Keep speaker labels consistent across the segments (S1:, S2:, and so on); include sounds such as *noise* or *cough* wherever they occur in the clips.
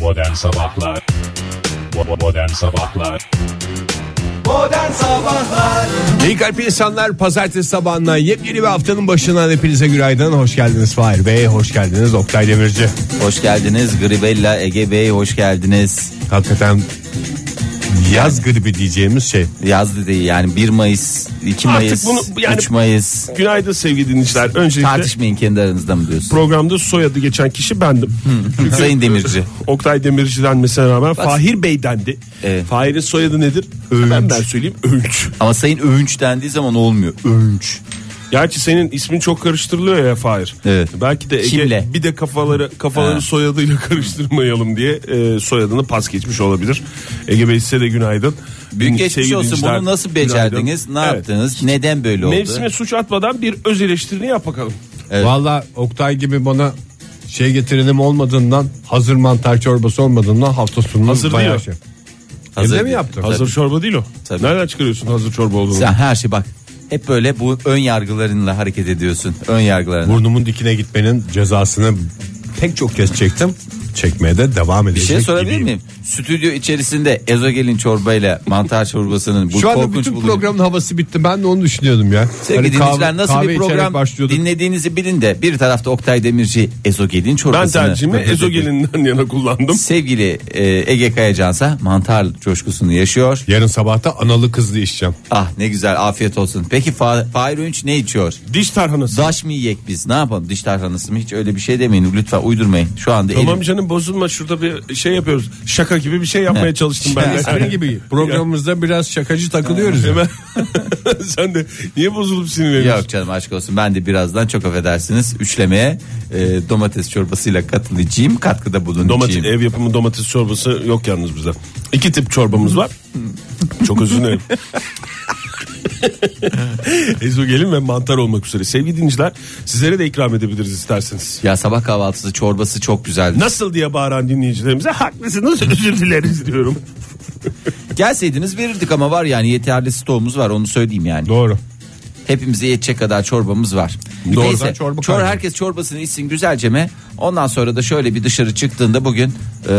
S1: Modern Sabahlar Bo- Modern Sabahlar
S2: İyi kalp insanlar pazartesi sabahına yepyeni bir haftanın başından hepinize günaydın. Hoş geldiniz Fahir Bey, hoş geldiniz Oktay Demirci.
S3: Hoş geldiniz Gribella Ege Bey hoş geldiniz.
S2: Hakikaten yaz gribi diyeceğimiz şey.
S3: Yaz dediği yani 1 Mayıs, 2
S4: Artık
S3: Mayıs,
S4: bunu yani-
S3: 3 Mayıs
S4: Günaydın sevgili dinleyiciler. Öncelikle
S3: tartışmayın kendi aranızda mı diyorsun?
S4: programda soyadı geçen kişi bendim. Çünkü
S3: Sayın Demirci.
S4: Oktay Demirci denmesine rağmen Fahir Bey dendi.
S3: Evet.
S4: Fahir'in soyadı nedir? Ben ben söyleyeyim Öğünç.
S3: Ama Sayın Övünç dendiği zaman olmuyor. Övünç.
S4: Gerçi senin ismin çok karıştırılıyor ya Fahir.
S3: Evet.
S4: Belki de Ege
S3: Kimle?
S4: bir de kafaları kafaları
S3: Ha. *laughs*
S4: soyadıyla karıştırmayalım diye e, soyadını pas geçmiş olabilir. Ege Bey size de günaydın.
S3: Büyük geçmiş
S4: Sevgili
S3: olsun
S4: dinleyiciler,
S3: bunu nasıl
S4: günaydın.
S3: becerdiniz? Ne
S4: Evet.
S3: yaptınız? Neden böyle oldu?
S4: Mevsime suç atmadan bir öz eleştirini yap bakalım.
S3: Evet.
S2: Valla Oktay gibi bana şey getirelim olmadığından hazır mantar çorbası olmadığından hafta sonu
S4: Hazır
S2: bayağı
S4: diyor.
S2: şey.
S3: Hazır
S2: Evde mi
S3: değil.
S2: yaptın?
S4: Hazır çorba değil o.
S3: Tabii.
S4: Nereden çıkarıyorsun hazır çorba olduğunu?
S3: Sen her şey bak hep böyle bu ön yargılarınla hareket ediyorsun. Ön yargılarınla.
S2: Burnumun dikine gitmenin cezasını pek çok kez çektim. Çekmeye de devam edecek
S3: Bir şey sorabilir
S2: gibiyim.
S3: miyim? Stüdyo içerisinde ezogelin çorbayla mantar çorbasının bu
S2: Şu anda
S3: korkunç
S2: bütün
S3: buluşu-
S2: programın havası bitti. Ben de onu düşünüyordum ya.
S3: Sevgili
S2: Hani
S3: dinleyiciler nasıl
S2: kahve
S3: bir
S2: içerek
S3: program
S2: başlıyorduk.
S3: dinlediğinizi bilin de bir tarafta Oktay Demirci ezogelin
S4: Ben
S3: çorbasını.
S4: tercihimi
S3: Evet, evet.
S4: ezogelinden yana kullandım.
S3: Sevgili e, Ege Kayacansa mantar coşkusunu yaşıyor.
S2: Yarın sabahta analı kızlı içeceğim.
S3: Ah ne güzel afiyet olsun. Peki Fa- Fahir Önç ne içiyor?
S4: Diş tarhanası.
S3: Daş mı yiyek biz ne yapalım diş tarhanası mı hiç öyle bir şey demeyin lütfen uydurmayın. Şu anda
S4: Tamam
S3: elim-
S4: canım bozulma şurada bir şey yapıyoruz. Şaka gibi bir şey yapmaya
S3: He.
S4: çalıştım ben. de.
S2: Senin gibi programımızda biraz şakacı takılıyoruz. ya.
S4: Hemen- *laughs* Sen de niye bozulup sinirleniyorsun?
S3: Yok canım aşk olsun ben de birazdan çok affedersiniz üçlemeye e, domates çorbasıyla katılacağım katkıda bulunacağım.
S4: Domates, ev yapımı domates çorbası yok yalnız bizde. İki tip çorbamız var. Çok
S3: *laughs*
S4: özür dilerim. Ezogelin ve mantar olmak üzere. Sevgili dinleyiciler sizlere de ikram edebiliriz isterseniz.
S3: Ya sabah kahvaltısı çorbası çok güzeldi.
S4: Nasıl diye bağıran dinleyicilerimize haklısınız özür dileriz diyorum.
S3: Gelseydiniz verirdik ama var yani yeterli stoğumuz var onu söyleyeyim yani.
S2: Doğru.
S3: Hepimize yetecek kadar çorbamız var.
S2: Doğrudan
S3: Neyse
S2: çorba
S3: çor-
S2: kaynağı.
S3: herkes çorbasını içsin güzelce mi? Ondan sonra da şöyle bir dışarı çıktığında bugün e,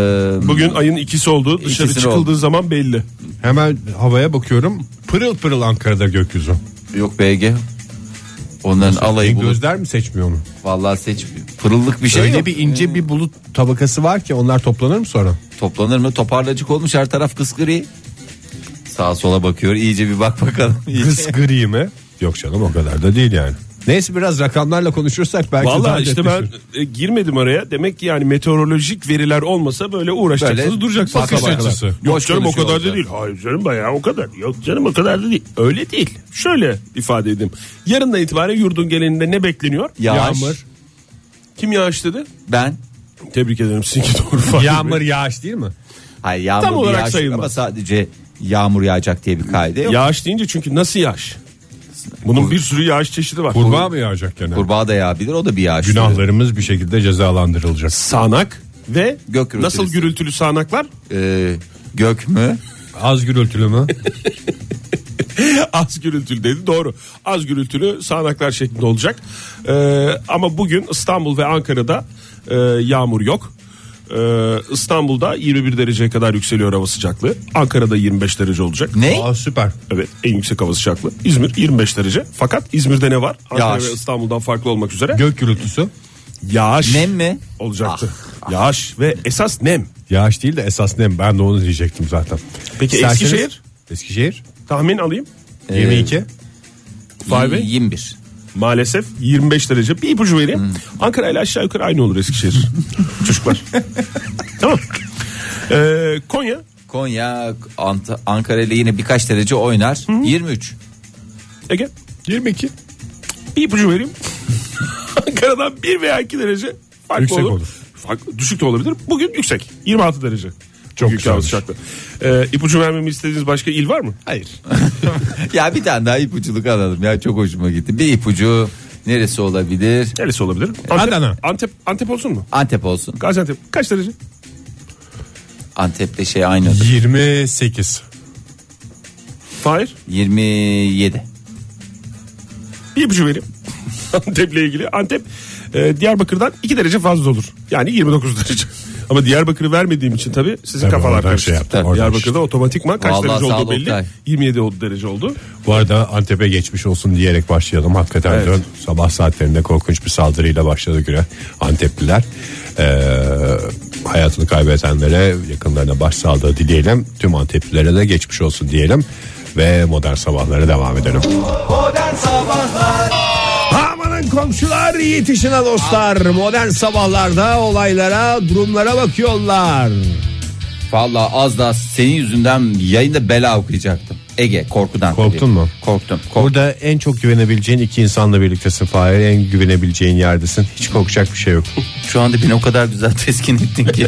S4: Bugün ayın ikisi oldu. Dışarı
S3: İkisi de
S4: çıkıldığı
S3: oldu.
S4: zaman belli.
S2: Hemen havaya bakıyorum. Pırıl pırıl Ankara'da gökyüzü.
S3: yok BG. Onların alayı
S2: En
S3: bulut.
S2: gözler mi seçmiyor onu?
S3: Vallahi seç pırıllık bir şey
S2: Öyle
S3: yok.
S2: bir ince bir bulut tabakası var ki onlar toplanır mı sonra?
S3: Toplanır mı? Toparlacık olmuş her taraf kıskırı. Sağa sola bakıyor. İyice bir bak bakalım. İyice.
S2: *laughs* *laughs* Kız gri mi? Yok canım o kadar da değil yani. Neyse biraz rakamlarla konuşursak belki daha
S4: Vallahi işte ben
S2: netleşir.
S4: e, girmedim araya. Demek ki yani meteorolojik veriler olmasa böyle uğraşacaksınız
S3: Böyle
S4: duracaksınız.
S3: bakış
S4: sabaha kadar.
S2: açısı.
S4: Yok
S3: Boş
S4: canım o
S3: konuşuyor
S4: kadar da
S3: şey olacak.
S4: değil. Hayır canım bayağı o kadar. Yok canım o kadar da değil. Öyle değil. Şöyle ifade edeyim. Yarından itibaren yurdun geleninde ne bekleniyor?
S3: Yağış.
S2: Yağmur.
S4: Kim yağış dedi?
S3: Ben
S4: Tebrik ederim sizinki doğru Fahri
S2: Yağmur
S4: Bey.
S2: yağış değil mi?
S3: hayır yağmur
S4: Tam
S3: bir
S4: olarak
S3: yağış
S4: sayılmaz.
S3: ama sadece yağmur yağacak diye bir kaide yok.
S4: Yağış deyince çünkü nasıl yağış? Bunun bir sürü yağış çeşidi var.
S2: Kurbağa mı yağacak gene?
S3: Kurbağa da yağabilir o da bir yağış.
S2: Günahlarımız bir şekilde cezalandırılacak.
S4: Sağanak ve
S3: Gök gürültülü.
S4: nasıl gürültülü sağanaklar?
S3: Ee, gök mü?
S2: Az gürültülü mü?
S4: *laughs* Az gürültülü dedi doğru. Az gürültülü sağanaklar şeklinde olacak. Ee, ama bugün İstanbul ve Ankara'da e, yağmur yok. Ee, İstanbul'da 21 dereceye kadar yükseliyor hava sıcaklığı. Ankara'da 25 derece olacak.
S3: Ne?
S2: Aa süper.
S4: Evet en yüksek hava sıcaklığı. İzmir 25 derece. Fakat İzmir'de ne var? Ankara
S3: Yağış.
S4: ve İstanbul'dan farklı olmak üzere.
S2: Gök gürültüsü.
S4: Yağış
S3: Nem mi? Ah,
S4: olacaktı. Yağış ve esas nem.
S2: Yağış değil de esas nem. Ben de onu diyecektim zaten.
S4: Peki Eskişehir? Ee,
S2: Eskişehir.
S4: Tahmin alayım.
S2: 22.
S4: Vay be.
S3: 21.
S4: Maalesef 25 derece. Bir ipucu vereyim.
S2: Hmm.
S4: Ankara ile aşağı yukarı aynı olur
S2: *laughs*
S4: Eskişehir. Çocuklar. tamam. Ee, Konya.
S3: Konya, Ant- Ankara ile yine birkaç derece oynar. 23.
S4: Ege.
S2: 22.
S4: Bir ipucu
S2: *laughs*
S4: vereyim. Ankara'dan 1 veya 2 derece farklı
S2: Yüksek
S4: olur.
S2: olur.
S4: Farklı, düşük de olabilir. Bugün yüksek. 26 derece.
S2: Çok
S4: Bugünkü hava
S2: güzelmiş.
S4: sıcaklığı. Ee, ipucu vermemi istediğiniz başka il var mı? Hayır.
S3: ya bir tane daha ipuculuk alalım ya çok hoşuma gitti. Bir ipucu neresi olabilir?
S4: Neresi olabilir?
S2: Adana.
S4: Antep, Antep olsun mu?
S3: Antep olsun.
S4: Gaziantep. Kaç derece?
S3: Antep'te şey aynı.
S2: 28.
S4: Hayır.
S3: 27.
S4: Bir ipucu vereyim. *laughs* Antep'le ilgili. Antep e, Diyarbakır'dan 2 *laughs* derece fazla olur. Yani 29 derece. Ama Diyarbakır'ı vermediğim için tabii sizin
S2: Tabii
S4: kafalar
S2: oradan
S4: karıştı.
S2: şey yaptım, oradan
S4: Diyarbakır'da
S2: işte.
S4: otomatikman kaç
S3: Vallahi
S4: derece
S3: sağ
S4: oldu
S3: ol
S4: belli.
S3: Oktay.
S4: 27 oldu derece oldu.
S2: Bu arada Antep'e geçmiş olsun diyerek başlayalım. Hakikaten
S4: Evet.
S2: dün sabah saatlerinde korkunç bir saldırıyla başladı güne Antepliler. Ee, hayatını kaybedenlere yakınlarına başsağlığı dileyelim. Tüm Anteplilere de geçmiş olsun diyelim. Ve modern sabahlara devam edelim. Amanın komşular yetişin ha dostlar. Modern sabahlarda olaylara durumlara bakıyorlar.
S3: Vallahi az daha senin yüzünden yayında bela okuyacaktım. Ege korkudan.
S2: Korktun
S3: tabii.
S2: mu?
S3: Korktum. korktum.
S2: Burada en çok güvenebileceğin iki insanla birliktesin Fahir. En güvenebileceğin yerdesin. Hiç korkacak bir şey yok.
S3: Şu anda beni o kadar güzel *laughs* teskin ettin
S4: *laughs*
S3: ki.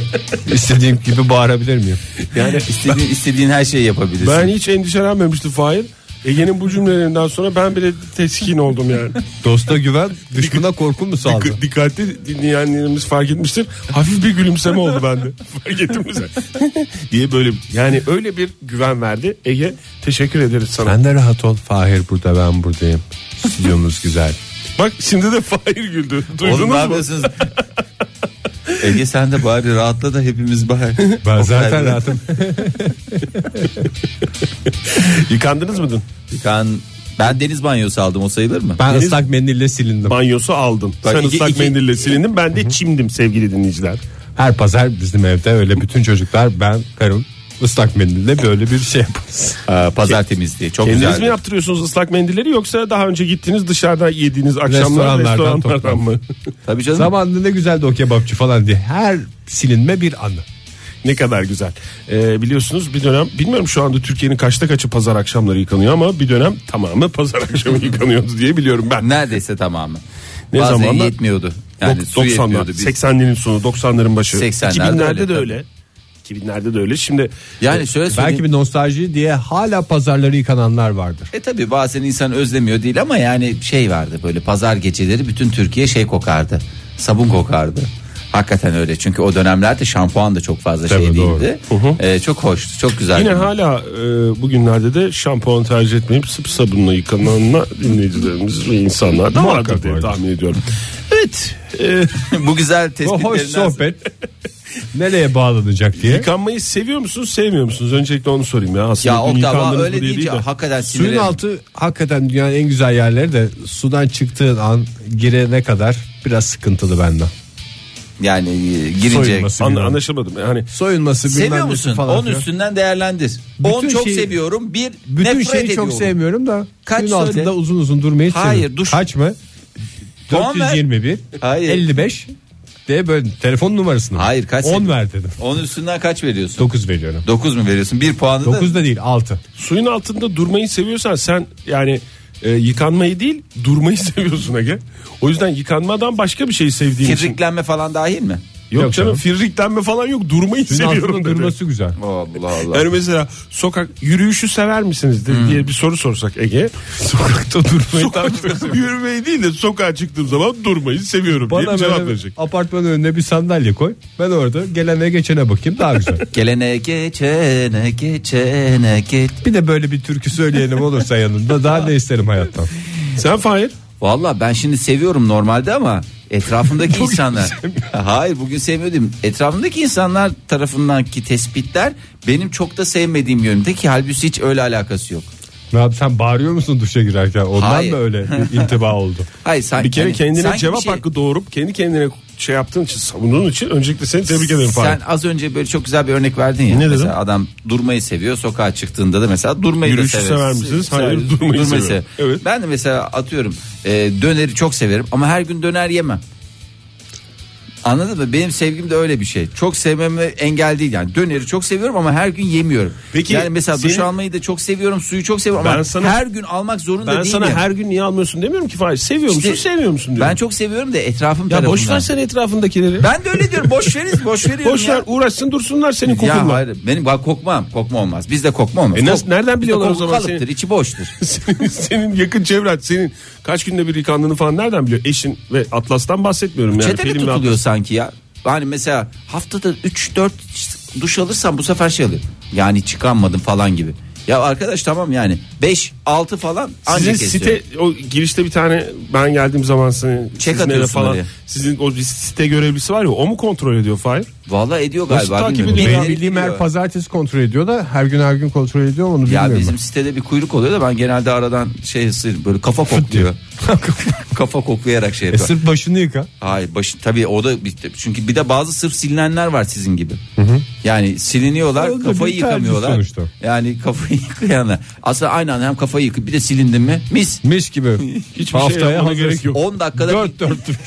S2: İstediğim gibi bağırabilir miyim?
S3: yani istediğin, istediğin her şeyi yapabilirsin.
S4: Ben hiç endişelenmemiştim Fahir. Ege'nin bu cümlelerinden sonra ben bile teskin oldum yani.
S3: *laughs*
S2: Dosta güven, düşmana korku mu sağladı?
S4: Dik- dikkatli dinleyenlerimiz fark etmiştir. Hafif bir gülümseme oldu
S2: *laughs*
S4: bende. Fark ettim bize. diye böyle bir- yani öyle bir güven verdi. Ege teşekkür ederiz sana.
S2: Sen de rahat ol Fahir burada ben buradayım. Stüdyomuz güzel.
S4: Bak şimdi de Fahir güldü.
S3: Oğlum ne
S4: Duydunuz mu?
S3: yapıyorsunuz? *laughs* Ege sen de bari rahatla da hepimiz bari.
S2: Ben
S3: O
S2: zaten
S3: kadar-
S2: rahatım.
S4: Yıkandınız mı dün?
S3: Ben, ben deniz banyosu aldım o sayılır mı?
S2: Ben ıslak mendille silindim.
S4: Banyosu aldın.
S3: Bak
S4: Sen
S3: iki-
S4: ıslak
S3: iki-
S4: mendille silindin. Ben de çimdim sevgili dinleyiciler.
S2: Her pazar bizim evde öyle bütün çocuklar ben karım ıslak mendille böyle bir şey yaparız.
S3: Aa, pazar temizliği çok
S4: Kendiniz
S3: güzeldi.
S4: mi yaptırıyorsunuz ıslak mendilleri yoksa daha önce gittiğiniz dışarıdan yediğiniz akşamlar
S2: Restoranlardan
S4: restoranlardan
S2: toplam.
S4: mı? *laughs*
S3: Tabii canım.
S2: Zamanında ne güzeldi o kebapçı falan diye. Her silinme bir anı.
S4: Ne kadar güzel. Ee, biliyorsunuz bir dönem bilmiyorum şu anda Türkiye'nin kaçta kaçı pazar akşamları yıkanıyor ama bir dönem tamamı pazar *laughs* akşamı yıkanıyordu diye biliyorum ben.
S3: Neredeyse tamamı.
S4: Ne
S3: Bazen
S4: zamanlar?
S3: yetmiyordu.
S4: Yani
S3: Yani su
S4: 90'lar,
S3: yetmiyordu. Biz-
S4: 80'lerin sonu, 90'ların başı.
S3: 80'lerde
S4: 2000'lerde
S3: öyle,
S4: de
S3: tabii.
S4: öyle. 2000'lerde de öyle. Şimdi
S3: Yani şöyle söyleyeyim.
S2: Belki bir nostalji diye hala pazarları yıkananlar vardır.
S3: E tabi bazen insan özlemiyor değil ama yani şey vardı böyle pazar geceleri bütün Türkiye şey kokardı. Sabun kokardı. Hakikaten öyle çünkü o dönemlerde şampuan da çok fazla şey
S2: Tabii, doğru.
S3: değildi. E, çok hoştu çok güzeldi.
S4: yine hala e, bugünlerde de şampuan tercih etmeyip sıvı sabunla yıkananla dinleyicilerimiz ve insanlar da vardır
S2: Muhakkak
S4: diye
S2: vardır.
S4: tahmin ediyorum. Evet. e,
S3: *laughs* Bu güzel
S2: O hoş
S3: tespitlerinden
S2: sohbet *laughs* nereye bağlanacak diye.
S4: yıkanmayı seviyor musunuz, sevmiyor musunuz? Öncelikle onu sorayım ya. Aslında
S3: Ya
S4: dün
S3: Oktay
S4: yıkandınız mı
S3: öyle
S4: diye değil
S3: deyince
S4: de.
S3: hakikaten
S2: Suyun
S3: sinirim.
S2: altı hakikaten dünyanın en güzel yerleri de sudan çıktığın an girene kadar biraz sıkıntılı benden.
S3: Yani e, girince.
S2: Soyulması.
S4: Anla-
S2: Bilmiyorum.
S4: anlaşılmadım. Yani
S2: Soyunması bilmem
S3: Seviyor
S2: nesi
S3: musun?
S2: falan.
S3: Onun
S2: filan.
S3: üstünden değerlendir.
S2: Bütün
S3: 10 çok
S2: şeyi-
S3: seviyorum. Bir
S2: Bütün
S3: nefret
S2: şeyi
S3: ediyorum.
S2: çok sevmiyorum da
S3: Kaç
S2: suyun
S3: söyle?
S2: altında uzun uzun durmayı
S3: Hayır,
S2: seviyorum.
S3: duş-
S2: Kaç mı?
S3: Puan ver.
S2: 421
S3: Hayır.
S2: 55 de böyle telefon numarasını.
S3: Hayır, kaç
S2: 10
S3: seviyorsun?
S2: ver dedim.
S3: Onun üstünden kaç veriyorsun?
S2: 9 veriyorum.
S3: 9 mu veriyorsun? Bir puanı da
S2: 9 da değil 6.
S4: suyun altında durmayı seviyorsan sen yani e, yıkanmayı değil durmayı *laughs* seviyorsun Ege. O yüzden yıkanmadan başka bir şey sevdiğin için.
S3: kirliklenme falan dahil mi?
S4: Yok,
S2: Yok
S4: canım
S2: canım.
S4: firriklenme falan yok durmayı
S2: Suyun
S4: seviyorum
S2: altında
S4: dedi.
S2: durması güzel.
S3: Allah Allah.
S4: Yani mesela sokak yürüyüşü sever misiniz
S3: Hmm.
S4: dedi diye bir soru sorsak Ege.
S2: Sokakta durmayı
S4: Sokakta *laughs* yürümeyi değil de sokağa çıktığım zaman durmayı seviyorum diye
S2: Bana
S4: bir cevap
S2: böyle
S4: verecek.
S2: apartmanın önüne bir sandalye koy. Ben orada gelene geçene bakayım daha güzel.
S3: Gelene geçene geçene geç.
S2: bir de böyle bir türkü söyleyenim olursa yanında daha ne isterim hayattan.
S4: Sen Fahir
S3: Valla ben şimdi seviyorum normalde ama
S4: *laughs*
S3: etrafımdaki insanlar. Hayır bugün sevmiyordum. Etrafımdaki insanlar tarafındanki tespitler benim çok da sevmediğim yönünde ki halbuki hiç öyle alakası yok.
S2: Ne yap sen bağırıyor musun duşa girerken? Ondan
S3: Hayır.
S2: mı öyle bir intiba oldu?
S3: Hayır sanki
S4: bir kere
S3: hani- sanki
S4: kendine
S3: bir
S4: cevap
S3: şey-
S4: hakkı doğurup kendi kendine şey yaptığın için savunduğun için öncelikle seni tebrik ederim Fahir.
S3: Sen az önce böyle çok güzel bir örnek verdin ya.
S4: Ne dedim?
S3: Mesela adam durmayı seviyor. Sokağa çıktığında da mesela durmayı
S4: Yürüyüşü
S3: da
S4: sever
S3: severiz.
S4: misiniz?
S3: Severiz.
S4: Hayır, durmayı severim.
S3: severim.
S4: Evet.
S3: Ben de mesela atıyorum e, döneri çok severim ama her gün döner yemem. Anladın mı? Benim sevgim de öyle bir şey. Çok sevmeme engel değil yani. Döneri çok seviyorum ama her gün yemiyorum.
S4: Peki,
S3: yani mesela duş
S4: senin-
S3: almayı da çok seviyorum, suyu çok seviyorum
S4: Ben
S3: ama
S4: sana-
S3: her gün almak zorunda
S4: Ben
S3: değilim.
S4: sana her gün niye almıyorsun demiyorum ki Fahir. Seviyor
S3: İşte-
S4: musun sevmiyor musun diyorum.
S3: Ben çok seviyorum da etrafım
S4: ya
S3: tarafından.
S4: boş ver sen etrafındakileri.
S3: Ben de öyle diyorum. Boş veririz, boş veriyorum
S4: *laughs* boş
S3: ya.
S4: ver uğraşsın dursunlar senin
S3: Ya
S4: kokunla.
S3: hayır benim bak kokmam kokma olmaz bizde kokma olmaz.
S4: E nasıl-
S3: Kok-
S4: nereden
S3: bizde
S4: biliyorlar o
S3: koku
S4: zaman
S3: kalıptır
S4: seni?
S3: içi boştur.
S4: *laughs* senin, senin yakın çevren senin kaç günde bir yıkandığını falan nereden biliyor? Eşin ve Atlas'tan bahsetmiyorum yani.
S3: Çeteli
S4: Pelin ve
S3: tutuluyor sanki ya. Hani mesela haftada 3-4 duş alırsan bu sefer şey oluyor. Yani çıkanmadım falan gibi. Ya arkadaş tamam yani 5 6 falan
S4: Sizin
S3: ancak
S4: site o girişte bir tane ben geldiğim zaman seni
S3: Çek
S4: sizin eve
S3: atıyorsun
S4: falan
S3: oraya.
S4: sizin o site görevlisi var ya o mu kontrol ediyor Fahir?
S3: Valla ediyor
S4: Nasıl
S3: galiba.
S4: takip
S3: bilmiyorum.
S4: ediyor?
S3: Beni
S2: Benim bildiğim her
S3: ediyor.
S2: pazartesi kontrol ediyor da her gün her gün kontrol ediyor mu onu
S3: Ya
S2: bilmiyorum.
S3: bizim
S2: ben.
S3: sitede bir kuyruk oluyor da ben genelde aradan şey ısır- böyle
S4: *laughs*
S3: kafa kokluyor. kafa koklayarak şey
S2: E,
S3: yapıyor.
S2: sırf başını yıka.
S3: Hayır başı tabii o da bir- çünkü bir de bazı sırf silinenler var sizin gibi. Yani siliniyorlar
S2: O da
S3: kafayı
S2: bir tercih
S3: yıkamıyorlar.
S2: sonuçta.
S3: Yani kafayı *laughs* yıkayanlar. Aslında aynı anda hem kafayı yıkıp bir de silindin mi mis.
S2: Mis gibi.
S4: Hiçbir şey yapmana gerek yok.
S3: 10 dakikada
S2: Dört dörtlük.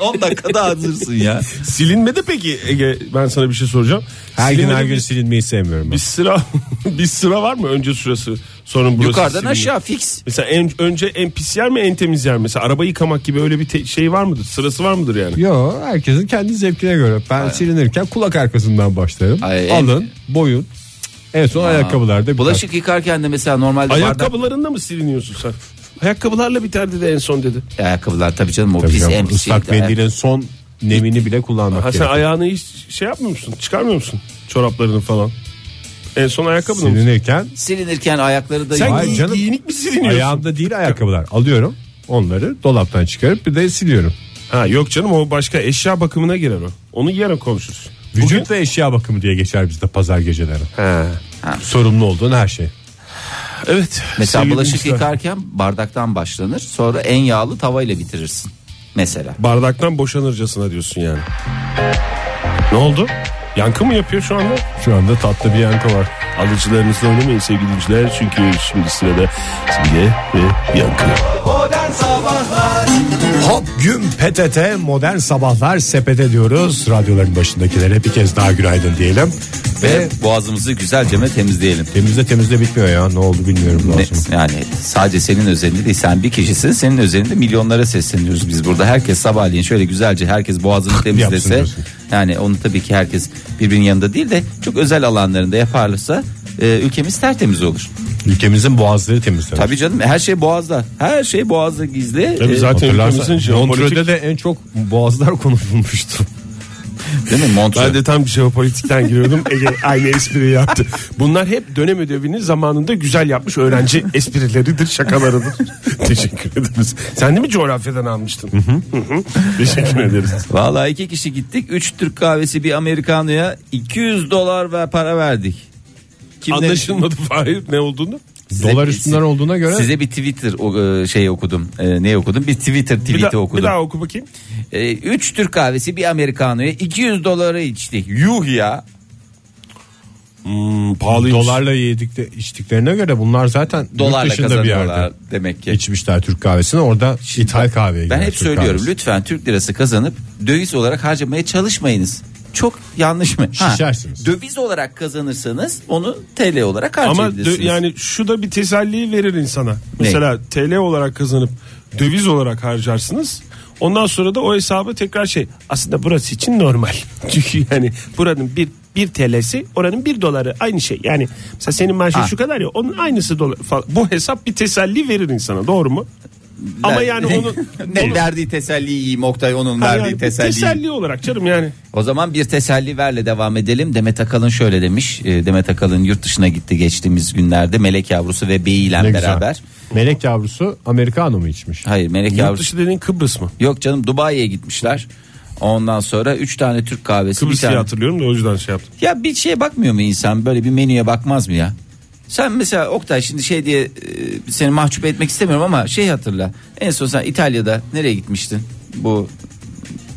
S3: 10 dakikada hazırsın
S2: *laughs*
S3: ya.
S4: Silinmedi peki Ege ben sana bir şey soracağım.
S2: Her gün her
S4: Silinmede
S2: gün
S4: bir,
S2: silinmeyi sevmiyorum
S4: bir
S2: ben.
S4: sıra *laughs* bir sıra var mı önce sırası sonra burası
S3: Yukarıdan
S4: siliniyor.
S3: aşağı fix.
S4: Mesela en, önce en pis yer mi en temiz yer mi? Mesela araba yıkamak gibi öyle bir te- şey var mıdır? Sırası var mıdır yani?
S2: Yo herkesin kendi zevkine göre. Ben silinirken kulak arkasından başlarım.
S3: Ay, en-
S2: Alın, boyun. En son ayakkabılarda biter.
S3: Bulaşık yıkarken de mesela normalde bardak
S4: Ayakkabılarında mı siliniyorsun sen? Ayakkabılarla biterdi de en son dedi.
S3: ayakkabılar tabii canım o
S2: Tabii
S3: pis
S2: canım,
S3: en pis
S2: ıslak
S3: şey.
S2: mendilin son nemini bile kullanmak
S4: Ha sen
S2: gerekiyor.
S4: ayağını hiç şey yapmıyor musun? Çıkarmıyor musun? Çoraplarını falan. En son ayakkabını mı?
S2: Silinirken
S3: Silinirken ayakları da
S4: Sen
S3: yıkıyor.
S2: Hayır
S4: giy-
S2: canım.
S4: giyinik mi siliniyorsun?
S2: ayağımda değil ayakkabılar. Alıyorum onları dolaptan çıkarıp bir de siliyorum.
S4: Ha yok canım o başka eşya bakımına girer o. Onu yarın konuşuruz.
S2: Vücut ve eşya bakımı diye geçer bizde pazar geceleri. Sorumlu olduğun her şey.
S4: Evet.
S3: Mesela
S4: sevgili
S3: bulaşık
S4: dinleyiciler.
S3: yıkarken bardaktan başlanır. Sonra en yağlı tavayla bitirirsin. Mesela.
S4: Bardaktan boşanırcasına diyorsun yani. Ne oldu? Yankı mı yapıyor şu anda?
S2: Şu anda tatlı bir yankı var.
S4: Alıcılarınızla oynamayın sevgili dinleyiciler. Çünkü şimdi sırada Simge ve Yankı.
S2: Hop gün PTT modern sabahlar sepete diyoruz. Radyoların başındakilere bir kez daha günaydın diyelim.
S3: Ve boğazımızı güzelceme temizleyelim.
S2: Temizle temizle bitmiyor ya ne oldu bilmiyorum
S3: Ne-
S2: lazım.
S3: yani sadece senin özelinde değil sen bir kişisin senin özelinde milyonlara sesleniyoruz biz burada herkes sabahleyin şöyle güzelce herkes
S4: *laughs*
S3: boğazını temizlese
S2: diyorsun.
S3: yani onu tabii ki herkes birbirinin yanında değil de çok özel alanlarında yaparsa e, ülkemiz tertemiz olur.
S2: Ülkemizin boğazları temizlenir.
S3: Tabii canım her şey boğazda her şey boğazda gizli.
S4: Tabii
S3: E,
S4: zaten ülkemizin
S2: Hatırlarsan
S4: jeopolitik
S2: Montreux'de de en çok boğazlar *laughs* konuşulmuştu.
S3: Değil mi Montreux?
S4: Ben de tam jeopolitikten giriyordum. Ege aynı espriyi yaptı. Bunlar hep dönem ödevini zamanında güzel yapmış öğrenci esprileridir, şakalarıdır. Teşekkür ederiz. Sen de mi coğrafyadan almıştın? Hı hı. Teşekkür ederiz.
S3: Vallahi iki kişi gittik. Üç Türk kahvesi bir Amerikano'ya 200 dolar ve para verdik. Kim ne-
S4: Anlaşılmadı Fahir ne olduğunu.
S3: Size-
S2: Dolar üstünden olduğuna göre
S3: Size bir Twitter o, e, şey okudum. E, ne okudum? Bir Twitter
S4: Bir,
S3: tweet'i
S4: daha-
S3: okudum.
S4: bir daha oku bakayım.
S3: E, üç Türk kahvesi bir Amerikano'ya 200 dolara içtik. Yuh ya.
S4: Hmm,
S2: dolarla yedik de içtiklerine göre bunlar zaten dolarla
S3: Dolarla
S2: yurt dışında bir yerde
S3: kazanıyorlar demek ki.
S2: içmişler Türk kahvesini orada İthal kahveye
S3: ben
S2: girer
S3: hep
S2: Türk
S3: söylüyorum
S2: kahvesi.
S3: lütfen Türk lirası kazanıp döviz olarak harcamaya çalışmayınız. Çok yanlış mı? Ha,
S2: Şişersiniz.
S3: döviz olarak kazanırsanız onu TL olarak
S4: Ama
S3: harcayabilirsiniz.
S4: dö- yani şu da bir teselli verir insana. Mesela TL olarak kazanıp döviz olarak harcarsınız. Ondan sonra da o hesabı tekrar şey aslında burası için normal. *laughs* Çünkü yani buranın bir bir TL'si oranın bir doları aynı şey. Yani mesela senin maaşın
S3: Ha.
S4: şu kadar ya onun aynısı dolar falan. Bu hesap bir teselli verir insana doğru mu? Ama
S3: Der- *laughs*
S4: yani onu
S3: ne
S4: onu-
S3: verdiği teselli yiyeyim Oktay onun
S4: Ha,
S3: verdiği
S4: yani bir
S3: teselli.
S4: teselli olarak canım yani.
S3: O zaman bir teselli verle devam edelim. Demet Akalın şöyle demiş. E, Demet Akalın yurt dışına gitti geçtiğimiz günlerde melek yavrusu ve beyiyle
S2: Ne güzel.
S3: beraber.
S2: Melek yavrusu Amerikano mu içmiş?
S3: Hayır melek
S4: Yurt
S3: yavrusu
S4: dışı dediğin Kıbrıs mı?
S3: yok canım Dubai'ye gitmişler. Ondan sonra 3 tane Türk kahvesi bir
S4: Kıbrıs diye
S3: tane.
S4: hatırlıyorum da o yüzden şey yaptım.
S3: Ya bir şeye bakmıyor mu insan böyle bir menüye bakmaz mı ya? Sen mesela Oktay şimdi şey diye e, seni mahcup etmek istemiyorum ama şey hatırla. En son sen İtalya'da nereye gitmiştin? Bu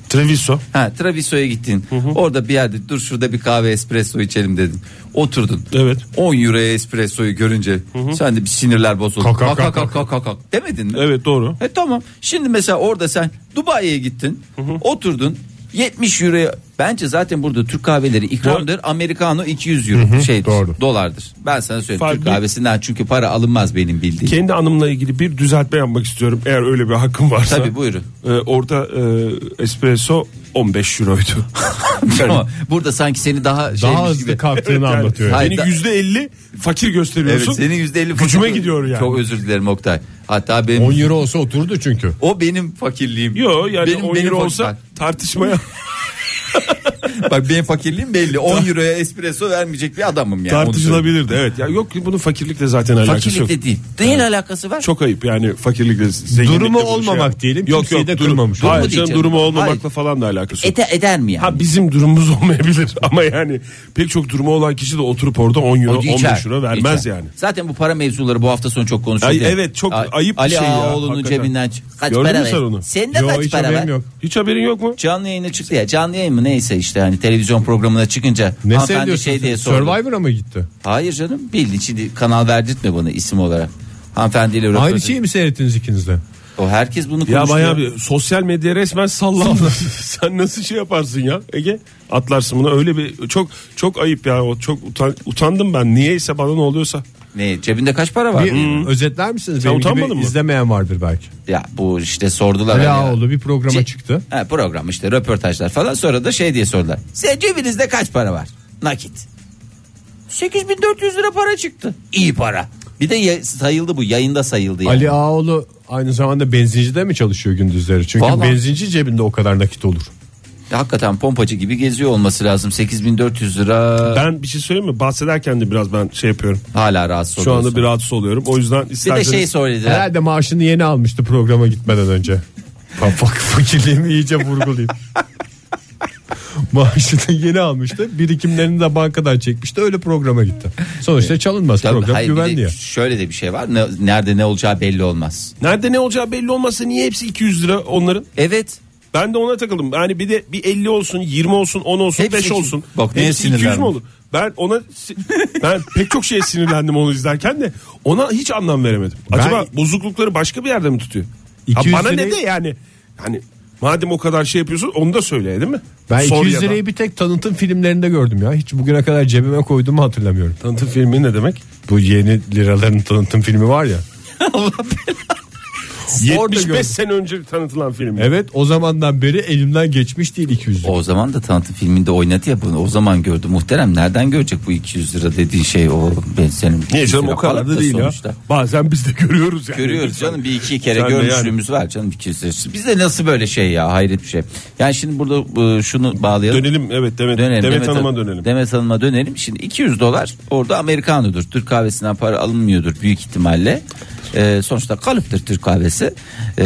S4: Treviso.
S3: Ha Traviso'ya gittin. Orada bir yerde dur şurada bir kahve espresso içelim dedin. Oturdun.
S4: Evet.
S3: 10 euroya espressoyu görünce sen de bir sinirler bozuldu.
S2: Kalk, kalk,
S3: Kalk
S2: kalk,
S3: kalk kalk kalk kalk demedin mi?
S4: Evet doğru.
S3: E tamam. Şimdi mesela orada sen Dubai'ye gittin. Oturdun. 70 euroya bence zaten burada Türk kahveleri ikramdır. Americano 200 euro şeydir.
S2: doğru.
S3: Dolardır. Ben sana söyleyeyim
S4: Fark
S3: Türk
S4: değil.
S3: kahvesinden çünkü para alınmaz benim bildiğim.
S4: kendi anımla ilgili bir düzeltme yapmak istiyorum eğer öyle bir hakkım varsa.
S3: Tabii, buyurun.
S4: Ee, orada e, espresso
S3: *laughs*
S4: 15 euroydu.
S3: Ama burada sanki seni daha şeymiş
S2: Daha hızlı
S3: gibi. *laughs*
S2: kalktığını
S4: Yani
S2: anlatıyor.
S3: Hayır.
S4: Beni
S3: da-
S4: %50 fakir
S3: Evet
S4: gösteriyorsun.
S3: senin %50
S4: Gücüme
S3: fakir-
S4: gidiyor yani.
S3: Çok özür dilerim Oktay. Hatta benim
S2: 10 euro olsa oturdu çünkü.
S3: O benim fakirliğim.
S4: Yo yani
S3: Benim-
S4: 10
S3: benim
S4: euro
S3: fakir-
S4: olsa tartışmaya
S3: Bak benim fakirliğim belli. 10 euroya espresso vermeyecek bir adamım yani. onu söyleyeyim.
S4: Tartışılabilirdi evet. Ya yok bunun fakirlikle zaten alakası yok.
S3: Fakirlikle değil. Neyle alakası var?
S4: Çok ayıp yani fakirlikle zenginlikle
S2: Durumu
S4: bu şey
S2: olmamak
S4: yap-
S2: diyelim,
S4: Yok
S2: kimseyi
S4: yok
S2: de
S4: durum,
S2: kırmamış.
S4: Hayır
S3: Durumu değil
S4: canım,
S3: canım.
S4: durumu olmamakla
S3: Hayır.
S4: falan da alakası yok.
S3: Ete eder mi yani?
S4: Ha bizim durumumuz *laughs* olmayabilir ama yani pek çok durumu olan kişi de oturup orada 10 euro
S3: O
S4: 15 euro vermez
S3: içer.
S4: yani.
S3: Zaten bu para mevzuları bu hafta sonu çok konuşuldu.
S4: Ay,
S3: ya.
S4: evet, çok
S3: A-
S4: ayıp bir
S3: Ali
S4: şey ya,
S3: Ağaoğlu'nun
S4: hakikaten.
S3: cebinden çık- kaç
S4: Gördün
S3: para
S4: mü
S3: ver?
S4: sen onu?
S3: Sende
S2: Yo,
S3: kaç
S2: hiç
S3: para
S2: haberim
S3: ver?
S2: yok.
S4: Hiç haberin yok mu?
S3: Canlı yayına çıktı ya. Canlı yayın mı neyse işte hani televizyon programına çıkınca
S2: Ne
S3: hanımefendi
S2: seviyorsun?
S3: şey diye sordu.
S2: Survivor'a mı gitti?
S3: Hayır canım bildi şimdi kanal verdirtme bana isim olarak. Hanımefendiyle
S2: Aynı
S3: röportaj-
S2: şeyi mi seyrettiniz ikiniz de?
S3: O herkes bunu konuşuyor.
S4: şey- Ya bayağı bir sosyal medya
S3: *laughs*
S4: resmen sallandı. Sen nasıl şey yaparsın ya Ege? Atlarsın bunu öyle bir çok çok ayıp ya o çok utan- utandım ben niyeyse bana ne oluyorsa.
S3: Ne cebinde kaç para var?
S2: Bir özetler misiniz?
S4: Sen
S2: Benim gibi
S4: utanmadın mı?
S2: izlemeyen vardır belki.
S3: Ya bu işte sordular. hani
S2: Ali
S3: ya.
S2: Ağaoğlu bir programa
S3: Ce-
S2: çıktı.
S3: Ha, program işte röportajlar falan sonra da şey diye sordular. Size cebinizde kaç para var? Nakit. 8400 lira para çıktı. İyi para. Bir de ya- sayıldı bu yayında sayıldı yani.
S2: Ali Ağaoğlu aynı zamanda benzincide mi çalışıyor gündüzleri? Çünkü
S3: Vallahi-
S2: benzinci cebinde o kadar nakit olur.
S3: Hakikaten pompacı gibi geziyor olması lazım. 8400 lira
S4: Ben bir şey söyleyeyim mi? Bahsederken de biraz ben şey yapıyorum.
S3: hala rahatsız
S4: Şu
S3: oluyorsun.
S4: anda bir rahatsız oluyorum. O yüzden
S3: bir de
S4: isterseniz
S3: şey söylediler.
S2: Herhalde maaşını yeni almıştı programa gitmeden önce. Bak bak fakirliğimi iyice vurgulayayım. *laughs* Maaşını yeni almıştı. Birikimlerini de bankadan çekmişti. Öyle programa gitti. Sonuçta çalınmaz
S3: Tabii,
S2: program
S3: hayır, bir de
S2: güvenli ya.
S3: şöyle de bir şey var. Ne- nerede ne olacağı belli olmaz.
S4: Nerede ne olacağı belli olmasa niye hepsi 200 lira onların?
S3: Evet.
S4: Ben de ona takıldım. Yani bir de bir 50 olsun, 20 olsun, 10 olsun,
S3: Hepsi
S4: 5
S3: iki-
S4: olsun.
S3: Bak neye
S4: Hepsi 200
S3: sinirlendin?
S4: mü olur? Ben ona si- *laughs* ben pek çok şeye sinirlendim onu izlerken de ona hiç anlam veremedim. Acaba bozuklukları başka bir yerde mi tutuyor? Ha
S2: 200
S4: bana ne
S2: lirayı-
S4: de yani hani madem o kadar şey yapıyorsun onu da söyle değil mi?
S2: Ben
S4: Sor
S2: 200
S4: ya da.
S2: lirayı bir tek tanıtım filmlerinde gördüm ya. Hiç bugüne kadar cebime koyduğumu hatırlamıyorum.
S4: tanıtım filmi ne demek?
S2: Bu yeni liraların tanıtım filmi var ya. Orada
S4: 75
S2: gördüm.
S4: sene önce tanıtılan film.
S2: Evet o zamandan beri elimden geçmiş değil 200 lira.
S3: O zaman da tanıtım filminde oynadı ya bunu. O zaman gördü. Muhterem nereden görecek bu 200 lira dediği şey o ben senin.
S4: Niye
S3: 200
S4: canım
S3: lira
S4: o kadar
S3: falan
S4: da değil
S3: sonuçta.
S4: ya. Bazen biz de görüyoruz yani.
S3: Görüyoruz canım bir iki kere
S4: Sen de
S3: görmüşlüğümüz var canım 200 lira. Bizde nasıl böyle şey ya hayret bir şey. Yani şimdi burada e, şunu bağlayalım.
S4: Dönelim evet Demet,
S3: Dönelim,
S4: Demet,
S3: Han-
S4: Hanım'a dönelim.
S3: Demet Hanım'a dönelim. Şimdi 200 dolar orada Amerikanodur. Türk kahvesinden para alınmıyordur büyük ihtimalle. Ee, sonuçta kalıptır Türk kahvesi. Ee,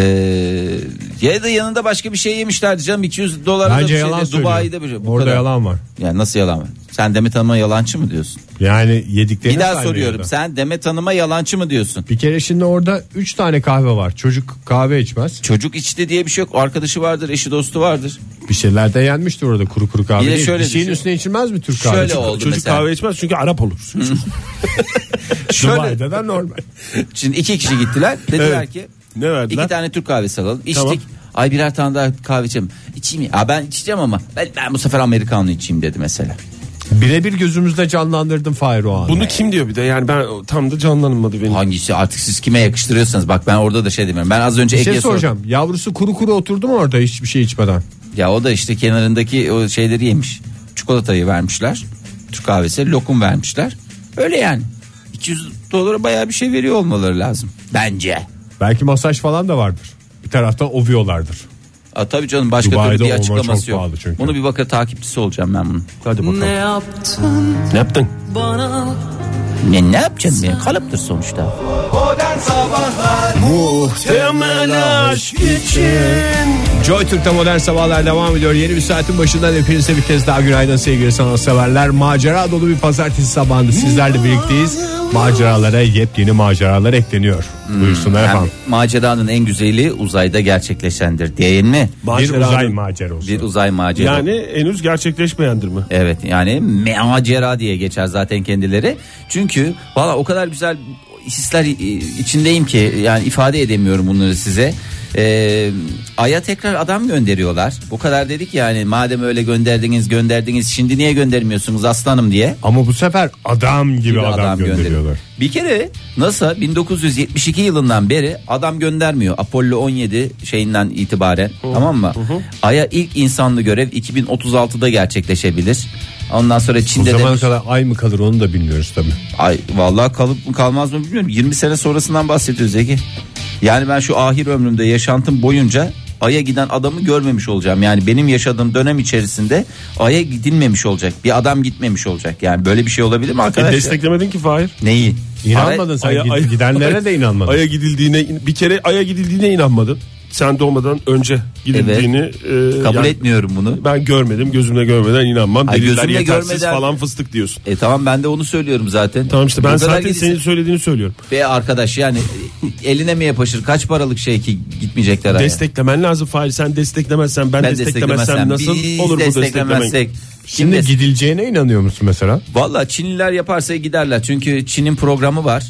S3: ya da yanında başka bir şey yemişlerdi canım 200 dolara da bir
S2: Bence
S3: şey
S2: yalan
S3: de-
S2: söylüyor.
S3: Dubai'de bir şey. Bu
S2: Orada
S3: kadar.
S2: yalan var.
S3: Yani nasıl yalan var? Sen Demet Hanım'a yalancı mı diyorsun?
S2: Yani yediklerini
S3: bir daha
S2: saymıyor
S3: soruyorum.
S2: da.
S3: Sen Demet Hanım'a yalancı mı diyorsun?
S2: Bir kere şimdi orada 3 tane kahve var. Çocuk kahve içmez.
S3: Çocuk içti diye bir şey yok. Arkadaşı vardır, eşi dostu vardır.
S2: Bir şeyler de yenmiştir orada kuru kuru kahve.
S3: Bir de
S2: değil.
S3: şöyle
S2: bir şeyin
S3: düşün.
S2: üstüne içilmez mi Türk
S3: Şöyle
S2: kahvesi?
S3: oldu
S4: Çocuk
S3: mesela.
S4: kahve içmez çünkü Arap olur.
S3: Şöyle,
S2: Dubai'de de normal.
S3: şimdi iki kişi gittiler. Dediler
S4: Evet.
S3: ki
S4: Ne verdiler?
S3: İki tane Türk kahvesi alalım. İçtik.
S4: Tamam.
S3: Ay birer tane daha kahve içelim. İçeyim mi? Aa, ben içeceğim ama ben, ben bu sefer Amerikanlı içeyim dedi mesela.
S2: Birebir gözümüzde canlandırdım Fahir o anı.
S4: Bunu kim diyor bir de yani ben tam da canlanmadı benim.
S3: Hangisi artık siz kime yakıştırıyorsanız bak ben orada da şey demiyorum. Ben az önce
S2: Bir şey
S3: Ege'ye sordum.
S2: soracağım. Yavrusu kuru kuru oturdu mu orada hiçbir şey içmeden?
S3: Ya o da işte kenarındaki o şeyleri yemiş. Çikolatayı vermişler. Türk kahvesi lokum vermişler. Öyle yani. 200 dolara bayağı bir şey veriyor olmaları lazım. Bence.
S2: Belki masaj falan da vardır. Bir taraftan ovuyorlardır.
S3: Aa, tabii canım başka
S2: Dubai'de
S3: türlü bir
S2: olma
S3: açıklaması
S2: çok
S3: yok.
S2: pahalı çünkü.
S3: Bunu bir bakar takipçisi olacağım ben bunun.
S4: Hadi bakalım.
S5: Ne yaptın
S4: Ne yaptın?
S5: bana?
S3: Ne, ne yapacağım ya? Kalıptır sonuçta.
S2: Joy Türk'te modern sabahlar devam ediyor. Yeni bir saatin başından hepinize bir kez daha günaydın sevgili sanatseverler. Macera dolu bir pazartesi sabahında sizlerle birlikteyiz. Maceralara yepyeni maceralar ekleniyor.
S4: Hmm.
S2: Buyursunlar
S3: Hem
S2: efendim.
S3: maceranın en güzeli uzayda gerçekleşendir değil mi?
S2: Bir
S4: Maceranın-
S2: uzay macerası.
S3: Bir uzay macerası.
S4: Yani henüz gerçekleşmeyendir mi?
S3: Evet yani macera diye geçer zaten kendileri. Çünkü valla o kadar güzel hisler i- içindeyim ki yani ifade edemiyorum bunları size. Ee, Ay'a tekrar adam gönderiyorlar. Bu kadar dedik yani madem öyle gönderdiniz gönderdiniz şimdi niye göndermiyorsunuz aslanım diye.
S2: Ama bu sefer adam gibi, adam,
S3: gönderiyor.
S2: gönderiyorlar.
S3: Bir kere NASA 1972 yılından beri adam göndermiyor. Apollo 17 şeyinden itibaren tamam mı? Ay'a ilk insanlı görev 2036'da gerçekleşebilir. Ondan sonra
S2: O
S3: Çin'de de
S2: zamana kadar ay mı kalır onu da bilmiyoruz tabii.
S3: ay vallahi kalıp mı kalmaz mı bilmiyorum. 20 sene sonrasından bahsediyoruz Ege. Yani ben şu ahir ömrümde yaşantım boyunca Ay'a giden adamı görmemiş olacağım. Yani benim yaşadığım dönem içerisinde Ay'a gidilmemiş olacak. Bir adam gitmemiş olacak. Yani böyle bir şey olabilir mi
S4: E,
S3: arkadaşlar?
S4: desteklemedin ki Fahir.
S3: Neyi?
S2: İnanmadın sen
S4: Ay-
S2: gid-
S4: ay-
S2: gidenlere
S4: ay-
S2: de inanmadın.
S4: Ay'a gidildiğine bir kere Ay'a gidildiğine inanmadın. Sen doğmadan önce gidildiğini e,
S3: Hayır, kabul
S4: yani
S3: etmiyorum bunu.
S4: Ben görmedim gözümle görmeden inanmam.
S3: Ay,
S4: Deliller
S3: gözümle
S4: yetersiz
S3: görmeden-
S4: falan fıstık diyorsun.
S3: E tamam ben de onu söylüyorum zaten.
S4: Tamam işte
S3: O
S4: ben
S3: kadar
S4: zaten
S3: gidilse-
S4: senin söylediğini söylüyorum.
S3: Be arkadaş yani e, eline mi yapışır kaç paralık şey ki gitmeyecekler Ay'a?
S4: Desteklemen lazım Fahir. Sen desteklemezsen ben,
S3: ben
S4: desteklemezsem
S3: desteklemezsem
S4: nasıl
S3: biz
S4: olur bu desteklemen?
S3: desteklemezsek. Kim
S2: Şimdi
S3: destek-
S2: gidileceğine inanıyor musun mesela?
S3: Valla Çinliler yaparsa giderler. Çünkü Çin'in programı var.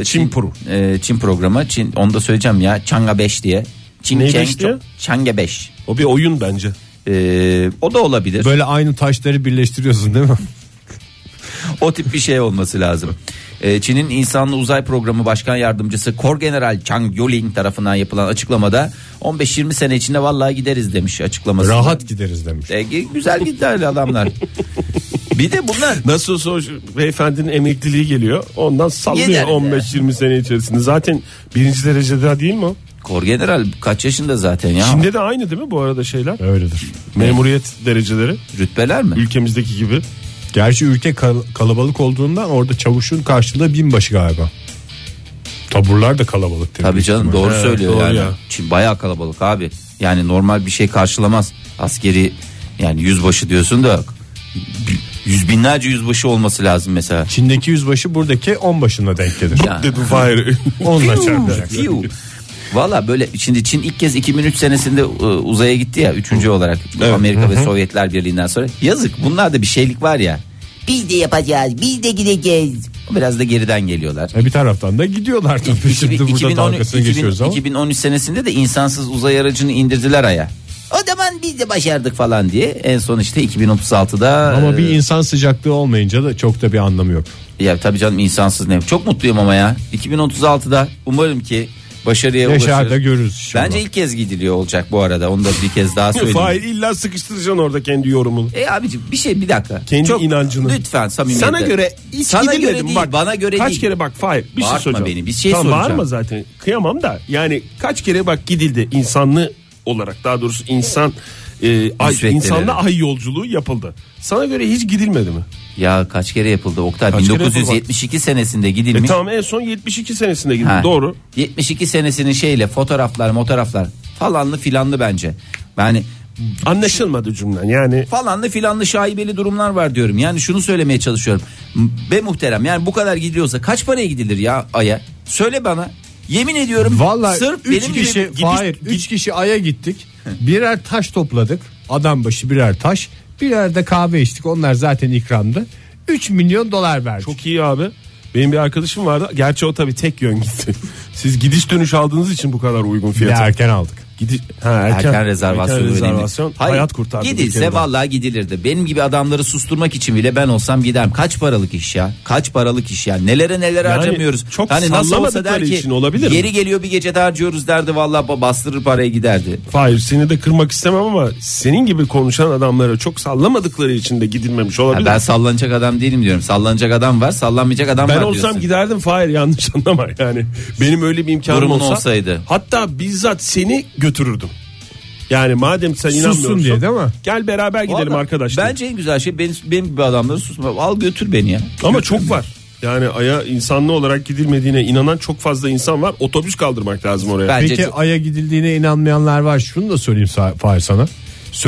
S3: Ee,
S4: Çin Pro.
S3: e, Çin programı. Çin, onu da söyleyeceğim ya. Çanga 5 diye. Çin
S4: Ney
S3: Çeng-
S4: beş diye?
S3: Çanga 5.
S4: O bir oyun bence.
S3: Ee, o da olabilir.
S2: Böyle aynı taşları birleştiriyorsun değil mi?
S3: O tip bir şey olması lazım. Ee, Çin'in insanlı uzay programı başkan yardımcısı Kor General Chang Yuling tarafından yapılan açıklamada 15-20 sene içinde vallahi gideriz demiş açıklaması.
S2: Rahat gideriz
S4: E-
S2: demiş.
S3: Ee, güzel giderli adamlar. bir de bunlar
S4: Nasıl olsa o beyefendinin emekliliği geliyor. Ondan sallıyor
S3: Yeter.
S4: 15-20 sene içerisinde. Zaten birinci derecede değil mi o?
S3: Kor General kaç yaşında zaten ya?
S4: Çin'de de aynı değil mi bu arada şeyler?
S2: Öyledir.
S4: Memuriyet dereceleri
S3: Rütbeler mi?
S4: ülkemizdeki gibi.
S2: Gerçi ülke kal- kalabalık olduğundan orada çavuşun karşılığı binbaşı galiba. Taburlar da kalabalık. tabii.
S3: Tabii canım doğru
S4: Evet,
S3: söylüyor
S4: doğru
S3: yani.
S4: ya.
S3: Çin bayağı kalabalık abi. Yani normal bir şey karşılamaz. Askeri yani yüzbaşı diyorsun da yüz binlerce yüzbaşı olması lazım mesela.
S2: Çin'deki yüzbaşı buradaki on başına denk gelir.
S3: Ya.
S4: Dedi Fahir.
S2: Onunla çarpacak.
S3: Fiu. Valla böyle şimdi Çin ilk kez 2003 senesinde e, uzaya gitti ya üçüncü olarak Amerika ve Sovyetler Birliği'nden sonra. Yazık bunlarda bir şeylik var ya.
S6: Biz de yapacağız. Biz de gideceğiz.
S3: Biraz da geriden geliyorlar.
S2: E bir taraftan da gidiyorlar tabii. Şimdi burada
S3: 2013
S2: dalgasını
S3: 2000
S2: geçiyoruz ama.
S3: 2013 senesinde de insansız uzay aracını indirdiler aya. O zaman biz de başardık falan diye. En son işte 2036'da
S2: Ama bir insan sıcaklığı olmayınca da çok da bir anlamı yok.
S3: e, ya tabii canım insansız ne? Çok mutluyum ama ya. 2036'da umarım ki başarıya
S2: Yaşar da
S3: ulaşırız.
S2: görürüz. inşallah.
S3: Bence ilk kez gidiliyor olacak bu arada. Onu da bir kez
S4: *laughs*
S3: daha
S4: Fahir
S3: söyleyeyim.
S4: illa sıkıştıracaksın orada kendi yorumunu.
S3: E abicim bir şey bir dakika.
S4: Kendi inancını.
S3: Lütfen samimiyetle.
S4: Sana göre hiç
S3: Sana
S4: gidilmedi
S3: göre
S4: mi?
S3: değil,
S4: Bak,
S3: bana göre
S4: kaç
S3: değil.
S4: kere bak Fahir bir
S3: Bağırtma
S4: şey soracağım.
S3: beni, bir şey
S4: tamam,
S3: soracağım.
S4: Bağırma zaten kıyamam da yani kaç kere bak gidildi insanlı olarak daha doğrusu insan e, ay,
S3: Müsveddeleri.
S4: insanla ay yolculuğu yapıldı. Sana göre hiç gidilmedi mi?
S3: Ya kaç kere yapıldı Oktay?
S4: Kaç kere yapıldı?
S3: 1972 senesinde
S4: E,
S3: gidilmiş.
S4: tamam en son 72 senesinde gidildi
S3: Ha.
S4: doğru.
S3: 72 senesinin şeyle fotoğraflar fotoğraflar falanlı filanlı bence. Yani
S4: Anlaşılmadı cümlen yani.
S3: falanlı filanlı şaibeli durumlar var diyorum. Yani şunu söylemeye çalışıyorum. Be muhterem yani bu kadar gidiyorsa kaç paraya gidilir ya Ay'a? Söyle bana. Yemin ediyorum
S2: Vallahi
S3: sırf
S2: üç
S3: benim
S2: kişi
S3: gibi
S2: hayır üç kişi aya gittik. Birer taş topladık. Adam başı birer taş. Birer de kahve içtik. Onlar zaten ikramdı. 3 milyon dolar verdik.
S4: Çok iyi abi. Benim bir arkadaşım vardı. Gerçi o tabii tek yön gitti. *laughs* Siz gidiş dönüş aldığınız için bu kadar uygun
S2: Bir de
S4: fiyata.
S2: erken aldık.
S4: Gidiş, ha,
S3: erken, rezervasyon,
S4: erken
S3: önemli.
S4: rezervasyon
S3: Hayır,
S4: hayat kurtardı. bir kere
S3: Gidilse
S4: daha.
S3: vallahi gidilirdi. Benim gibi adamları susturmak için bile ben olsam giderim. Kaç paralık iş ya? Kaç paralık iş ya? Nelere nelere
S4: Yani
S3: harcamıyoruz.
S4: çok
S3: hani nasıl olsa der
S4: sallamadıkları
S3: ki
S4: için olabilir mi?
S3: yeri geliyor bir gece de harcıyoruz derdi vallahi ba- bastırır paraya giderdi.
S4: Hayır seni de kırmak istemem ama senin gibi konuşan adamlara çok sallamadıkları için de gidilmemiş
S3: Ha,
S4: olabilir.
S3: ben sallanacak adam değilim diyorum. Sallanacak adam var, sallanmayacak adam
S4: ben
S3: var
S4: olsam
S3: diyorsun.
S4: giderdim Fahir yanlış anlama yani. Benim öyle bir imkanım
S3: Durumun
S4: olsa,
S3: olsaydı.
S4: Hatta bizzat seni götürürdüm. Yani madem sen inanmıyorsun.
S2: diye değil mi?
S4: Gel beraber gidelim
S3: Vallahi
S4: arkadaşlar.
S3: Bence en güzel şey benim, benim gibi adamları susma. Al götür beni ya.
S4: Ama çok var. Yani aya insanlı olarak gidilmediğine inanan çok fazla insan var. Otobüs kaldırmak lazım oraya.
S3: Bence
S2: Peki
S3: çok-
S2: aya gidildiğine inanmayanlar var. Şunu da söyleyeyim Sa- Fahir sana.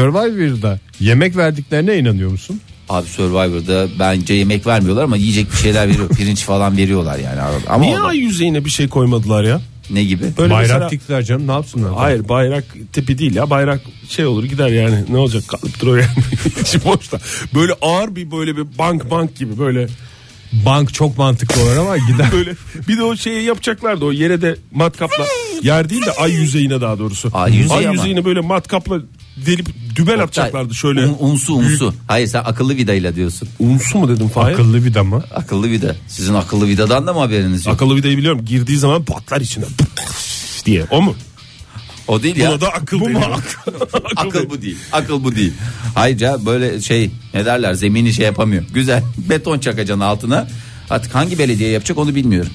S2: Survivor'da yemek verdiklerine inanıyor musun?
S3: Abi Survivor'da bence yemek vermiyorlar ama yiyecek bir şeyler
S4: *laughs*
S3: veriyor. Pirinç falan veriyorlar yani arada. Ama
S4: Niye
S3: o-
S4: ay yüzeyine bir şey koymadılar ya?
S3: ne gibi?
S4: Böyle
S2: Bayrak
S4: mesela-
S2: diktiler canım ne yapsınlar?
S4: Hayır bayrak tipi değil ya bayrak şey olur gider yani ne olacak kalıp duruyor yani *laughs* içi boşta. Böyle ağır bir böyle bir bank bank gibi böyle
S2: Bank çok mantıklı olur ama gider.
S4: böyle bir de o şeyi yapacaklardı o yere de matkapla yer değil de ay yüzeyine daha doğrusu.
S3: Ay yüzeyi ama.
S4: yüzeyine böyle matkapla delip dübel atacaklardı şöyle.
S3: Un- unsu unsu. Hayır sen akıllı vidayla diyorsun.
S4: Unsu mu dedim Fahir?
S2: *laughs* Akıllı bir dama.
S3: Akıllı vida. Sizin akıllı vidadan da mı haberiniz yok?
S4: Akıllı vidayı biliyorum girdiği zaman patlar içine diye o mu?
S3: o değil ya.
S4: Buna da akıl bu akıl,
S3: Akıl
S4: deniyor.
S3: bu değil. Akıl bu değil. Ayrıca böyle şey ne derler *laughs* zemini şey yapamıyor. Güzel beton çakacaksın altına. Artık hangi belediye yapacak onu bilmiyorum.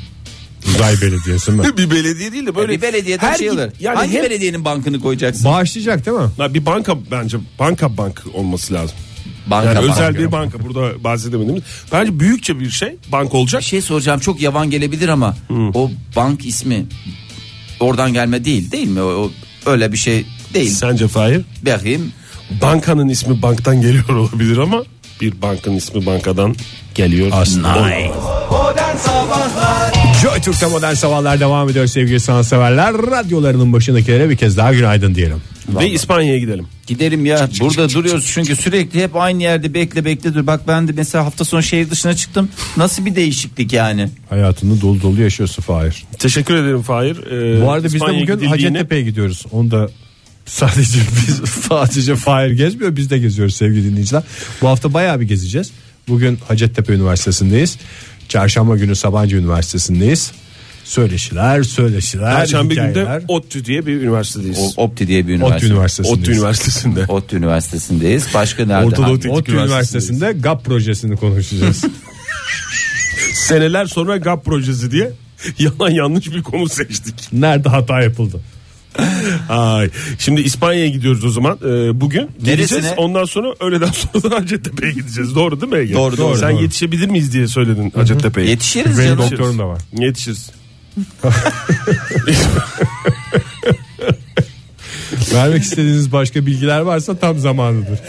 S2: Uzay belediyesi mi?
S4: bir belediye değil de böyle.
S3: bir belediye
S4: her
S3: şey
S4: git-
S3: alır.
S4: Yani
S3: Hangi
S4: hem-
S3: belediyenin bankını koyacaksın?
S2: Bağışlayacak değil mi?
S4: *laughs* Ha, bir banka bence banka bank olması lazım.
S3: Banka
S4: Yani
S3: banka.
S4: özel bir banka burada bahsedemediğimiz. Bence büyükçe bir şey bank olacak.
S3: Bir şey soracağım çok yavan gelebilir ama o bank ismi oradan gelme değil değil mi? O, o- öyle bir şey değil.
S4: Sence Fahir?
S3: Bakayım.
S4: Bankanın ismi banktan geliyor olabilir ama bir bankanın ismi bankadan geliyor.
S2: Aslında. Joy Türk'te modern sabahlar devam ediyor sevgili sanatseverler. Radyolarının başındakilere bir kez daha günaydın diyelim.
S4: Ve İspanya'ya gidelim.
S3: Giderim ya burada duruyoruz çünkü sürekli hep aynı yerde bekle bekle dur. Bak ben de mesela hafta sonu şehir dışına çıktım. Nasıl bir değişiklik yani?
S2: Hayatını dolu dolu yaşıyorsun Fahir.
S4: Teşekkür ederim Fahir. Ee,
S2: Bu arada biz de
S4: İspanya'ya
S2: bugün
S4: gidildiğini-
S2: Hacettepe'ye gidiyoruz. Onu da sadece *laughs* biz sadece Fahir gezmiyor biz de geziyoruz sevgili dinleyiciler. Bu hafta bayağı bir gezeceğiz. Bugün Hacettepe Üniversitesi'ndeyiz. Çarşamba günü Sabancı Üniversitesi'ndeyiz. Söyleşiler, söyleşiler,
S4: Perşembe günü
S2: hikayeler.
S4: de ODTÜ diye bir üniversitedeyiz.
S3: O- Opti diye bir
S2: ODTÜ
S3: üniversite.
S2: Üniversitesi'ndeyiz.
S4: ODTÜ Üniversitesi'nde.
S3: ODTÜ Üniversitesi'ndeyiz. Başka nerede?
S4: Orta Doğu
S3: Hangi-
S4: Teknik
S2: ODTÜ Üniversitesi'nde GAP
S4: *laughs*
S2: projesini konuşacağız.
S4: Seneler sonra GAP projesi diye *laughs* yalan yanlış bir konu seçtik.
S2: Nerede hata yapıldı?
S4: Ay. Şimdi İspanya'ya gidiyoruz o zaman Ee, bugün. Geleceğiz.
S3: Neresine?
S4: Ondan sonra öğleden sonra da Hacettepe'ye gideceğiz. Doğru değil mi Ege?
S3: Doğru, doğru,
S4: Sen
S2: doğru.
S4: yetişebilir miyiz diye söyledin Hacettepe'ye.
S3: Yetişiriz
S2: Benim
S3: canım.
S2: doktorum da var.
S4: Yetişiriz.
S2: Vermek istediğiniz başka bilgiler varsa tam zamanıdır.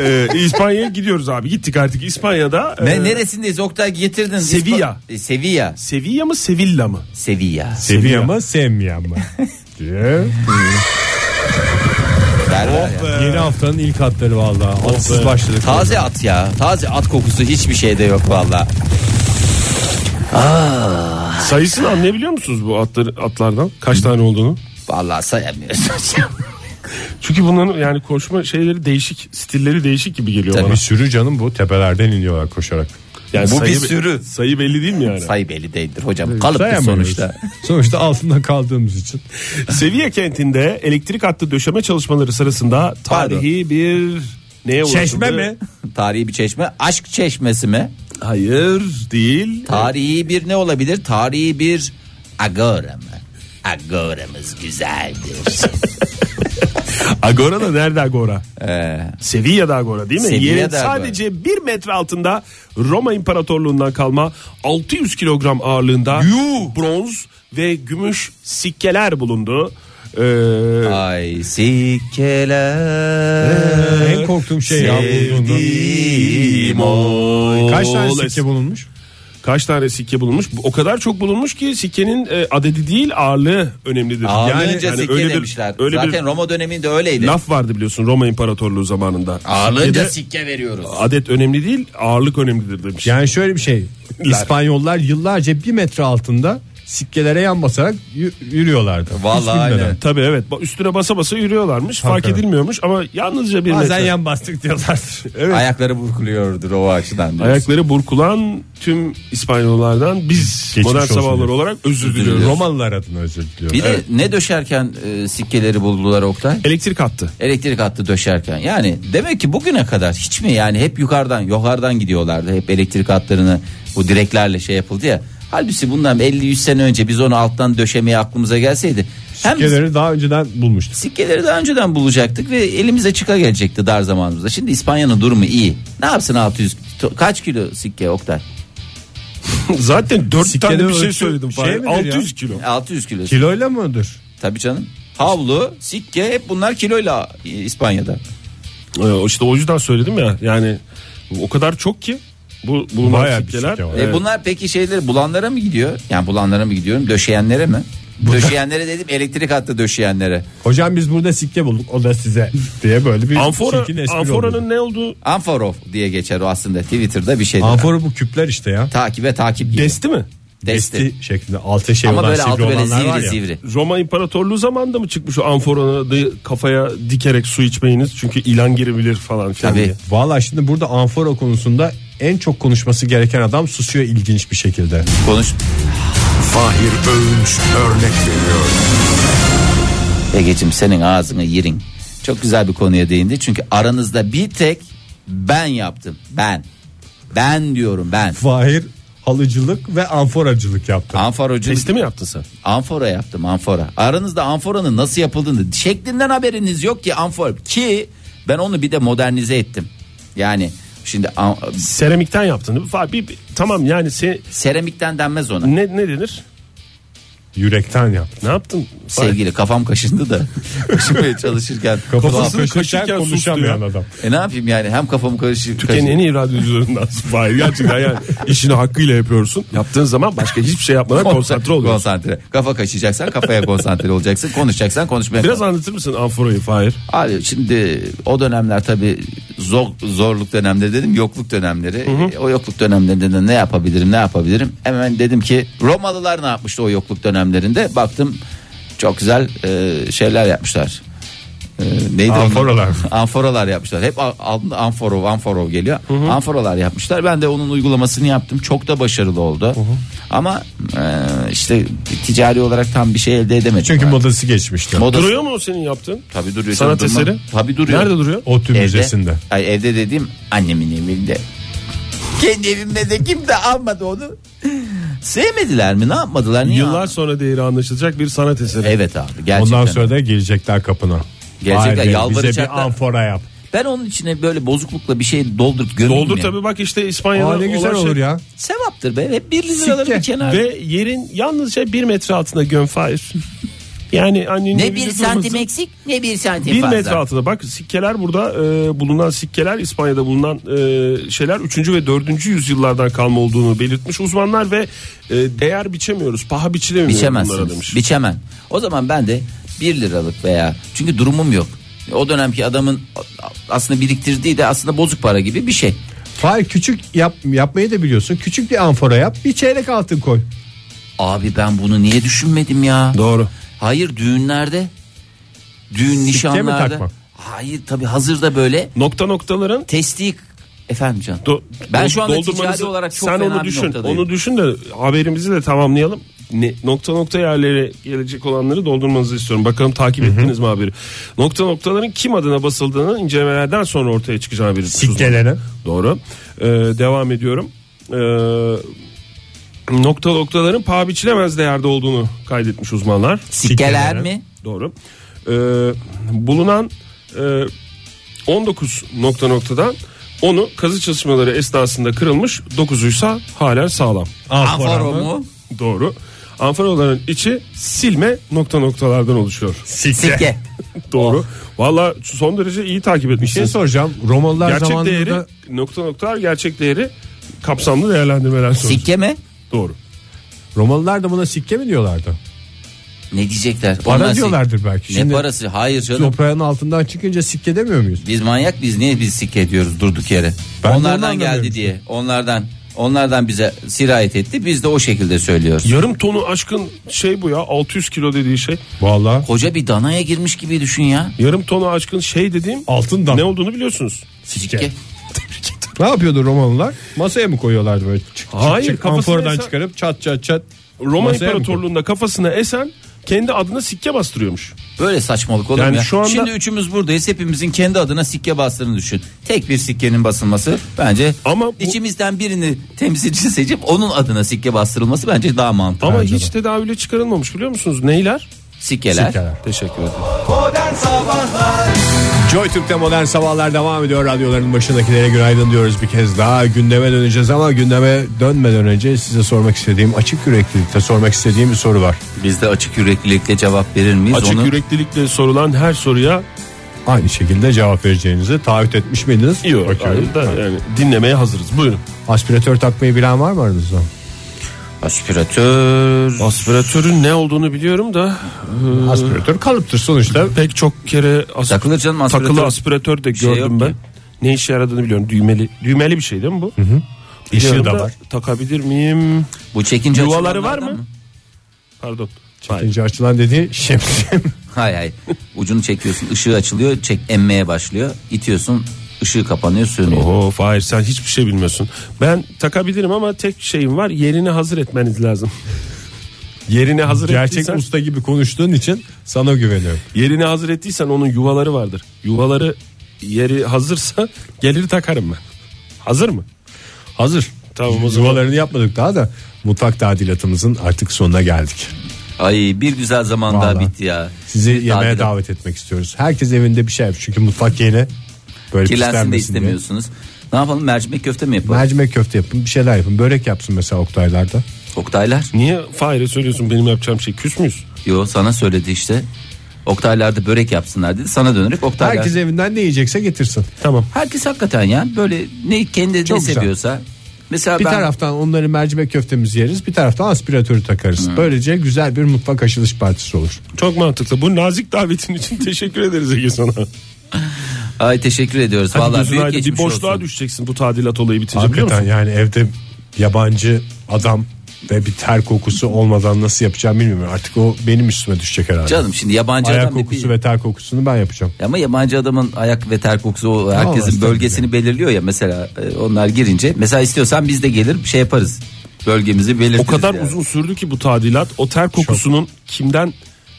S4: Ee, İspanya'ya gidiyoruz abi. Gittik artık İspanya'da.
S3: Ne,
S4: e,
S3: neresindeyiz Oktay getirdin.
S4: Sevilla.
S3: İspa- E, Sevilla.
S4: Sevilla mı Sevilla mı?
S3: Sevilla.
S2: Seviyor mı sevmiyor
S4: *laughs*
S2: mu? diye.
S3: Ver, ver ya.
S2: Yeni haftanın ilk hatları vallahi.
S4: Oh
S2: Atsız başladık.
S3: Taze at ya. Taze at kokusu hiçbir şeyde yok valla.
S4: Sayısını anlayabiliyor musunuz bu atları, atlardan? Kaç tane olduğunu?
S3: Valla
S4: *laughs*
S3: sayamıyorsun.
S4: Çünkü bunların yani koşma şeyleri değişik, stilleri değişik gibi geliyor
S2: Bir
S4: bana.
S2: sürü canım bu tepelerden iniyorlar koşarak.
S4: Yani
S3: Bu bir
S4: be-
S3: sürü.
S4: Sayı belli değil mi yani?
S3: Sayı belli değildir hocam. Kalıptır
S2: Sayamıyoruz.
S4: *laughs*
S3: sonuçta.
S2: *laughs* Sonuçta altında kaldığımız için.
S4: Seviye kentinde elektrik hattı döşeme çalışmaları sırasında tarihi bir neye ulaşıldı?
S2: Çeşme mi?
S3: Tarihi bir çeşme. Aşk çeşmesi mi?
S4: Hayır değil.
S3: Tarihi bir ne olabilir? Tarihi bir agora mı? Agoramız
S4: *laughs*
S3: güzeldir.
S4: Agora da nerede Agora?
S3: Ee,
S4: Sevilla'da Agora değil mi?
S3: Sevilla'da
S4: Yerin
S3: Agora.
S4: sadece bir metre altında Roma İmparatorluğundan kalma 600 kilogram ağırlığında bronz ve gümüş sikkeler bulundu. Ee,
S3: ay sikkeler.
S2: en korktuğum şey ya
S3: Sevdiğim
S2: bulduğunda. Kaç tane
S4: oğlan.
S2: sikke bulunmuş?
S4: kaç tane sikke bulunmuş? Bu- O kadar çok bulunmuş ki sikkenin e, adedi değil ağırlığı önemlidir.
S3: Ağırlığınca
S4: yani hani
S3: sikke
S4: öyle bir-
S3: demişler.
S4: öyle bir-
S3: Zaten Roma döneminde öyleydi.
S4: Laf vardı biliyorsun Roma İmparatorluğu zamanında.
S3: Ağırlığınca
S4: Sikkede
S3: sikke veriyoruz.
S4: adet önemli değil ağırlık önemlidir demiş.
S2: Yani şöyle bir şey. İspanyollar yıllarca bir metre altında sikkelere yan basarak y- yürüyorlardı. Hiç
S3: Vallahi
S2: bilmeden.
S3: aynen.
S4: Tabii evet Ba- üstüne basa basa yürüyorlarmış fark
S2: Hakikaten.
S4: edilmiyormuş ama yalnızca bir
S2: Bazen
S4: metre.
S2: yan bastık diyorlardır.
S3: Ayakları burkuluyordur o açıdan. diyorsun.
S4: Ayakları burkulan tüm İspanyollardan biz
S2: Geçmiş
S4: modern
S2: olsun
S4: sabahlar
S2: diyor.
S4: olarak özür diliyoruz.
S3: diliyoruz.
S2: Romalılar adına özür diliyorum.
S3: Bir de ne döşerken e, sikkeleri buldular Oktay?
S4: Elektrik attı.
S3: Elektrik hattı döşerken. Yani demek ki bugüne kadar hiç mi yani hep yukarıdan yukarıdan gidiyorlardı. Hep elektrik hatlarını bu direklerle şey yapıldı ya. Halbuki bundan 50-100 sene önce biz onu alttan döşemeye aklımıza gelseydi. Hem biz
S2: Sikkeleri daha önceden bulmuştuk.
S3: sikkeleri daha önceden bulacaktık ve elimize çıka gelecekti dar zamanımızda. Şimdi İspanya'nın durumu iyi. Ne yapsın 600 to- kaç kilo sikke Oktay?
S4: Zaten dört
S2: Sikkede
S4: tane bir şey
S2: ölçü-
S4: söyledim.
S2: şey
S4: Fahir.
S2: midir ya?
S4: 600 kilo.
S3: 600 kilo.
S2: Kiloyla mıdır?
S3: Tabii canım. Havlu, sikke hep bunlar kiloyla e, İspanya'da.
S4: Ee, işte o yüzden söyledim ya yani o kadar çok ki bu Ee, bulunan
S2: Bayağı bir
S4: sikkeler.
S2: sikke var.
S3: E bunlar peki şeyleri bulanlara mı gidiyor? Yani bulanlara mı gidiyorum? Döşeyenlere mi? Döşeyenlere dedim elektrik hattı döşeyenlere.
S2: Hocam biz burada sikke bulduk o da size diye böyle bir
S4: Amfora,
S2: E, çirkin espri
S4: amforanın
S2: oldu.
S4: ne olduğu
S3: Anforof diye geçer o aslında Twitter'da bir şeydir.
S2: Amfora bu küpler işte ya.
S3: Takibe takip gibi.
S4: desti mi?
S3: Desti.
S2: Desti şeklinde altı şey
S3: Ama
S2: olan
S3: böyle
S2: sivri
S3: altı böyle
S2: olanlar var
S3: zivri
S2: ya.
S3: zivri.
S4: Roma İmparatorluğu zamanında mı çıkmış o amforanı kafaya dikerek su içmeyiniz çünkü ilan girebilir falan filan
S3: Tabii.
S4: diye.
S2: Valla şimdi burada amfora konusunda en çok konuşması gereken adam susuyor ilginç bir şekilde.
S3: Konuş.
S7: Fahir Öğünç örnek veriyor.
S3: Ege'cim senin ağzını yirin. Çok güzel bir konuya değindi. Çünkü aranızda bir tek ben yaptım. Ben. Ben diyorum ben.
S2: Fahir
S8: halıcılık ve anforacılık yaptım.
S3: Anforacılık
S4: Testi mi yaptın sen?
S3: Amfora yaptım amfora. Aranızda amforanın nasıl yapıldığını şeklinden haberiniz yok ki amfor. Ki ben onu bir de modernize ettim. Yani şimdi am-
S4: Seramikten yaptın değil mi? Fa- Bir, bir- tamam yani se,
S3: seramikten denmez ona.
S4: ne, ne denir?
S8: Yürekten yaptım.
S4: Ne yaptın? Fa-
S3: Sevgili kafam kaşındı
S4: *laughs*
S3: da kaşımaya çalışırken.
S8: Kafasını
S4: kaşırken
S8: kaşırken
S4: sus
S8: konuşamayan
S4: diyor.
S8: adam.
S3: E ne yapayım yani hem kafamı karışık.
S4: Türkiye'nin en iyi radyocularından Fahir gerçekten yani işini hakkıyla yapıyorsun. Yaptığın zaman başka hiçbir şey yapmadan konsantre oluyorsun.
S3: Konsantre. Kafa kaşıyacaksan kafaya konsantre olacaksın. Konuşacaksan konuşmaya.
S4: Biraz anlatır mısın Amfora'yı Fahir?
S3: Abi şimdi o dönemler tabii zor, zorluk dönemleri dedim yokluk dönemleri. E, O yokluk dönemlerinde de ne yapabilirim ne yapabilirim. Hemen dedim ki Romalılar ne yapmıştı o yokluk dönemlerinde. Baktım çok güzel e, şeyler yapmışlar. E, neydi onun- *laughs*
S8: Anforalar.
S3: Anforalar yapmışlar. Hep a- altında anforo anforo geliyor. Anforalar yapmışlar. Ben de onun uygulamasını yaptım. Çok da başarılı oldu. Ama e, işte ticari olarak tam bir şey elde edemedim.
S8: Çünkü
S3: Ben.
S8: modası geçmişti.
S3: Modası-
S4: Duruyor mu o senin yaptığın?
S3: Tabii duruyor.
S4: Sanat
S3: Canım, durma-
S4: eseri?
S3: Tabii duruyor.
S4: Nerede duruyor?
S8: OTÜ
S3: Evde.
S8: Müzesi'nde.
S3: Ay evde dediğim annemin evinde. Kendi evimde de kim de almadı onu. Sevmediler mi? Ne yapmadılar? Niye
S4: Yıllar
S3: almadı?
S4: sonra değeri anlaşılacak bir sanat eseri.
S3: Evet abi gerçekten.
S8: Ondan sonra da gelecekler kapına.
S3: Gelecekler,
S8: Vay be, Bize
S3: yalvaracaklar.
S8: bir anfora yap.
S3: Ben onun içine böyle bozuklukla bir şey doldurup gömeyim.
S4: Doldur
S3: ya.
S4: tabii bak işte İspanya'da
S8: Aa ne güzel
S4: olan şey.
S8: olur ya.
S3: Sevaptır be. Hep bir liraları bir kenara.
S4: Ve yerin yalnızca bir metre altında göm Fahir. Yani annenin
S6: Ne
S4: evinde
S6: bir
S4: durması-
S6: santim eksik ne bir santim
S4: Bir
S6: fazla.
S4: metre altında bak sikkeler burada e, bulunan sikkeler İspanya'da bulunan e, şeyler 3. ve 4. yüzyıllardan kalma olduğunu belirtmiş uzmanlar ve e, değer biçemiyoruz. Paha biçilemiyor bunlara
S3: Biçemezsiniz.
S4: demiş.
S3: Biçemem. O zaman ben de 1 liralık veya çünkü durumum yok. O dönemki adamın aslında biriktirdiği de aslında bozuk para gibi bir şey.
S8: Hayır küçük yap, yapmayı da biliyorsun. Küçük bir anfora yap. Bir çeyrek altın koy.
S3: Abi ben bunu niye düşünmedim ya?
S8: Doğru.
S3: Hayır düğünlerde. Düğün nişanlarda.
S8: takma?
S3: Hayır tabi hazırda böyle
S4: Nokta noktaların
S3: testik efendim can.
S4: do-
S3: Ben
S4: do-
S3: şu anda
S4: doldurmanızı-
S3: ticari olarak çok
S4: sen
S3: fena
S4: onu
S3: bir
S4: düşün.
S3: noktadayım.
S4: Onu düşün de haberimizi de tamamlayalım. Ne, nokta nokta yerlere gelecek olanları doldurmanızı istiyorum. Bakalım takip ettiniz mi haberi? Nokta noktaların kim adına basıldığını incelemelerden sonra ortaya çıkacağını belirtmiş uzmanlar.
S8: Sikkelene.
S4: Doğru. Ee, devam ediyorum. Ee, nokta noktaların paha biçilemez değerde olduğunu kaydetmiş uzmanlar.
S3: Sikkeler mi?
S4: Doğru. Ee, bulunan e, 19 nokta noktadan onu kazı çalışmaları esnasında kırılmış 9'uysa hala sağlam.
S3: Anforo mu?
S4: Doğru. Amforaların içi silme nokta noktalardan oluşuyor.
S3: Sikke.
S4: Doğru. Vallahi son derece iyi
S8: Oh.
S4: takip
S8: Bir şey
S4: etmişsiniz.
S8: soracağım. Romalılar
S4: Gerçek
S8: zamanında
S4: değeri nokta noktalar gerçek değeri kapsamlı değerlendirmeler sonucu.
S3: Sikke mi?
S4: Doğru.
S8: Romalılar da buna sikke mi diyorlardı?
S3: Ne diyecekler?
S8: Para
S3: Onlar sik-
S8: diyorlardır belki.
S3: Ne
S8: Şimdi
S3: parası? Hayır canım.
S8: toprağın altından çıkınca sikke demiyor muyuz?
S3: Biz manyak biz niye biz sikke diyoruz durduk yere?
S8: Ben de onu
S3: onlardan
S8: anlamıyorum.
S3: geldi diye. Onlardan onlardan bize sirayet etti. Biz de o şekilde söylüyoruz.
S4: Yarım tonu aşkın şey bu ya 600 kilo dediği şey.
S8: Vallahi
S3: Koca bir danaya girmiş gibi düşün ya.
S4: Yarım tonu aşkın şey dediğim
S8: altından.
S4: ne
S8: Ne,
S4: olduğunu biliyorsunuz.
S3: Sikke.
S8: yapıyordu Romalılar? Masaya mı koyuyorlardı böyle? Çık, çık,
S4: Hayır,
S8: çık,
S4: kafasına
S8: amforadan
S4: esen-
S8: çıkarıp çat çat çat.
S4: Roma
S8: Masaya mı
S4: İmparatorluğu'nda kafasına esen kendi adına sikke bastırıyormuş.
S3: Böyle saçmalık olur mu
S4: Yani
S3: ya?
S4: şu anda-
S3: Şimdi üçümüz buradayız. Hepimizin kendi adına sikke bastığını düşün. Tek bir sikkenin basılması bence
S4: Ama bu-
S3: içimizden birini temsilci seçip onun adına sikke bastırılması bence daha mantıklı.
S4: Ama hiç tedaviyle çıkarılmamış biliyor musunuz? Neyler?
S3: Sikkeler.
S8: Sikkeler.
S4: Teşekkür ederim.
S8: Joy Türk'te modern sabahlar devam ediyor. Radyoların başındakilere günaydın diyoruz bir kez daha. Gündeme döneceğiz ama gündeme dönmeden önce size sormak istediğim açık yüreklilikte sormak istediğim bir soru var.
S3: Biz de açık yüreklilikle cevap verir miyiz?
S4: Açık
S3: onu...
S4: yüreklilikle sorulan her soruya
S8: Aynı şekilde cevap vereceğinizi taahhüt etmiş miydiniz?
S4: yok.
S8: Bakıyorum.
S4: hayır da yani dinlemeye hazırız. Buyurun.
S8: Aspiratör takmayı bilen var mı aranızda?
S3: Aspiratör.
S4: Aspiratörün ne olduğunu biliyorum da
S3: Hmm.
S8: Aspiratör kalıptır sonuçta.
S4: pek çok kere as-
S3: Takılır canım aspiratör.
S4: takılı aspiratör de
S3: Şey
S4: gördüm
S3: yok
S4: ben.
S3: ki.
S4: Ne işe yaradığını biliyorum. Düğmeli düğmeli bir şey değil mi bu? Hı hı.
S8: Işığı da var.
S4: Takabilir miyim?
S3: Bu çekince
S4: Yuvaları var
S3: açılanlardan
S4: mı? Pardon. Hayır.
S8: İkinci açılan dediği
S2: şey
S8: şemsiye.
S3: *laughs* Hay hay. Ucunu çekiyorsun, ışığı açılıyor, çek emmeye başlıyor. İtiyorsun, ışığı kapanıyor, sönüyor.
S4: Oho Fahir sen hiçbir şey bilmiyorsun. Ben takabilirim ama tek şeyim var yerini hazır etmeniz lazım. *laughs* yerini hazır
S8: Gerçek
S4: ettiysen,
S8: usta gibi konuştuğun için sana güveniyorum.
S4: yerini hazır ettiysen onun yuvaları vardır. *laughs* Yuvaları yeri hazırsa gelir takarım ben. Hazır mı?
S8: Hazır.
S4: Tamam o zaman.
S2: Yuvalarını yapmadık daha da mutfak tadilatımızın artık sonuna geldik.
S3: Ay bir güzel zaman daha
S2: Vallahi.
S3: bitti ya.
S2: Sizi
S3: Bir
S2: yemeğe
S3: tatile-
S2: davet etmek istiyoruz. Herkes evinde bir şey yap. Çünkü mutfak yeni. Böyle
S3: Kirlensin de
S2: pislenmesin diye.
S3: istemiyorsunuz. Ne yapalım mercimek köfte mi yapalım?
S2: Mercimek köfte yapın bir şeyler yapın. Börek yapsın mesela Oktaylar'da.
S3: Oktaylar.
S4: Niye Fahir'e söylüyorsun benim yapacağım şey küs müyüz?
S3: Yo sana söyledi işte. Oktaylar da börek yapsınlar dedi. Sana dönerek Oktaylar.
S2: Herkes evinden ne yiyecekse getirsin.
S4: Tamam.
S3: Herkes hakikaten ya böyle ne kendi
S2: Çok
S3: ne
S2: güzel.
S3: seviyorsa. Mesela
S2: Bir
S3: ben
S2: taraftan onları mercimek köftemizi yeriz. Bir taraftan aspiratörü takarız. Böylece güzel bir mutfak aşılış partisi olur.
S4: Çok mantıklı. Bu nazik davetin için *laughs* teşekkür ederiz Ege sana.
S3: ay teşekkür ediyoruz.
S4: Hadi
S3: Vallahi
S4: gözün
S3: büyük
S4: aydın. Bir
S3: geçmiş
S4: boşluğa
S3: olsun.
S4: düşeceksin bu tadilat olayı bitince biliyor
S2: Hakikaten
S4: musun?
S2: yani evde yabancı adam ve bir ter kokusu olmadan nasıl yapacağım bilmiyorum. Artık o benim üstüme düşecek herhalde.
S3: Canım şimdi yabancı
S2: Ayak
S3: adam bir-
S2: kokusu ve ter kokusunu ben yapacağım.
S3: Ama yabancı adamın ayak ve ter kokusu o herkesin
S2: estağfurullah.
S3: bölgesini belirliyor ya mesela e, onlar girince. Mesela istiyorsan biz de gelir şey yaparız. Bölgemizi belirtiriz.
S4: O kadar
S3: yani.
S4: uzun sürdü ki bu tadilat. O ter kokusunun kimden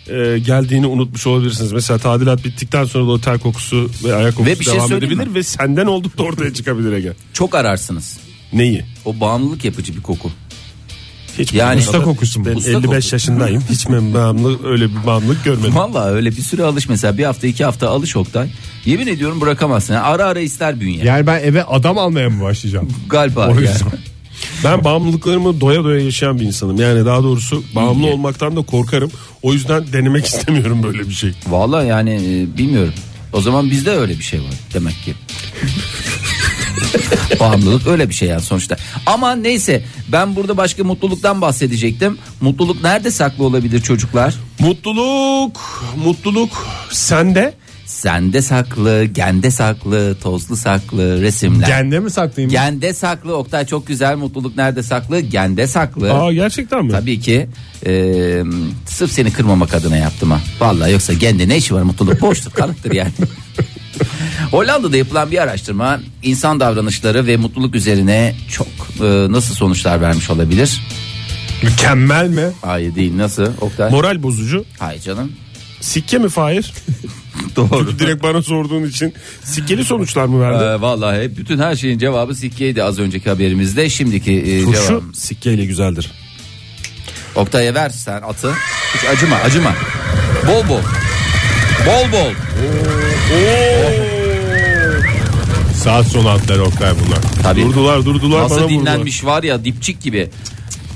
S4: e, geldiğini unutmuş olabilirsiniz. Mesela tadilat bittikten sonra da o ter kokusu ve ayak kokusu
S3: bir şey
S4: devam
S3: söyleyeyim
S4: edebilir
S3: mi?
S4: ve senden olduk da ortaya çıkabilir Ege.
S3: Çok ararsınız.
S4: Neyi?
S3: O bağımlılık yapıcı bir koku.
S4: Hiç
S3: Yani-
S4: bilmiyorum.
S2: Usta kokusu mu?
S4: Ben
S3: Usta
S4: 55
S3: kokusu.
S4: yaşındayım. Hiç ben bağımlı öyle bir bağımlılık görmedim.
S3: Vallahi öyle bir süre alış mesela bir hafta iki hafta alış Oktay. Yemin ediyorum bırakamazsın. Yani ara ara ister bünye.
S2: Yani ben eve adam almaya mı
S3: *laughs*
S2: başlayacağım?
S3: Galiba.
S2: O
S3: yani.
S2: yüzden.
S4: Ben bağımlılıklarımı doya doya yaşayan bir insanım. Yani daha doğrusu bağımlı olmaktan da korkarım. O yüzden denemek istemiyorum böyle bir şey.
S3: Vallahi yani e, bilmiyorum. O zaman bizde öyle bir şey var demek
S2: *laughs*
S3: ki. Bağımlılık öyle bir şey yani sonuçta. Ama neyse ben burada başka mutluluktan bahsedecektim. Mutluluk nerede saklı olabilir çocuklar?
S4: Mutluluk, mutluluk sende.
S3: Sende saklı, gende saklı, tozlu saklı, resimler.
S2: Gende mi saklayayım?
S3: Gende saklı Oktay çok güzel mutluluk nerede saklı? Gende saklı.
S4: Aa gerçekten mi?
S3: Tabii ki e, sırf seni kırmamak adına yaptım ha. Vallahi yoksa kendi ne işi var mutluluk boştur kalıptır *laughs* yani. Hollanda'da yapılan bir araştırma insan davranışları ve mutluluk üzerine çok e, nasıl sonuçlar vermiş olabilir?
S2: Mükemmel mi?
S3: Hayır değil nasıl Oktay?
S4: Moral bozucu.
S3: Hayır canım.
S4: Sikke mi Fahir?
S3: *laughs* Doğru.
S4: Çünkü *laughs* direkt bana sorduğun için sikkeli sonuçlar mı verdi?
S3: Ee, vallahi hep bütün her şeyin cevabı sikkeydi az önceki haberimizde. Şimdiki e, cevap.
S4: Turşu sikkeyle güzeldir.
S3: Oktay'a ver sen atı. Hiç acıma acıma. Bol bol. Bol bol.
S2: Saat sonu atları Oktay bunlar.
S3: Tabii.
S4: Durdular durdular bana
S3: Nasıl
S4: vurdular.
S3: dinlenmiş var ya dipçik gibi.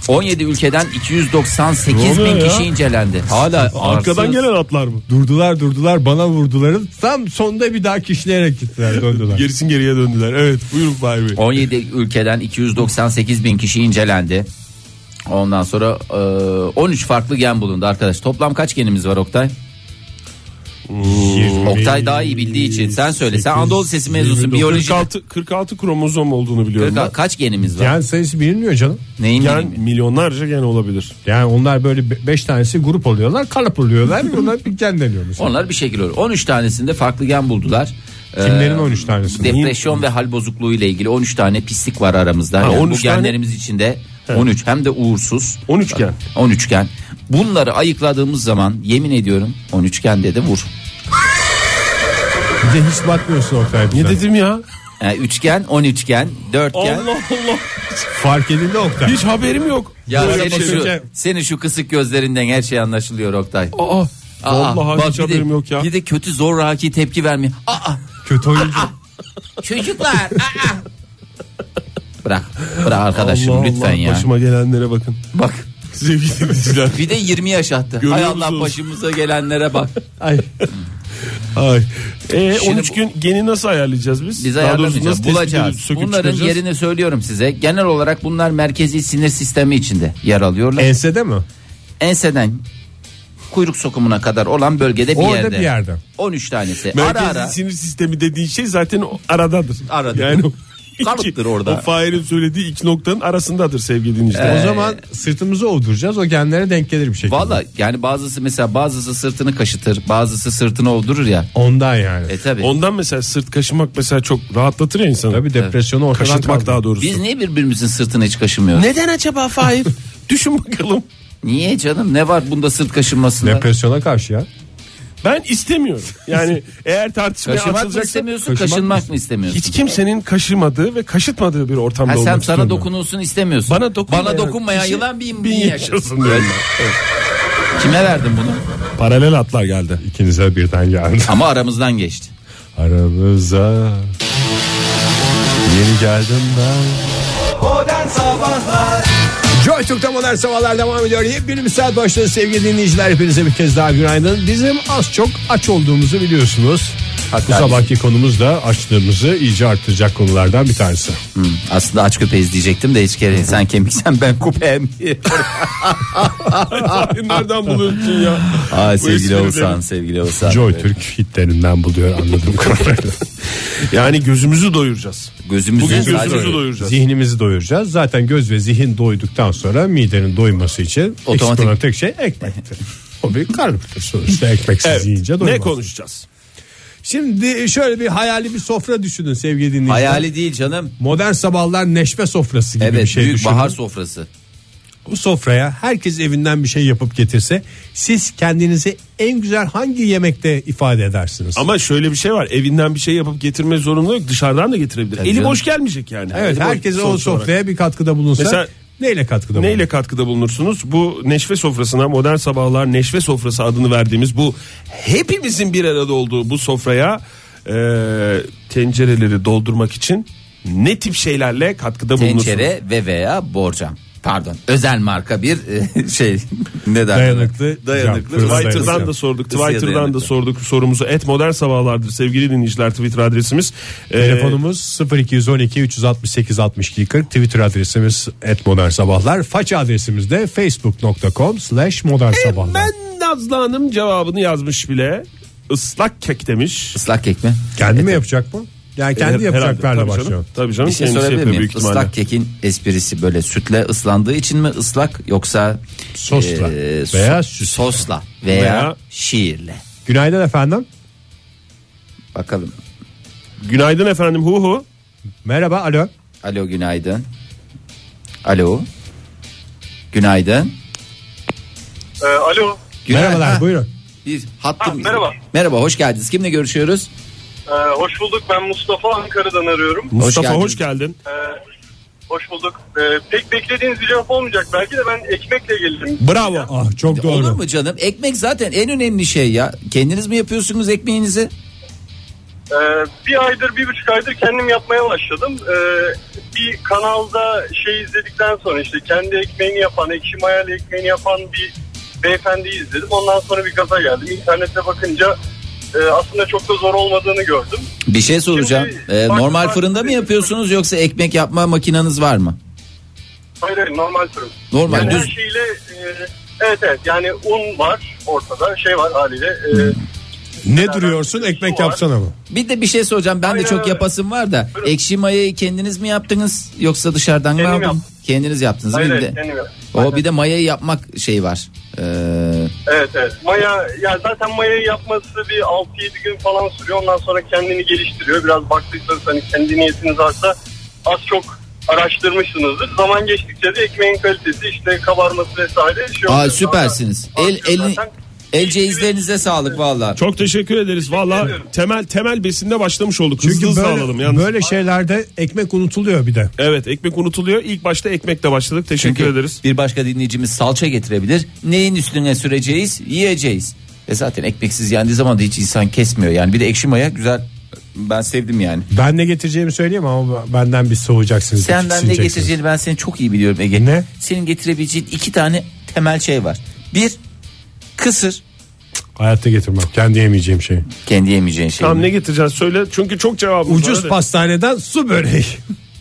S3: 17 ülkeden 298
S4: Ne
S3: bin
S4: oluyor ya?
S3: kişi incelendi. Hala
S4: Arkadan
S3: arsız.
S4: gelen atlar mı?
S2: Durdular durdular bana vurduların tam sonda bir daha kişneyerek gittiler döndüler.
S4: Gerisin geriye döndüler. Evet buyurun Fahir Bey.
S3: 17 ülkeden 298 bin kişi incelendi. Ondan sonra e, 13 farklı gen bulundu arkadaş. Toplam kaç genimiz var Oktay? Oktay daha iyi bildiği için sen söyle. E, Sen Anadolu Sesi mezunsun biyoloji.
S4: 46, 46 kromozom olduğunu biliyorum.
S3: Kırk- Kaç genimiz var?
S2: Gen sayısı bilinmiyor canım.
S3: Neyin
S4: ben.
S3: genimi?
S4: Yani milyonlarca gen olabilir.
S2: Yani onlar böyle be- beş tanesi grup oluyorlar,
S3: *laughs*
S2: kalıp oluyorlar. Bunlar bir gen deniyor mesela.
S3: Onlar bir şey şekilde oluyor. 13 tanesinde farklı gen buldular.
S2: Kimlerin
S3: Ee,
S2: 13 tanesini?
S3: Depresyon ve hal bozukluğu ile ilgili 13 tane pislik var aramızda. Yani
S4: 13
S3: bu
S4: tane-
S3: genlerimiz içinde 13 hem de uğursuz.
S4: 13 gen.
S3: 13 gen. Bunları ayıkladığımız zaman yemin ediyorum 13 gen dedi vur.
S2: Bir de hiç bakmıyorsun Oktay bize.
S4: Ne dedim ya?
S3: Yani üçgen, 13 gen, dörtgen.
S4: Allah Allah.
S2: Fark edildi Oktay.
S4: Hiç haberim yok.
S3: Ya
S4: Böyle
S3: senin
S4: bir şey.
S3: şu,
S2: bakınca-
S3: senin şu kısık gözlerinden her şey anlaşılıyor Oktay.
S4: Aa,
S3: Aa,
S4: vallahi
S3: bak
S4: hiç
S3: bir de-
S4: haberim yok ya.
S3: Bir de kötü zoraki tepki vermiyor. Aa, *laughs*
S2: Kötü oyuncu.
S3: çocuklar. aa. Bırak, bırak arkadaşım
S4: Allah
S3: lütfen
S4: Allah,
S3: ya.
S4: Başıma gelenlere bakın. *laughs*
S3: Bak.
S4: Sevgili dinleyiciler.
S3: Bir de 20 yaş attı.
S4: Görüyor
S3: Hay Allah
S4: musunuz?
S3: başımıza gelenlere bak.
S2: Ay.
S4: Ay. E,
S3: Şimdi
S4: 13 gün geni nasıl ayarlayacağız biz?
S3: Biz
S4: Daha doğrusu nasıl
S3: ayarlamayacağız.
S4: tespit edip
S3: Bulacağız.
S4: söküp
S3: Bunların
S4: çıkaracağız?
S3: yerini söylüyorum size. Genel olarak bunlar merkezi sinir sistemi içinde yer alıyorlar.
S2: Ensede mi?
S3: Enseden kuyruk sokumuna kadar olan bölgede bir
S2: Orada
S3: yerde.
S2: bir yerde.
S3: 13 tanesi.
S4: Merkezi
S3: ara ara.
S4: sinir sistemi dediğin şey zaten o aradadır.
S3: Aradır.
S4: Yani o iki-
S3: *laughs* Kalıptır orada.
S4: O Fahir'in söylediği iki noktanın arasındadır sevgili dinleyiciler.
S2: O zaman sırtımızı ovduracağız. O genlere denk gelir bir şekilde.
S3: Valla yani bazısı mesela bazısı sırtını kaşıtır. Bazısı sırtını ovdurur ya.
S2: Ondan yani.
S3: E tabi.
S4: Ondan mesela sırt kaşımak mesela çok rahatlatır ya insanı.
S2: Tabii depresyonu ortadan
S4: Kaşıtmak
S2: kaldırır.
S4: daha doğrusu.
S3: Biz niye birbirimizin sırtını hiç kaşımıyoruz?
S4: Neden acaba Fahir? Düşün bakalım.
S3: Niye canım? Ne var bunda sırt kaşınmasında?
S2: Depresyona karşı ya.
S4: Ben istemiyorum.
S3: *laughs*
S4: Yani eğer tartışmaya
S3: Kaşımak mı
S4: açılacaksa
S3: istemiyorsun, kaşınmak mı istemiyorsun?
S4: hiç kimsenin kaşımadığı ve kaşıtmadığı bir ortamda
S3: Ha,
S4: olmak
S3: sen
S4: istiyorum
S3: sana
S4: ben.
S3: dokunulsun istemiyorsun.
S4: Bana dokunmayan
S3: Bana dokunmayan
S4: kişi
S3: yılan bin, bin,
S4: bin
S3: yaşasın.
S4: *laughs* yaşasın diyorum *laughs*
S3: Kime verdin bunu?
S4: Paralel atlar geldi.
S2: İkinize birden geldi.
S3: Ama aramızdan geçti.
S2: Aramıza yeni geldim ben. Joy Türk'te modern sabahlar devam ediyor. Yepyeni bir saat başladı sevgili dinleyiciler. Hepinize bir kez daha günaydın. Bizim az çok aç olduğumuzu biliyorsunuz. Bu sabahki konumuz da açlığımızı iyice arttıracak konulardan bir tanesi.
S3: Aslında aç köpeğiz diyecektim de hiç kere sen kemiksen ben *laughs* kupem.
S4: Nereden buluyorsun ya?
S3: Aa, sevgili
S4: esprileri-
S3: Oğuzhan, sevgili Oğuzhan.
S2: Joy Türk hitlerinden buluyor anladığım kadarıyla.
S4: Yani gözümüzü doyuracağız.
S3: Gözümüzü
S4: Bugün
S3: sadece-
S4: gözümüzü doyuracağız.
S2: Zihnimizi doyuracağız. Zaten göz ve zihin doyduktan sonra midenin doyması için
S3: Otomatik-
S2: Otomatik. olan tek şey ekmektir. *laughs* O bir karnıdır sonuçta ekmeksiz
S4: Evet.
S2: yiyince doymaz.
S4: Ne konuşacağız?
S2: Şimdi şöyle bir hayali bir sofra düşünün sevgili dinleyiciler.
S3: Hayali değil canım.
S2: Modern sabahlar neşve sofrası gibi
S3: Evet
S2: bir şey
S3: büyük
S2: düşünün.
S3: bahar sofrası.
S2: Bu sofraya herkes evinden bir şey yapıp getirse siz kendinizi en güzel hangi yemekte ifade edersiniz?
S4: Ama şöyle bir şey var. Evinden bir şey yapıp getirmek zorunda yok. Dışarıdan da getirebilir.
S3: Tabii
S4: Eli
S3: canım.
S4: boş gelmeyecek yani.
S2: evet
S4: Eli boş
S2: herkes o
S4: sonuç olarak.
S2: sofraya bir katkıda bulunsa
S4: Mesela-
S2: neyle katkıda bulunur?
S4: Neyle katkıda bulunursunuz? Bu Neşve Sofrası'na Modern Sabahlar Neşve Sofrası adını verdiğimiz bu hepimizin bir arada olduğu bu sofraya e, tencereleri doldurmak için ne tip şeylerle katkıda bulunursunuz?
S3: Tencere ve veya borcam. Pardon özel marka bir e, *laughs* şey ne derler?
S2: Dayanıklı
S3: Dayanıklı.
S2: cam, fırına
S4: Twitter'dan
S2: dayanıklı.
S4: da sorduk.
S3: Isıya
S4: Twitter'dan
S3: dayanıklı.
S4: da sorduk sorumuzu. Et modern sabahlardır sevgili dinleyiciler Twitter adresimiz.
S2: Ee,
S4: E,
S2: Telefonumuz 0212 368 62 40 Twitter adresimiz et modern sabahlar Faça adresimiz de facebook.com slash modern sabahlar
S4: ben Nazlı Hanım cevabını yazmış bile. Islak kek demiş.
S3: Islak kek mi?
S2: Kendi mi yapacak mı? Yani kendi
S4: Herhalde.
S2: yapacaklarla
S4: Tabii canım.
S2: başlıyor.
S4: Tabii canım.
S3: Bir şey
S4: kendisi
S3: sorabilir
S4: yapıyor
S3: miyim?
S4: büyük ihtimalle.
S3: Islak kekin esprisi böyle sütle ıslandığı için mi ıslak yoksa
S2: Sosla
S4: Ee,
S3: e,
S2: veya
S3: so-
S2: süsle.
S3: sosla veya,
S4: Veya-
S3: şiirle.
S2: Günaydın efendim.
S3: Bakalım.
S4: Günaydın efendim hu hu.
S2: Merhaba alo.
S3: Alo günaydın. Alo. Günaydın.
S9: Ee, alo.
S3: Günaydın.
S2: Merhabalar
S3: Ha,
S2: buyurun.
S3: Bir hattım.
S9: Ha, merhaba.
S3: Merhaba hoş geldiniz. Kimle görüşüyoruz?
S9: Ee, hoş bulduk. Ben Mustafa Ankara'dan arıyorum.
S4: Mustafa
S3: geldiniz.
S4: hoş geldin.
S9: Ee, hoş bulduk. Ee, pek beklediğiniz bir cevap olmayacak. Belki de ben ekmekle geldim.
S2: Bravo. Ah çok
S3: Olur
S2: doğru.
S3: mu canım? Ekmek zaten en önemli şey ya. Kendiniz mi yapıyorsunuz ekmeğinizi?
S9: Ee, bir aydır, bir buçuk aydır kendim yapmaya başladım. Ee, bir kanalda şey izledikten sonra işte kendi ekmeğini yapan, ekşi mayalı ekmeğini yapan bir beyefendiyi izledim. Ondan sonra bir gaza geldim. İnternette bakınca e, aslında çok da zor olmadığını gördüm.
S3: Bir şey soracağım.
S9: Şimdi,
S3: Ee,
S9: bak-
S3: normal
S9: bak-
S3: fırında mı yapıyorsunuz yoksa ekmek yapma makineniz var mı?
S9: Hayır, hayır normal fırın.
S3: Normal
S9: Yani her
S3: düz.
S9: şeyle e, evet evet yani un var ortada şey var haliyle. E,
S2: Ne duruyorsun ekmek yapsana mı?
S3: Bir de bir şey soracağım. Ben de
S9: Aynen
S3: çok
S9: öyle.
S3: yapasım var da. Ekşi mayayı kendiniz mi yaptınız yoksa dışarıdan mı
S9: Kendim
S3: aldınız?
S9: yaptım.
S3: Kendiniz yaptınız.
S9: hayır,
S3: Bir
S9: hayır,
S3: de-
S9: kendim yaptım.
S3: O bir de mayayı yapmak şeyi var. Ee,
S9: Evet evet. Maya ya zaten mayayı yapması bir 6-7 gün falan sürüyor. Ondan sonra kendini geliştiriyor. Biraz baktıysanız hani kendi niyetiniz varsa az çok araştırmışsınızdır. Zaman geçtikçe de ekmeğin kalitesi işte kabarması vesaire şey
S3: aa
S9: oluyor.
S3: süpersiniz.
S9: Zaten-
S3: El elin
S9: zaten-
S3: el izlerinize sağlık valla.
S4: Çok teşekkür ederiz. Valla temel temel besinde başlamış olduk. Çünkü hızlı
S2: Çünkü
S4: hızlı
S2: böyle,
S4: alalım yalnız.
S2: böyle şeylerde ekmek unutuluyor bir de.
S4: Evet ekmek unutuluyor. İlk başta ekmekle başladık. Teşekkür
S3: Çünkü
S4: ederiz.
S3: bir başka dinleyicimiz salça getirebilir. Neyin üstüne süreceğiz? Yiyeceğiz. Ve zaten ekmeksiz yendiği zaman da hiç insan kesmiyor. Yani bir de ekşi maya güzel. Ben sevdim yani.
S2: Ben ne getireceğimi söyleyeyim ama benden bir soğuyacaksınız.
S3: Senden ne
S2: tiksineceksiniz.
S3: getireceğini ben seni çok iyi biliyorum Ege.
S2: Ne?
S3: Senin getirebileceğin iki tane temel şey var. Bir kısır.
S2: Hayatta getirmem. Kendi yemeyeceğim şeyi.
S3: Kendi yemeyeceğin şey.
S4: Tamam ne getireceğiz söyle. Çünkü çok cevabımız var.
S2: Ucuz
S4: Hadi.
S2: pastaneden su böreği.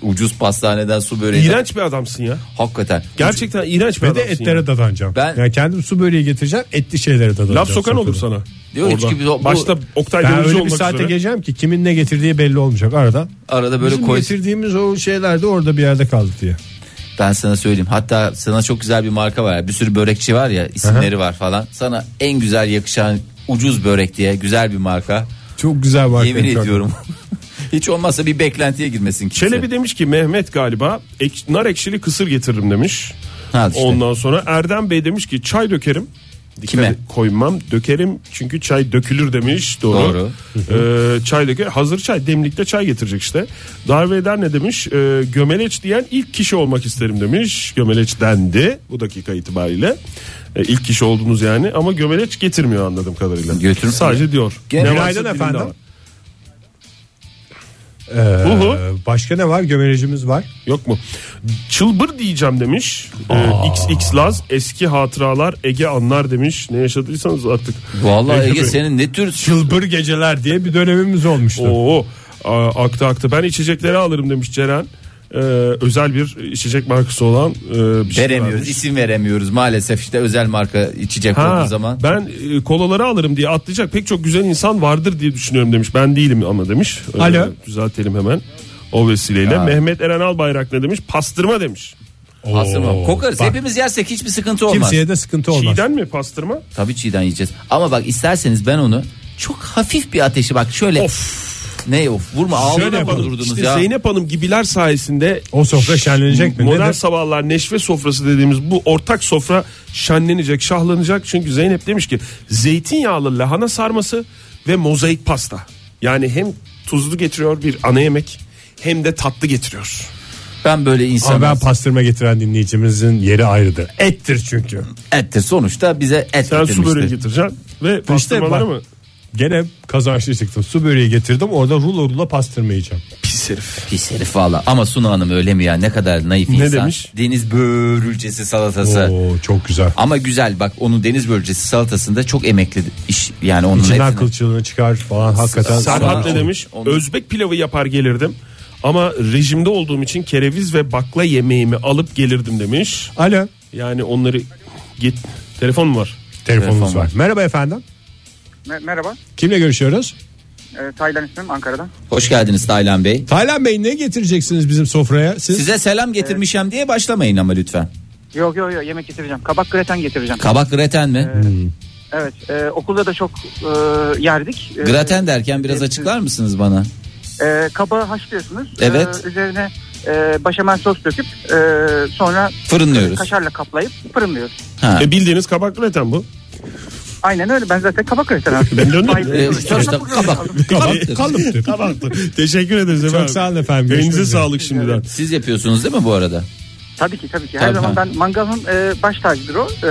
S3: Ucuz pastaneden su böreği.
S4: İğrenç bir adamsın ya.
S3: Hakikaten.
S4: Gerçekten iğrenç bir
S2: *laughs* Ve de
S4: adamsın.
S2: etlere
S4: ya.
S2: dadanacağım.
S3: Ben-
S2: Yani kendim su böreği getireceğim. Etli şeylere dadanacağım.
S4: Laf sokan
S2: sofrada.
S4: olur sana.
S3: Yok, hiç
S4: Orada.
S3: gibi- bu-
S4: Başta Oktay
S2: Ben
S4: Demirci
S2: öyle bir
S4: olmak
S2: saate
S4: üzere.
S2: geleceğim ki kimin ne getirdiği belli olmayacak arada.
S3: Arada böyle
S2: Bizim
S3: koy.
S2: getirdiğimiz o şeyler de orada bir yerde kaldı diye.
S3: Ben sana söyleyeyim. Hatta sana çok güzel bir marka var. ya. Bir sürü börekçi var ya isimleri var falan. Sana en güzel yakışan ucuz börek diye güzel bir marka.
S2: Çok güzel marka.
S3: Yemin ediyorum. *laughs* Hiç olmazsa bir beklentiye girmesin kimse.
S4: Çelebi demiş ki Mehmet galiba ek- nar ekşili kısır getiririm demiş.
S3: Ha, işte.
S4: Ondan sonra Erdem Bey demiş ki çay dökerim. Dikkat
S3: Kime?
S4: Koymam dökerim çünkü çay dökülür demiş doğru.
S3: Doğru.
S4: Ee, çay döker hazır çay demlikte çay getirecek işte. Darve eder ne demiş Ee, gömeleç diyen ilk kişi olmak isterim demiş. Gömeleç dendi bu dakika itibariyle. Ee, ilk kişi oldunuz yani ama gömeleç getirmiyor anladığım kadarıyla.
S3: Götürmüyor.
S4: Sadece diyor.
S3: Gene-
S4: varsa
S2: Günaydın
S4: dilinde
S2: efendim.
S4: var. Uhu.
S2: Ee, başka ne var? Gömelecimiz var.
S4: Yok mu? Çılbır diyeceğim demiş. Ee, XX Laz eski hatıralar Ege anlar demiş. Ne yaşadıysanız artık.
S3: Vallahi Ege
S4: Bey.
S3: senin ne tür
S2: Çılbır geceler diye bir dönemimiz olmuştu.
S4: Oo, a- aktı aktı. Ben içecekleri alırım demiş Ceren. Ee, özel bir içecek markası olan e, bir şey
S3: veremiyoruz,
S4: varmış.
S3: isim veremiyoruz maalesef işte özel marka içecek
S4: Ha,
S3: olduğu zaman.
S4: ben e, kolaları alırım diye atlayacak pek çok güzel insan vardır diye düşünüyorum demiş. Ben değilim ama demiş. Ee,
S2: Alo.
S4: Düzeltelim hemen. O vesileyle. Mehmet Eren Albayrak ne demiş? Pastırma demiş.
S3: Pastırma kokarız.
S2: bak.
S3: Hepimiz yersek hiçbir sıkıntı olmaz.
S2: Kimseye de sıkıntı olmaz.
S4: Çiğden mi pastırma?
S3: Tabii çiğden yiyeceğiz. Ama bak isterseniz ben onu çok hafif bir ateşi bak şöyle. Ne of vurma
S4: Şöyle
S3: ağzına
S4: yapalım.
S3: vurdunuz
S4: İşte
S3: ya.
S4: Zeynep Hanım gibiler sayesinde
S2: O sofra şenlenecek mi?
S4: Modern
S2: Nedir?
S4: sabahlar neşve sofrası dediğimiz bu ortak sofra şenlenecek, şahlanacak. Çünkü Zeynep demiş ki zeytinyağlı lahana sarması ve mozaik pasta. Yani hem tuzlu getiriyor bir ana yemek hem de tatlı getiriyor.
S3: Ben böyle
S2: Ama
S3: insanım.
S2: ben pastırma getiren dinleyicimizin yeri ayrıdır. Ettir çünkü.
S3: Ettir sonuçta bize et
S4: Sen su
S3: getirmiştir.
S4: böreği getireceksin ve pastırmaları
S2: bak.
S4: mı?
S2: Gene kazançlı çıktım. Su böreği getirdim. Orada rulo rulo pastırma yiyeceğim.
S4: Pis herif.
S3: Pis herif valla. Ama Suna Hanım öyle mi ya? Ne kadar naif
S4: Ne
S3: insan.
S4: demiş?
S3: Deniz börülcesi salatası.
S2: Oo çok güzel.
S3: Ama güzel bak onun deniz börülcesi salatasında çok emekli iş yani onun
S2: İçinden
S3: hepsini-
S2: kılçığını çıkar falan hakikaten.
S4: Serhat ne
S3: Sonra-
S4: demiş?
S3: Onu-
S4: Özbek pilavı yapar gelirdim. Ama rejimde olduğum için kereviz ve bakla yemeğimi alıp gelirdim demiş.
S2: Alo.
S4: Yani onları git. Telefon mu var?
S2: Telefonumuz
S3: Telefon
S2: var.
S3: var.
S2: Merhaba efendim.
S10: Me- merhaba.
S2: Kimle görüşüyoruz?
S10: Ee, Taylan ismim Ankara'dan.
S3: Hoş geldiniz Taylan Bey.
S2: Taylan Bey ne getireceksiniz bizim sofraya? Siz
S3: Size selam getirmişem diye başlamayın ama lütfen.
S10: Yok yok yok yemek getireceğim. Kabak greten getireceğim.
S3: Kabak graten mi?
S10: evet. e, okulda da çok e, yerdik. E,
S3: Graten derken biraz açıklar mısınız bana?
S10: e, kabağı haşlıyorsunuz.
S3: Evet.
S10: E, üzerine e, başamel sos döküp e, sonra
S3: Fırınlıyoruz.
S10: kaşarla kaplayıp fırınlıyoruz.
S3: Ha.
S4: E bildiğiniz kabak greten bu.
S10: Aynen öyle. Ben zaten kabak greten
S3: *laughs*
S10: abi.
S4: Ben döndüm.
S10: Sahip-
S3: Ee, sonuçta kabak. kabaktır.
S2: kalıptır.
S4: Teşekkür ederiz efendim.
S2: Çok sağ olun efendim.
S4: Elinize
S2: Görüşmek üzere.
S4: sağlık şimdiden.
S3: Siz yapıyorsunuz değil mi bu arada?
S10: Tabii ki tabii ki. Her
S3: Tabii,
S10: zaman
S3: tabii.
S10: ben mangalın e, baş tacıdır o. E,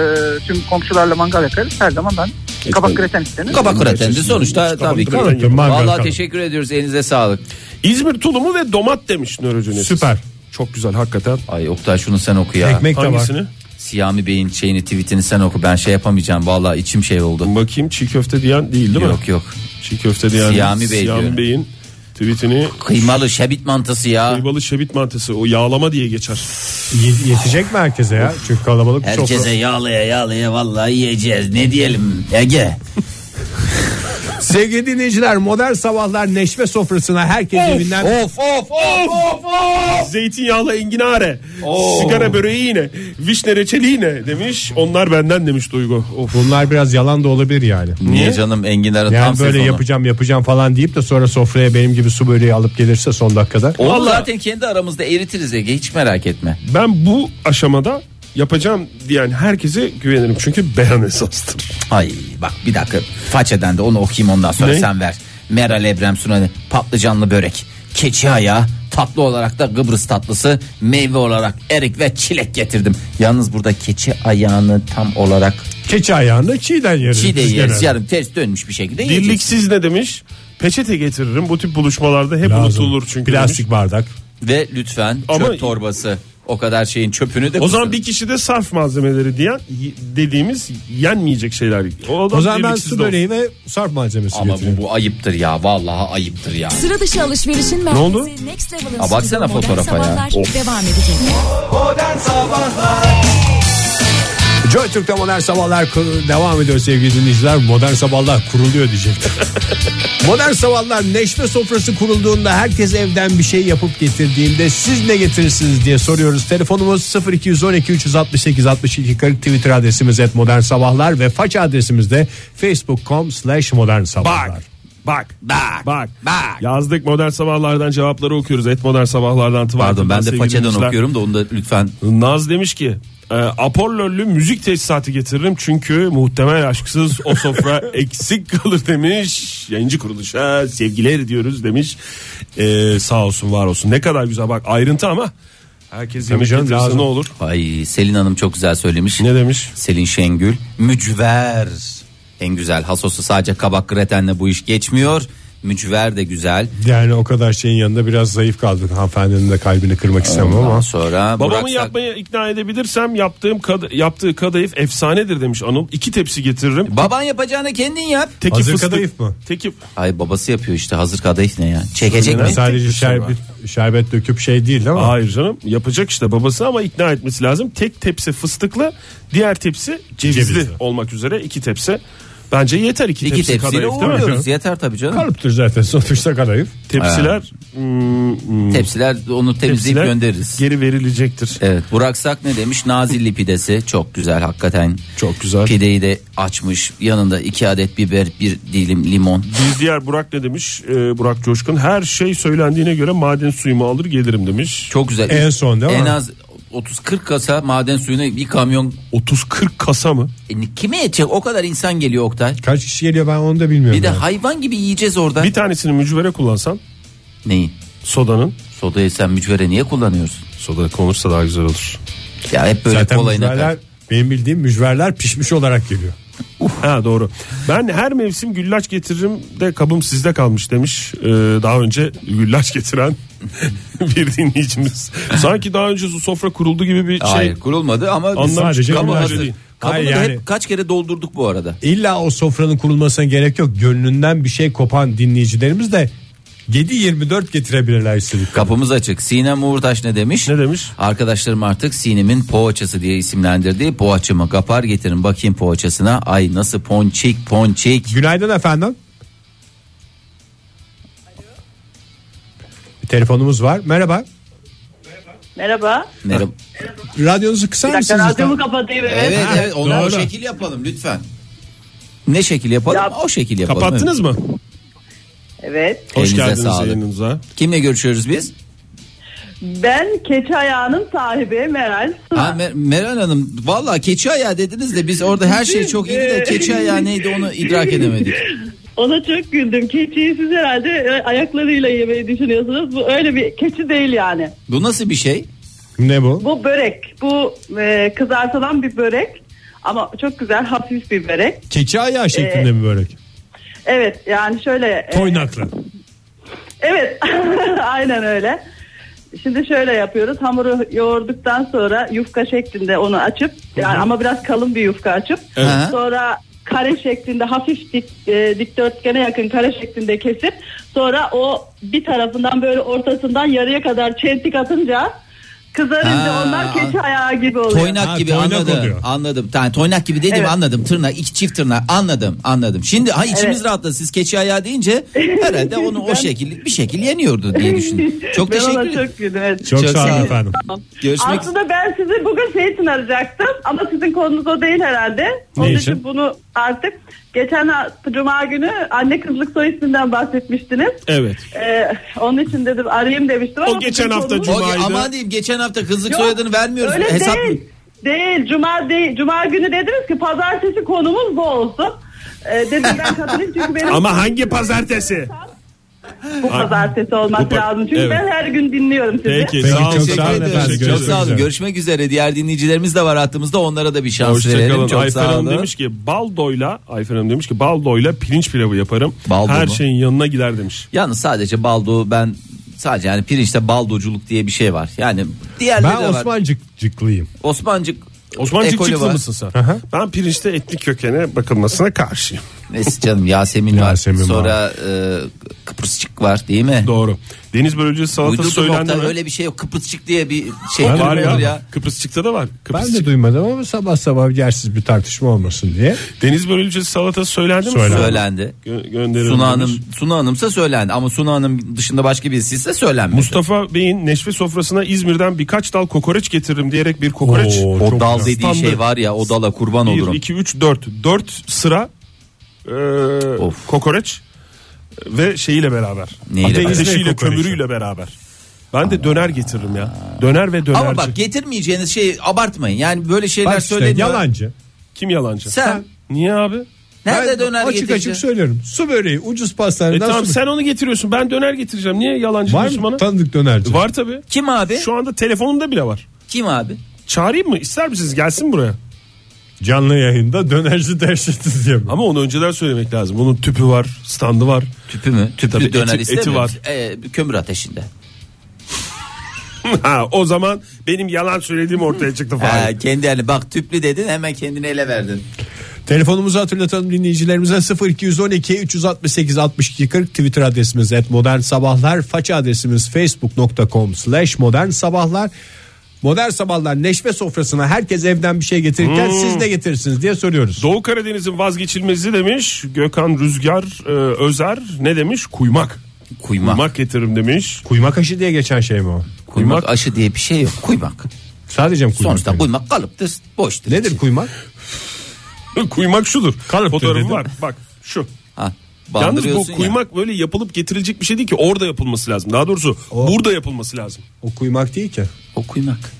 S10: tüm komşularla mangal yakarız. Her zaman ben kabak greten isterim.
S3: E, Kabak graten de sonuçta tabii ki.
S2: graten yapın. Mangal
S3: Vallahi
S2: kabak.
S3: teşekkür ediyoruz elinize sağlık.
S4: İzmir tulumu ve domat demiş nörojenesis.
S2: Süper.
S4: Çok güzel hakikaten.
S3: Ay Oktay şunu sen oku ya.
S2: Ekmek de var.
S4: Hangisini?
S3: Siyami Bey'in şeyini tweetini sen oku ben şey yapamayacağım vallahi içim şey oldu.
S4: Bakayım çiğ köfte diyen değil değil mi?
S3: Yok yok.
S4: Çiğ köfte diyen
S3: Siyami Bey diyorum.
S4: Bey'in tweetini
S3: Kıymalı şebit mantısı ya.
S4: kıymalı şebit mantısı o yağlama diye geçer.
S2: Ye- Yetecek mi herkese ya? Çünkü kalabalık bir sofra.
S3: Herkese yağlaya yağlaya vallahi yiyeceğiz. Ne diyelim Ege?
S2: Sevgili dinleyiciler modern sabahlar neşve sofrasına herkes evinden
S3: Of of of.
S4: Zeytinyağlı enginare. Sigara böreği yine. Vişne reçeli yine demiş. Onlar benden demiş Duygu. Of.
S2: Bunlar biraz yalan da olabilir yani.
S3: Niye canım enginarın
S2: Yani
S3: tam
S2: böyle
S3: sezonu.
S2: yapacağım yapacağım falan deyip de sonra sofraya benim gibi su böreği alıp gelirse son dakikada.
S3: Onu
S4: Vallahi-
S3: zaten kendi aramızda eritiriz Ege hiç merak etme.
S4: Ben bu aşamada yapacağım diyen herkese güvenirim. Çünkü beyan esastır.
S3: Ay bak bir dakika façeden de onu okuyayım ondan sonra
S4: Ne?
S3: sen ver. Meral Ebrem Sunali patlıcanlı börek, keçi ayağı, tatlı olarak da Kıbrıs tatlısı, meyve olarak erik ve çilek getirdim. Yalnız burada keçi ayağını tam olarak
S2: Keçi ayağını çiğden yeriz.
S3: çiğ de
S2: biz
S3: yeriz
S2: genelde.
S3: yarım ters dönmüş bir şekilde yiyeceğiz.
S4: Dirliksiz ne demiş? Peçete getiririm. Bu tip buluşmalarda hep
S2: Lazım.
S4: unutulur çünkü.
S2: Plastik
S4: demiş.
S2: bardak.
S3: Ve lütfen
S4: Ama-
S3: çöp torbası o kadar şeyin çöpünü de
S4: O zaman
S3: kusur-
S4: bir kişi de sarf malzemeleri diyen y- dediğimiz yenmeyecek şeyler. da
S2: O zaman ben
S4: dirliksiz
S2: su
S4: de olsun.
S2: böreği ve sarp malzemesi
S3: ama
S2: getireyim.
S3: bu, bu ayıptır ya vallahi ayıptır ya.
S5: Sıra dışı alışverişin merkezi
S4: oldu?
S5: Next Level'ın
S3: Aa, baksana
S5: sunduğu modern
S3: fotoğrafa ya.
S5: sabahlar
S3: Of.
S5: Devam edecek.
S2: Joy Türk'te modern sabahlar kur- devam ediyor sevgili dinleyiciler. Modern sabahlar
S8: *laughs*
S2: kuruluyor diyecektim. modern sabahlar neşve sofrası kurulduğunda herkes evden bir şey yapıp getirdiğinde siz ne getirirsiniz diye soruyoruz. Telefonumuz 0212 368 62 40 Twitter adresimiz et modern sabahlar ve faç adresimiz de facebook.com slash modern sabahlar.
S4: Bak. Bak. Bak. Bak. Yazdık modern sabahlardan cevapları okuyoruz. Et modern sabahlardan
S3: Pardon ben de
S4: Twitter'dan
S3: façeden
S4: sevgili
S3: okuyorum da onu da lütfen
S4: dinleyiciler. Naz demiş ki Ee, Apollo'lu müzik tesisatı getiririm çünkü muhtemel aşksız
S8: *laughs*
S4: o sofra eksik kalır demiş. Yayıncı kuruluşa sevgiler diyoruz demiş. Ee, sağ olsun var olsun. Ne kadar güzel bak ayrıntı ama herkes yemek
S2: canım,
S4: getirirse
S2: lazım.
S4: ne olur.
S3: Ay Selin Hanım çok güzel söylemiş.
S4: Ne demiş?
S3: Selin Şengül mücver en güzel hasosu sadece kabak gratenle bu iş geçmiyor mücver de güzel
S8: Yani o kadar şeyin yanında biraz zayıf kaldın. Hanımefendinin de kalbini kırmak istemem
S3: Ondan
S8: ama.
S3: sonra
S4: Babamı
S3: Burak Sak-
S4: yapmaya ikna edebilirsem yaptığım kad- yaptığı kadayıf efsanedir demiş Anıl. İki tepsi getiririm.
S3: baban yapacağını kendin yap
S4: Teki
S8: Hazır
S4: fıstık-
S8: kadayıf mı?
S4: Teki
S3: ay babası yapıyor işte hazır kadayıf ne ya çekecek mi
S8: Sadece şerbet, şerbet döküp şey değil ama.
S4: Hayır canım yapacak işte babası ama ikna etmesi lazım. Tek tepsi fıstıklı, diğer tepsi cevizli,
S8: Cevizli.
S4: olmak üzere iki tepsi. Bence yeter iki,
S3: İki
S4: tepsi
S3: tepsiyle
S4: kadayıf değil mi?
S3: uğurluyoruz yeter tabii canım
S8: Kalıptır zaten sonuçta kadayıf.
S4: Tepsiler, hmm, hmm,
S3: tepsiler onu temizleyip
S4: tepsiler
S3: göndeririz
S4: Geri verilecektir.
S3: Evet Burak Sak ne demiş? Nazilli pidesi çok güzel hakikaten.
S4: Çok güzel.
S3: Pideyi de açmış. Yanında iki adet biber, bir dilim limon.
S4: Bir diğer Burak ne demiş? Ee, Burak Coşkun her şey söylendiğine göre maden suyumu alır gelirim demiş.
S3: Çok güzel.
S8: En son değil mi?
S3: En az 30-40 kasa maden suyunu bir kamyon.
S4: 30-40 kasa mı?
S3: E, kime yetecek? O kadar insan geliyor Oktay.
S8: Kaç kişi geliyor ben onu da bilmiyorum.
S3: Bir de *laughs*
S8: yani.
S3: hayvan gibi yiyeceğiz orada.
S4: Bir tanesini mücvere kullansan
S3: Neyi?
S4: sodanın.
S3: Sodayı sen mücvere niye kullanıyorsun?
S4: Soda konursa daha güzel olur.
S3: Ya hep böyle
S8: Zaten
S3: kolayına
S8: mücverler, benim bildiğim mücverler pişmiş olarak geliyor.
S4: Ha doğru. Ben her mevsim güllaç getiririm de kabım sizde kalmış demiş. Ee, daha önce güllaç getiren *laughs* bir dinleyicimiz. Sanki daha önce sofra kuruldu gibi bir şey.
S3: Hayır kurulmadı ama biz
S4: Anlam
S8: sadece
S3: kabı
S8: günlerce
S3: hazır.
S4: değil.
S3: Kabını
S8: Hayır,
S3: da
S8: yani-
S3: hep kaç kere doldurduk bu arada.
S8: İlla o sofranın kurulmasına gerek yok. Gönlünden bir şey kopan dinleyicilerimiz de 7-24 getirebilirler istedik.
S3: Kapımız açık. Sinem Uğurtaş ne demiş?
S4: Ne demiş?
S3: Arkadaşlarım artık Sinem'in poğaçası diye isimlendirdiği poğaçamı kapar getirin bakayım poğaçasına. Ay nasıl ponçik ponçik.
S8: Günaydın efendim. Bir telefonumuz var. Merhaba.
S11: Merhaba.
S3: Merhaba.
S8: Radyonuzu kısar
S11: Bir dakika
S8: mısınız? lütfen?
S11: radyomu kapatayım evet.
S3: Evet evet onu o
S8: doğru.
S3: şekil yapalım lütfen. Ne şekil yapalım?
S11: Ya-
S3: o şekil yapalım.
S4: Kapattınız mı?
S11: Evet.
S4: Hoş
S3: Elinize
S4: geldiniz
S3: sağlık.
S4: yayınımıza.
S3: Evet. Kimle görüşüyoruz biz?
S11: Ben keçi ayağının sahibi Meral. Sıla.
S3: Ha, Mer- Meral Hanım valla keçi ayağı dediniz de biz orada her şey çok iyiydi de keçi ayağı neydi onu idrak edemedik.
S11: Ona çok güldüm. Keçiyi siz herhalde e, ayaklarıyla yemeyi düşünüyorsunuz. Bu öyle bir keçi değil yani.
S3: Bu nasıl bir şey?
S8: Ne bu?
S11: Bu börek. Bu e, kızartılan bir börek. Ama çok güzel hafif bir börek. *laughs*
S8: Keçi ayağı şeklinde
S11: Ee,
S8: mi börek?
S11: Evet yani şöyle. e,
S8: Toynaklı.
S11: Evet aynen öyle. Şimdi şöyle yapıyoruz. Hamuru yoğurduktan sonra yufka şeklinde onu açıp yani ama biraz kalın bir yufka açıp
S3: Evet.
S11: sonra kare şeklinde hafif dik, e, dikdörtgene yakın kare şeklinde kesip sonra o bir tarafından böyle ortasından yarıya kadar çentik atınca kızarınca
S3: Ha.
S11: onlar keçi ayağı gibi oluyor.
S3: Toynak
S8: Ha,
S3: gibi
S8: toynak
S3: anladım.
S8: oluyor.
S3: Anladım. Tamam toynak gibi dedim
S11: Evet.
S3: anladım. Tırnak iki çift tırnak anladım anladım. Şimdi ha içimiz rahatladı siz keçi ayağı deyince herhalde onu
S11: *laughs*
S3: o
S11: Ben-
S3: şekil bir şekil yeniyordu diye düşündüm. Çok
S11: Ben ona
S3: teşekkür ederim.
S11: çok güldüm. Evet.
S8: Çok,
S3: çok
S8: sağ
S3: sağ
S8: olun
S3: olun.
S8: efendim.
S3: Görüşmek
S11: Aslında ben sizi bugün şey için arayacaktım ama sizin konunuz o değil herhalde. Onun
S8: Ne
S11: için?
S8: için?
S11: bunu artık geçen hafta cuma günü anne kızlık soy isminden bahsetmiştiniz.
S4: Evet.
S11: Ee, onun için dedim arayayım demiştim ama
S4: O geçen
S11: sizin
S4: hafta
S11: konunuz-
S4: cuma-
S3: O ge-
S4: Cumaydı.
S3: aman diyeyim geçen hafta kızlık
S11: Yok,
S3: soyadını vermiyoruz.
S11: Öyle
S3: Hesap
S11: değil. Değil cuma değil. Cuma günü dediniz ki pazartesi konumuz bu olsun. Ee, dedim ben katılayım çünkü benim
S4: *laughs* Ama hangi pazartesi?
S11: bu pazartesi olması
S4: Bu pa-
S11: lazım. Çünkü
S4: Evet.
S11: ben her gün dinliyorum sizi.
S4: Peki,
S8: Peki,
S4: sağ olun.
S8: çok
S3: Teşekkür
S8: sağ olun
S3: ederim.
S8: efendim.
S3: Çok
S8: Görüşmek
S3: sağ olun.
S8: üzere.
S3: Görüşmek üzere. Diğer dinleyicilerimiz de var hattımızda. Onlara da bir şans verelim.
S4: Hoşçakalın.
S3: Çok
S4: Ayfer
S3: sağ
S4: Hanım
S3: olun.
S4: demiş ki baldoyla Ayfer Hanım demiş ki baldoyla pirinç pilavı yaparım.
S3: Baldo
S4: Her
S3: mu?
S4: şeyin yanına gider demiş.
S3: Yalnız sadece baldo ben sadece yani pirinçte baldoculuk diye bir şey var. Yani diğerleri
S8: Ben
S3: de var.
S8: Osmancıklıyım.
S3: Osmancık
S4: Osman
S3: ekolü
S4: Cikcikli
S3: var.
S4: mısın sen? Ben pirinçte etnik kökene bakılmasına karşıyım.
S3: Neyse canım Yasemin,
S8: Yasemin
S3: var. Sonra e, Kıbrısçık var değil mi?
S4: Doğru. Deniz börülcesi salatası
S3: Uydurduk
S4: söylendi
S3: nokta
S4: mi?
S3: öyle bir şey yok. Kıbrısçık diye bir şey
S4: Var,
S3: var
S4: ya.
S3: ya. ya.
S4: Kıbrısçık'ta da var.
S8: Ben de
S4: Kıbrısçık.
S8: duymadım ama sabah sabah yersiz bir tartışma olmasın diye.
S4: Deniz börülcesi salatası söylendi mi?
S8: Söylendi.
S3: Söylendi.
S4: Gö- gönderildi
S3: Suna
S4: demiş.
S3: Hanım, Suna Hanım'sa söylendi ama Suna Hanım dışında başka birisi ise söylenmedi.
S4: Mustafa Bey'in neşve sofrasına İzmir'den birkaç dal kokoreç getiririm diyerek bir kokoreç.
S8: Oo,
S3: o
S8: çok
S3: dal
S8: güzel.
S3: dediği şey var ya o dala kurban
S4: 1,
S3: olurum.
S4: 2, 3, 4. 4 sıra e,
S3: Of.
S4: kokoreç ve şeyiyle beraber.
S3: Neyle
S4: Ateşiyle
S8: beraber?
S4: kömürüyle beraber. Ben de döner getiririm ya. Döner ve dönerci.
S3: Ama bak getirmeyeceğiniz şey abartmayın. Yani böyle şeyler
S4: Bak
S3: söyle
S4: işte, yalancı. Kim yalancı?
S3: Sen.
S4: Niye abi?
S3: Nerede döner
S2: açık
S3: getireceksin?
S2: açık söylüyorum. Su böreği ucuz pastaneden
S4: E tamam
S2: su
S4: sen onu getiriyorsun. Ben döner getireceğim. Niye yalancı
S2: Var
S4: diyorsun
S2: mı
S4: bana?
S2: tanıdık dönerci?
S4: Var tabii.
S3: Kim abi?
S4: Şu anda telefonumda bile var.
S3: Kim abi?
S4: Çağırayım mı? İster misiniz? Gelsin buraya.
S2: Canlı yayında dönerci dersiz diye.
S4: Ama onu önceden söylemek lazım. Onun tüpü var, standı var.
S3: Tüpü mü? Tüplü
S4: Tabii
S3: döner
S4: eti, eti var.
S3: istemiyoruz. Ee, kömür ateşinde.
S4: *laughs* ha, o zaman benim yalan söylediğim ortaya çıktı falan.
S3: Ha, kendi yani bak tüplü dedin hemen kendini ele verdin.
S2: *laughs* Telefonumuzu hatırlatalım dinleyicilerimize 0212 368 62 40 Twitter adresimiz et modern sabahlar faça adresimiz facebook.com slash modern sabahlar Modern sabahlar neşve sofrasına herkes evden bir şey getirirken
S4: Hmm.
S2: siz ne getirirsiniz diye soruyoruz.
S4: Doğu Karadeniz'in vazgeçilmezi demiş. Gökhan Rüzgar e, Özer ne demiş? Kuymak.
S3: Kuymak. Kuymak,
S4: Kuymak getiririm demiş. *laughs*
S2: Kuymak aşı diye geçen şey mi o?
S3: aşı diye bir şey yok. Kuymak.
S2: Sadece mi kuymak?
S3: Sonuçta kuymak kalıptır, boştur.
S2: Nedir kuymak?
S4: kuymak şudur.
S2: Kalıptır
S4: Fotoğrafı
S2: dedim.
S4: var. Bak şu.
S3: Ha,
S4: Yalnız bu
S3: bandırıyorsun ya.
S4: kuymak böyle yapılıp getirilecek bir şey değil ki orada yapılması lazım. Daha doğrusu burada yapılması lazım.
S2: O kuymak değil ki.
S3: O kuymak.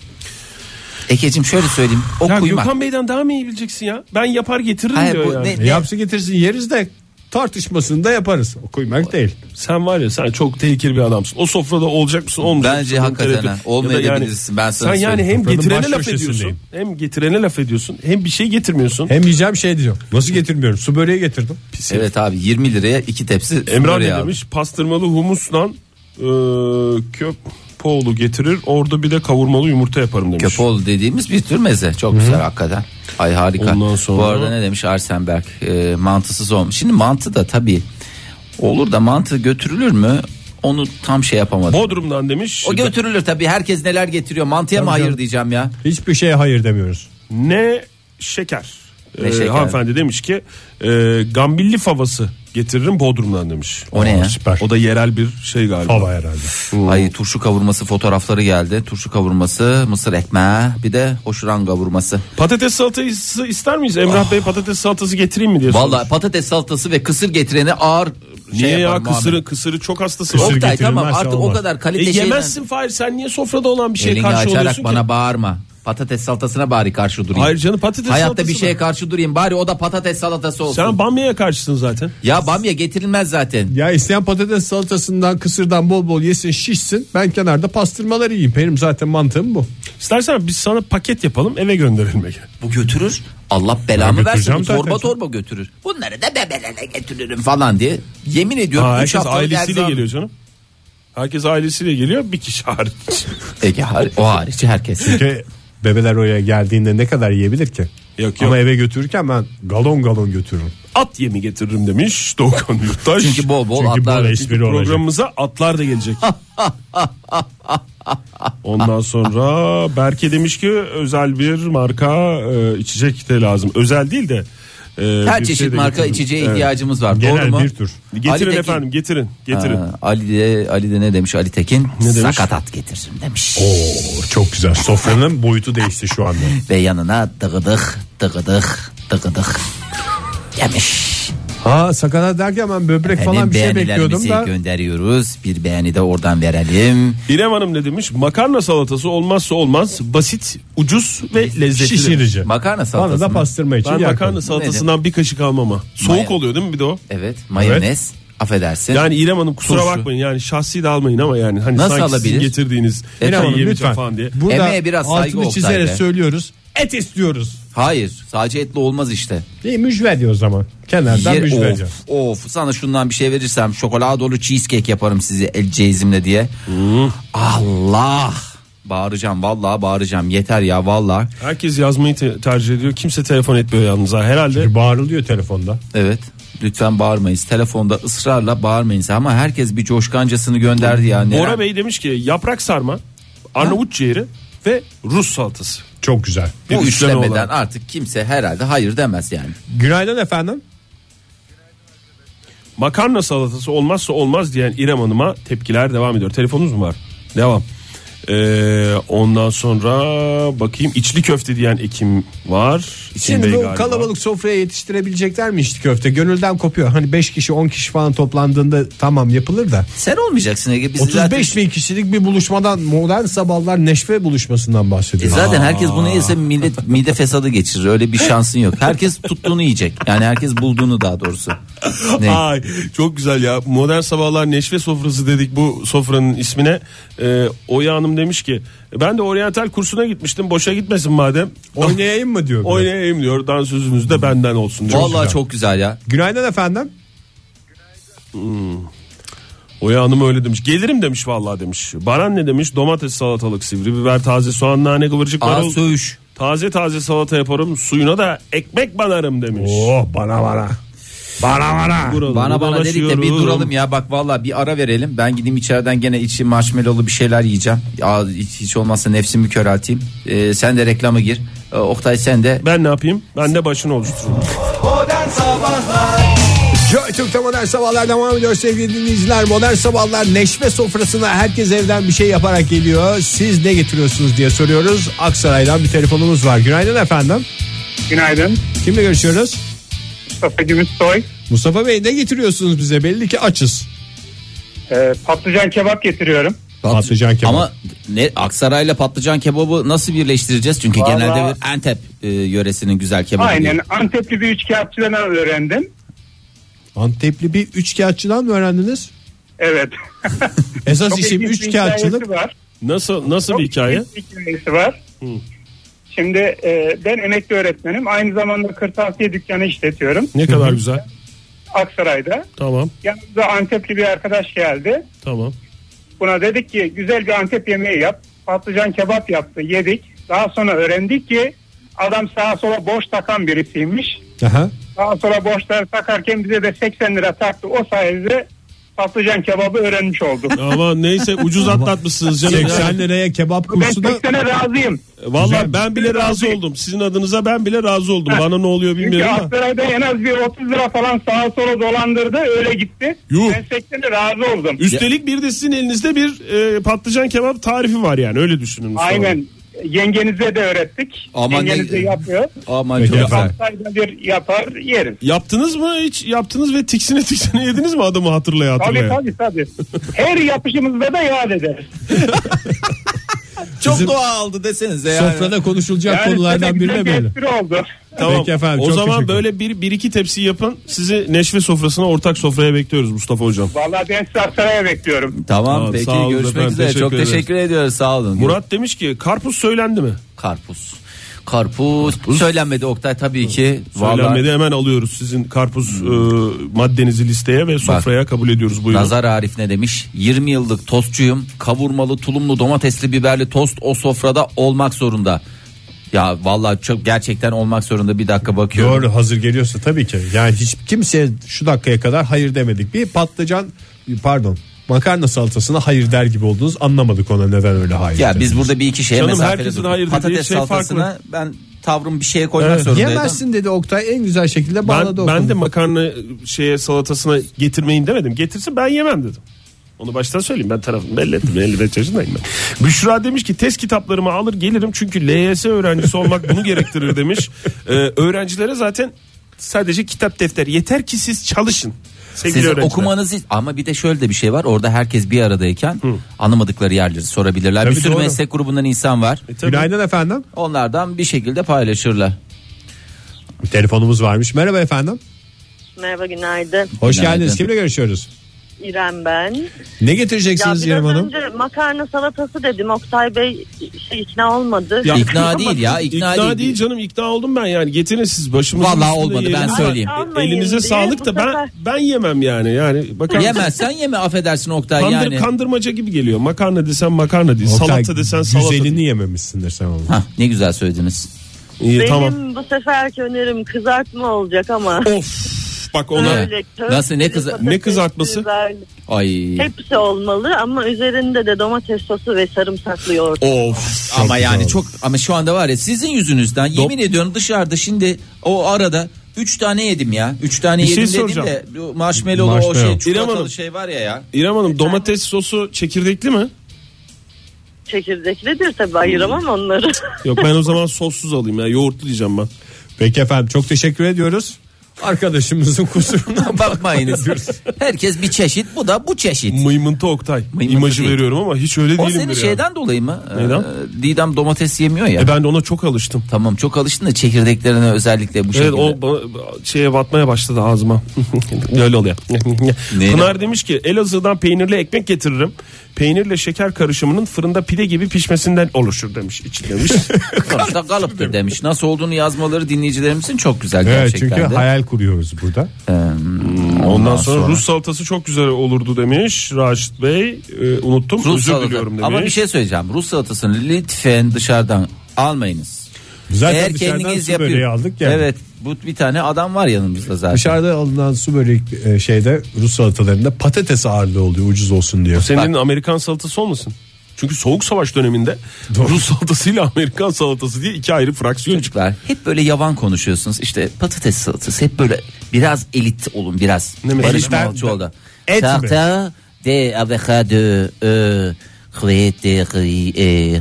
S3: Ekeciğim şöyle söyleyeyim. O
S4: Ya
S3: kuymak.
S4: Gökhan Bey'den daha mı iyi bileceksin ya? Ben yapar getiririm
S3: Hayır,
S4: diyor
S3: bu
S4: yani.
S3: ne-
S2: E, Yapsın getirsin yeriz de tartışmasını da yaparız. O kuymak değil.
S4: Sen var ya sen çok tehlikeli bir adamsın. O sofrada olacak mısın olmayacak
S3: Bence
S4: mısın? Bunun
S3: hakikaten
S4: tereddüt-
S3: ha.
S4: Ya da
S3: Olmayabilirsin, ben sana
S4: Sen yani
S3: söyleyeyim.
S4: hem
S2: Sofranın
S4: getirene
S2: baş
S4: laf ediyorsun.
S2: köşesindeyim.
S4: Hem getirene laf ediyorsun. Hem bir şey getirmiyorsun.
S2: Hem yiyeceğim şey diyor. Nasıl getirmiyorum? Su böreği getirdim.
S3: Evet abi 20 liraya iki tepsi
S4: Emrah
S3: Emre
S4: ne demiş? Pastırmalı humusla e, köpoğlu getirir. Orada bir de kavurmalı yumurta yaparım demiş.
S3: Köpoğlu dediğimiz bir tür meze. Çok güzel hakikaten. Ay harika.
S4: Ondan sonra-
S3: Bu arada ne demiş Arsenberg? E, mantısız olmuş. Şimdi mantı da tabii olur da mantı götürülür mü? Onu tam şey yapamadım.
S4: Bodrum'dan demiş.
S3: o götürülür tabii. Herkes neler getiriyor. Mantıya mı
S2: Tabii
S3: hayır
S2: canım.
S3: diyeceğim ya?
S2: Hiçbir şeye hayır demiyoruz.
S4: Ne şeker.
S3: Ne
S4: Ee,
S3: şeker.
S4: Hanımefendi demiş ki e, gambilli favası getiririm Bodrum'dan demiş.
S3: O ne ya?
S2: Süper.
S4: O da yerel bir şey galiba.
S2: Hava herhalde.
S3: Ay turşu kavurması fotoğrafları geldi. Turşu kavurması, mısır ekmeği, bir de hoşuran kavurması.
S4: Patates salatası ister miyiz? Emrah Bey patates salatası getireyim mi diye sormuş.
S3: Ah. Vallahi patates salatası ve kısır getireni ağır
S4: Niye
S3: şey
S4: ya
S3: yapar
S4: kısırı
S3: muamele.
S4: kısırı çok hastası var.
S3: Oktay tamam
S2: getirilmezse
S3: artık o
S2: olmaz.
S3: kadar
S4: E,
S3: kalite şeyden-
S4: yemezsin Fahir sen niye sofrada olan bir şeye
S3: Elini
S4: karşı
S3: açarak
S4: oluyorsun
S3: bana
S4: ki?
S3: bağırma. Patates salatasına bari karşı durayım.
S4: Hayır canım, patates
S3: Hayatta
S4: salatası
S3: bir şey şeye
S4: mı?
S3: karşı durayım. Bari o da patates salatası olsun.
S4: Sen bamya'ya karşısın zaten.
S3: ya bamya getirilmez zaten.
S2: Ya isteyen patates salatasından kısırdan bol bol yesin şişsin. Ben kenarda pastırmaları yiyeyim. Benim zaten mantığım *laughs* bu.
S4: İstersen biz sana paket yapalım eve gönderelim Ege.
S3: Bu götürür. Allah belamı
S2: Ben
S3: versin. Bu
S2: götüreceğim
S3: torba
S2: zaten.
S3: torba götürür. Bunları da bebelele getiririm falan diye. Yemin ediyorum.
S4: Aa,
S3: üç
S4: herkes
S3: haftalık
S4: ailesiyle
S3: erzağım-
S4: geliyor canım. Herkes ailesiyle geliyor bir kişi hariç.
S3: Ege hari- o hariç herkes.
S2: Çünkü bebeler oraya geldiğinde ne kadar yiyebilir ki?
S4: Yok,
S2: Ama
S4: yok.
S2: eve götürürken ben galon galon götürürüm.
S4: At yemi getiririm demiş Doğukan Yurttaş.
S3: Çünkü bol bol
S2: Çünkü
S3: atlar.
S2: bol espri olacak.
S4: Programımıza atlar da gelecek. Ondan sonra Berke demiş ki özel bir marka e, içecek de lazım. Özel değil de e,
S3: Her
S4: bir
S3: çeşit
S4: şey de
S3: marka
S4: getirin.
S3: içeceğe
S4: Evet.
S3: ihtiyacımız var.
S2: Genel
S3: Doğru mu?
S2: bir tür.
S4: Getirin
S3: Ali Tekin-
S4: efendim getirin getirin.
S3: Ha, Ali de, Ali de ne demiş Ali Tekin?
S4: demiş?
S3: Sakatat getiririm demiş.
S2: Oo, çok güzel. Sofranın boyutu değişti şu anda.
S3: Ve yanına dıgıdık dıgıdık dıgıdık demiş.
S2: Ha sakata derken ben böbrek falan
S3: Efendim
S2: bir şey
S3: beğenilerimizi
S2: bekliyordum da.
S3: gönderiyoruz. Bir beğeni de oradan verelim.
S4: İrem Hanım ne demiş? Makarna salatası olmazsa olmaz. Basit, ucuz ve lezzetli.
S2: Şişirici.
S3: Makarna
S2: Bana
S3: salatası
S2: şey da
S3: mı?
S2: pastırma için
S4: Ben
S2: yer
S4: makarna
S2: koydum.
S4: salatasından bir kaşık almam ha. Soğuk
S3: Maya.
S4: oluyor değil mi bir de o?
S3: Evet mayonez affedersin.
S4: Yani İrem Hanım kusura
S3: Turşu.
S4: bakmayın yani şahsi de almayın ama yani hani
S3: Nasıl
S4: sanki sizin
S3: alabilir?
S4: getirdiğiniz
S3: E,
S4: İrem
S3: tamam,
S4: Hanım
S2: Lütfen.
S4: lütfen falan diye.
S2: Burada
S3: Emeğe biraz saygı
S2: altını
S3: Oktay
S2: çizerek
S3: Bey.
S2: söylüyoruz. Et istiyoruz.
S3: Hayır sadece etli olmaz işte.
S2: Değil mücver diyor o zaman. Kenardan
S3: Yer-
S2: mücver diyor.
S3: of, of sana şundan bir şey verirsem şokolada dolu cheesecake yaparım sizi el ceyzimle diye. Allah bağıracağım vallahi bağıracağım yeter ya vallahi.
S4: Herkes yazmayı te- tercih ediyor. Kimse telefon etmiyor yalnız ha. Herhalde
S2: Bir bağırılıyor telefonda.
S3: Evet. Lütfen bağırmayız. Telefonda ısrarla bağırmayınız ama herkes bir coşkancasını gönderdi ya. Neler-
S4: Bora Bey demiş ki yaprak sarma, Arnavut ciğeri ve Rus salatası.
S2: Çok güzel.
S4: bir
S3: bu
S4: üçleme
S3: üçlemeden
S4: olarak.
S3: artık kimse herhalde hayır demez yani.
S2: Günaydın efendim.
S4: Makarna salatası olmazsa olmaz diyen İrem Hanım'a tepkiler devam ediyor. Telefonunuz mu var? Devam. Ee, ondan sonra bakayım içli köfte diyen Ekim var. Ekim
S2: Şimdi
S4: Bey
S2: bu
S4: galiba.
S2: kalabalık sofraya yetiştirebilecekler mi içli köfte? Gönülden kopuyor. Hani 5 kişi 10 kişi falan toplandığında tamam yapılır da.
S3: Sen olmayacaksın Ege. Biz
S2: 35
S3: zaten-
S2: bin kişilik bir buluşmadan modern sabahlar neşve buluşmasından
S3: E
S2: bahsediyoruz.
S3: zaten herkes bunu yese millet mide fesadı geçirir. Öyle bir şansın yok. Herkes tuttuğunu yiyecek. Yani herkes bulduğunu daha doğrusu. Ne?
S4: Ay çok güzel ya. Modern sabahlar neşve sofrası dedik bu sofranın ismine. Ee, Oya Hanım demiş ki ben de oryantal kursuna gitmiştim. Boşa gitmesin madem.
S2: Oynayayım mı diyor.
S4: Oynayayım diyor. Dansözünüz de benden olsun diyor.
S3: Vallahi çok güzel ya.
S2: Günaydın efendim.
S4: Oya Hanım öyle demiş. Gelirim demiş vallahi demiş. Baran ne demiş? Domates, salatalık, sivri biber, taze soğan, nane, kıvırcık,
S3: Aa,
S4: marul.
S3: söğüş.
S4: Taze taze salata yaparım. Suyuna da ekmek banarım demiş.
S2: Oh bana bana. Bana bana.
S4: Duralım,
S3: Bana bana dedik de bir
S4: dolaşıyorum.
S3: duralım ya bak vallahi bir ara verelim. Ben gideyim içeriden gene içi marshmallowlu bir şeyler yiyeceğim. Ya hiç, hiç olmazsa nefsimi körelteyim. Ee, sen de reklama gir. Ee, Oktay sen de.
S4: Ben ne yapayım? Ben de başını oluştururum.
S2: Joy Türk'te modern sabahlar devam ediyor sevgili dinleyiciler. Modern sabahlar neşve sofrasına herkes evden bir şey yaparak geliyor. Siz ne getiriyorsunuz diye soruyoruz. Aksaray'dan bir telefonumuz var. Günaydın efendim.
S12: Günaydın.
S2: Kimle görüşüyoruz?
S12: Mustafa Gümüşsoy.
S2: Mustafa Bey ne getiriyorsunuz bize? Belli ki açız.
S12: Ee, patlıcan kebap getiriyorum.
S2: Patlıcan kebap.
S3: Ama ne Aksaray'la patlıcan kebabı nasıl birleştireceğiz? Çünkü
S12: Vallahi-
S3: genelde bir Antep e, yöresinin güzel kebabı.
S12: Aynen.
S3: diyor.
S12: Antepli bir üçkağıtçıdan öğrendim.
S2: Antepli bir üçkağıtçıdan mı öğrendiniz?
S12: Evet.
S2: Esas
S12: Çok
S2: işim
S12: ilginç bir şey
S2: üçkağıtçılık.
S12: hikayesi var.
S4: Nasıl nasıl
S12: Çok
S4: bir hikaye?
S12: ilginç bir hikayesi var. Şimdi e, ben emekli öğretmenim. Aynı zamanda kırtasiye dükkanı işletiyorum.
S4: Ne kadar güzel.
S12: Aksaray'da.
S4: Tamam.
S12: Yanımıza Antepli bir arkadaş geldi.
S4: Tamam.
S12: Buna dedik ki güzel bir Antep yemeği yap. Patlıcan kebap yaptı. Yedik. Daha sonra öğrendik ki adam sağa sola boş takan birisiymiş.
S2: Aha.
S12: Daha sonra borçları takarken bize de 80 lira taktı. O sayede patlıcan kebabı
S4: *laughs*
S12: öğrenmiş olduk.
S4: Ama neyse ucuz atlatmışsınız canım.
S2: 80 liraya kebap
S12: ben
S2: kursuna
S12: 80'e razıyım.
S4: Valla ben bile razı oldum. Sizin adınıza ben bile razı oldum. Bana ne oluyor
S12: Çünkü
S4: bilmiyorum ama.
S12: Aksaray'da en az bir 30 lira falan sağa sola dolandırdı. Öyle gitti.
S4: Yuh.
S12: Ben 80'e razı oldum.
S4: Üstelik bir de sizin elinizde bir e, patlıcan kebap tarifi var yani öyle düşünün. Mustafa Bey.
S12: Aynen. Yengenize de öğrettik.
S3: Aman ne-
S12: Yengeniz de yapıyor.
S3: *laughs* Aman
S2: Peki
S3: çok güzel.
S2: efendim.
S12: Aksaray'da bir yapar yeriz.
S4: Yaptınız mı hiç yaptınız ve tiksine tiksine *laughs* yediniz mi adımı hatırlaya
S12: Tabii
S4: hatırlaya.
S12: tabii tabii. Her yapışımızda da yad ederiz.
S3: Çok
S2: Bizim-
S3: dua aldı desenize yani.
S2: sofrada konuşulacak
S12: Yani size
S2: konulardan
S12: güzel
S2: birine
S12: bir
S2: böyle.
S12: espri oldu.
S4: Tamam.
S2: Peki efendim,
S4: o
S2: çok
S4: zaman
S2: teşekkür
S4: böyle bir, bir iki tepsi yapın. Sizi neşve sofrasına ortak sofraya bekliyoruz Mustafa Hocam.
S12: Vallahi ben sizi Aksaray'a bekliyorum.
S3: Tamam,
S4: Tamam,
S3: peki
S4: sağ olun
S3: görüşmek
S4: efendim,
S3: üzere.
S4: teşekkür
S3: çok
S4: ederiz.
S3: teşekkür ediyoruz sağ olun.
S4: Murat demiş ki karpuz söylendi mi?
S3: Karpuz. Karpuz. Söylenmedi Oktay tabii ki. Vallahi
S4: Söylenmedi hemen alıyoruz sizin karpuz e, maddenizi listeye ve sofraya kabul ediyoruz buyurun.
S3: Nazar Arif ne demiş? 20 yıllık tostçuyum. Kavurmalı, tulumlu, domatesli, biberli tost o sofrada olmak zorunda. Ya vallahi çok gerçekten olmak zorunda. Bir dakika bakıyorum.
S2: Doğru hazır geliyorsa tabii ki. Yani hiç kimseye şu dakikaya kadar hayır demedik. Bir patlıcan pardon makarna salatasına hayır der gibi oldunuz. Anlamadık ona neden öyle hayır.
S3: Ya
S2: dediniz.
S3: biz burada bir iki şeye
S4: Canım,
S3: mesafeli
S4: herkesin
S3: durduk.
S4: hayır dediği
S3: Patates
S4: şey
S3: salatasına ben tavrım bir şeye koymak
S4: Evet.
S3: zorundaydım.
S2: Yemezsin dedi Oktay en güzel şekilde
S4: Ben,
S2: bağladı o
S4: ben de
S2: konuyu.
S4: makarna e, şeye salatasına getirmeyin demedim. Getirsin ben yemem dedim. Onu baştan söyleyeyim ben tarafımı belli ettim. 55 yaşındayım ben. Büşra demiş ki test kitaplarımı alır gelirim çünkü LYS öğrencisi olmak bunu gerektirir demiş. Ee, öğrencilere zaten sadece kitap defteri yeter ki siz çalışın. Sevgili
S3: Sizin
S4: öğrenciler.
S3: okumanızı ama bir de şöyle de bir şey var. Orada herkes bir aradayken anlamadıkları yerleri sorabilirler. bir
S2: Tabii
S3: sürü
S2: doğru.
S3: meslek grubundan insan var.
S4: E, tabii.
S2: Günaydın efendim.
S3: Onlardan bir şekilde paylaşırlar.
S2: Bir telefonumuz varmış. Merhaba efendim.
S13: Merhaba günaydın.
S2: Hoş
S3: Günaydın.
S2: geldiniz. Kimle görüşüyoruz?
S13: *laughs* İrem ben.
S2: Ne
S13: Ya
S2: getireceksiniz
S13: biraz
S2: İrem Hanım?
S13: önce makarna salatası dedim. Oktay Bey şey, ikna olmadı.
S4: Ya-
S3: İkna değil ya ikna,
S4: İkna
S3: değil.
S4: değil canım ikna oldum ben yani getirin siz başımızın
S3: Vallahi
S4: üstünde
S3: olmadı, ben
S4: yiyelim.
S3: söyleyeyim.
S4: E, Elinize
S13: Almayın
S4: sağlık da
S13: diye bu
S4: ben
S13: sefer-
S4: ben yemem yani yani bakar mısın?
S3: Yemezsen yeme affedersin Oktay
S4: Kandır,
S3: yani.
S4: kandırmaca gibi geliyor. Makarna desen makarna değil.
S2: Oktay,
S4: salata desen salata.
S2: Güzelini
S4: değil.
S2: yememişsindir sen onu.
S3: Hah, ne güzel söylediniz.
S4: İyi
S13: Benim
S4: tamam.
S13: bu seferki önerim kızartma olacak ama.
S4: Of bak ona
S3: Evet. Nasıl, ne kıza-
S13: patates,
S4: ne kızartması?
S13: biberli.
S3: Ay.
S13: Hepsi olmalı ama üzerinde de domates sosu ve sarımsaklı yoğurt.
S3: Of ama yani çok ama şu anda var ya sizin yüzünüzden yemin ediyorum dışarıda şimdi o arada 3 tane yedim ya. 3 tane
S4: Bir şey
S3: yedim dedim
S4: soracağım.
S3: de bu marshmallow'lu o
S2: Marshmallow.
S3: şey
S4: İrem Hanım.
S3: çikolatalı şey var ya ya.
S4: İrem Hanım domates sosu çekirdekli mi?
S14: çekirdeklidir tabii
S4: Hmm.
S14: ayıramam onları.
S4: Yok ben o zaman sossuz alayım ya yoğurtlu diyeceğim ben.
S8: Peki efendim çok teşekkür ediyoruz. Arkadaşımızın
S2: *laughs*
S8: kusuruna
S3: *laughs* bakmayınız. Herkes bir çeşit bu da bu çeşit.
S4: Mıymıntı Oktay imajı veriyorum ama hiç öyle
S3: o
S4: değilim.
S3: senin şeyden dolayı mı?
S4: Neden?
S3: Ee, Didem domates yemiyor ya.
S4: E ben de ona çok alıştım.
S3: Tamam çok alıştın da çekirdeklerine özellikle bu
S4: Evet
S3: şekilde. *laughs*
S4: o ba- şeye batmaya başladı ağzıma. *laughs* Öyle oluyor.
S3: Neyle?
S4: Pınar demiş ki Elazığ'dan peynirli ekmek getiririm. Peynirle şeker karışımının fırında pide gibi pişmesinden oluşur demiş. İçi demiş.
S3: Sonuçta kalıptır demiş. Nasıl olduğunu yazmaları dinleyicilerimizin çok güzel
S2: Evet
S3: gerçekten
S2: çünkü
S3: de.
S2: hayal kuruyoruz burada.
S4: Ondan, sonra, Rus salatası çok güzel olurdu demiş Raşit Bey. Ee, unuttum
S3: Rus
S4: özür
S3: salatası.
S4: diliyorum demiş.
S3: Ama bir şey söyleyeceğim. Rus salatasını lütfen dışarıdan almayınız.
S8: Zaten dışarıdan su böreği aldık ya.
S3: Evet. Bu bir tane adam var yanımızda zaten.
S8: Dışarıda alınan su börek e, şeyde Rus salatalarında patates ağırlığı oluyor ucuz olsun diyor.
S4: Senin Amerikan salatası olmasın? Çünkü soğuk savaş döneminde Rus salatasıyla Amerikan salatası diye iki ayrı fraksiyon
S3: çıktılar. Hep böyle yavan konuşuyorsunuz. İşte patates salatası hep böyle biraz elit olun biraz.
S6: Ne mesela?
S3: Barış
S6: Elitten-
S3: Mançoğlu'da.
S6: Et mi?
S3: Tahta de avokado e, kuvveti, e.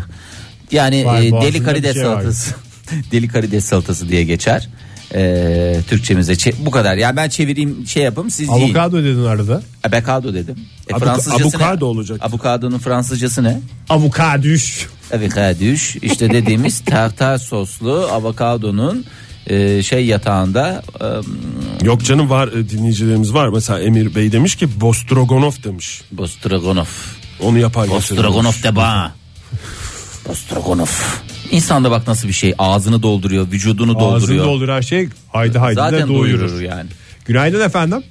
S3: Yani
S6: Vay,
S3: e,
S6: boğazında
S3: deli karides
S6: bir şey var.
S3: salatası. *laughs* deli karides salatası diye geçer. E, Türkçemize çe- bu kadar. Yani ben çevireyim şey yapayım siz yiyin.
S8: Avokado dedin arada.
S3: Avokado dedim. E,
S8: Avuk-
S3: Fransızcası ne?
S8: avokado olacak.
S3: Avokado'nun Fransızcası ne?
S8: Avukadüş.
S3: Avokadüş. İşte dediğimiz tartar soslu avokadonun e, şey yatağında
S4: Yok canım var e, dinleyicilerimiz var. Mesela Emir Bey demiş ki Bostrogonov demiş.
S3: Bostrogonov.
S4: Onu yapar.
S3: Bostrogonov
S4: getirir.
S3: de ba. Bostrogonov. İnsan da bak nasıl bir şey ağzını dolduruyor, vücudunu
S8: Ağzını
S3: dolduruyor.
S8: dolduran şey haydi haydi de
S3: Zaten
S8: doyurur.
S3: doyurur yani.
S8: Günaydın efendim.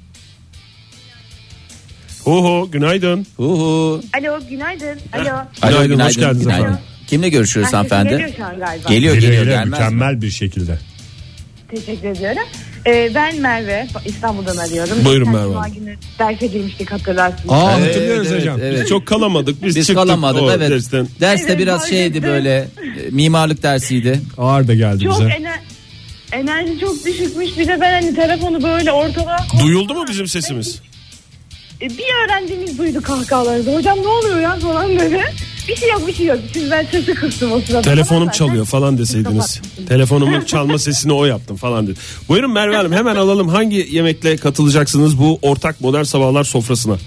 S4: Oho günaydın.
S3: Oho.
S13: Alo günaydın. Alo.
S3: Alo,
S8: Günaydın, hoş geldiniz efendim.
S3: Kimle görüşüyoruz
S13: Herkes
S3: hanımefendi?
S13: geliyor şu an galiba.
S3: Geliyor geliyor, gelmez mi?
S8: mükemmel bir şekilde.
S13: Teşekkür ediyorum. Ee, ben Merve. İstanbul'dan arıyorum.
S4: Buyurun
S13: Geçen
S4: Merve
S13: Cuma
S4: Hanım.
S13: günü derse girmiştik hatırlarsınız.
S4: Aa, Evet, hatırlıyoruz evet, hocam. evet. Biz çok kalamadık, biz çıktık
S3: kalamadık
S4: o
S3: evet.
S4: dersten.
S3: Derste
S13: Evet,
S3: biraz
S13: fark
S3: şeydi
S13: ettim.
S3: böyle e, mimarlık dersiydi.
S8: Ağır da geldi
S13: Çok *laughs* ener- enerji çok düşükmüş. Bir de ben hani telefonu böyle ortalığa koydum.
S4: Duyuldu mu bizim sesimiz?
S13: Ee, bir öğrencimiz duydu kahkahalarını. Hocam ne oluyor ya falan böyle. Bir şey yok bir şey yok. Siz ben sesi kıstım o sırada.
S4: Telefonum
S13: Tamam, ben- şey
S4: çalıyor falan deseydiniz. Telefonumun çalma sesini o yaptım falan dedi. Buyurun Merve
S13: *laughs*
S4: Hanım hemen alalım hangi yemekle katılacaksınız bu ortak modern sabahlar sofrasına?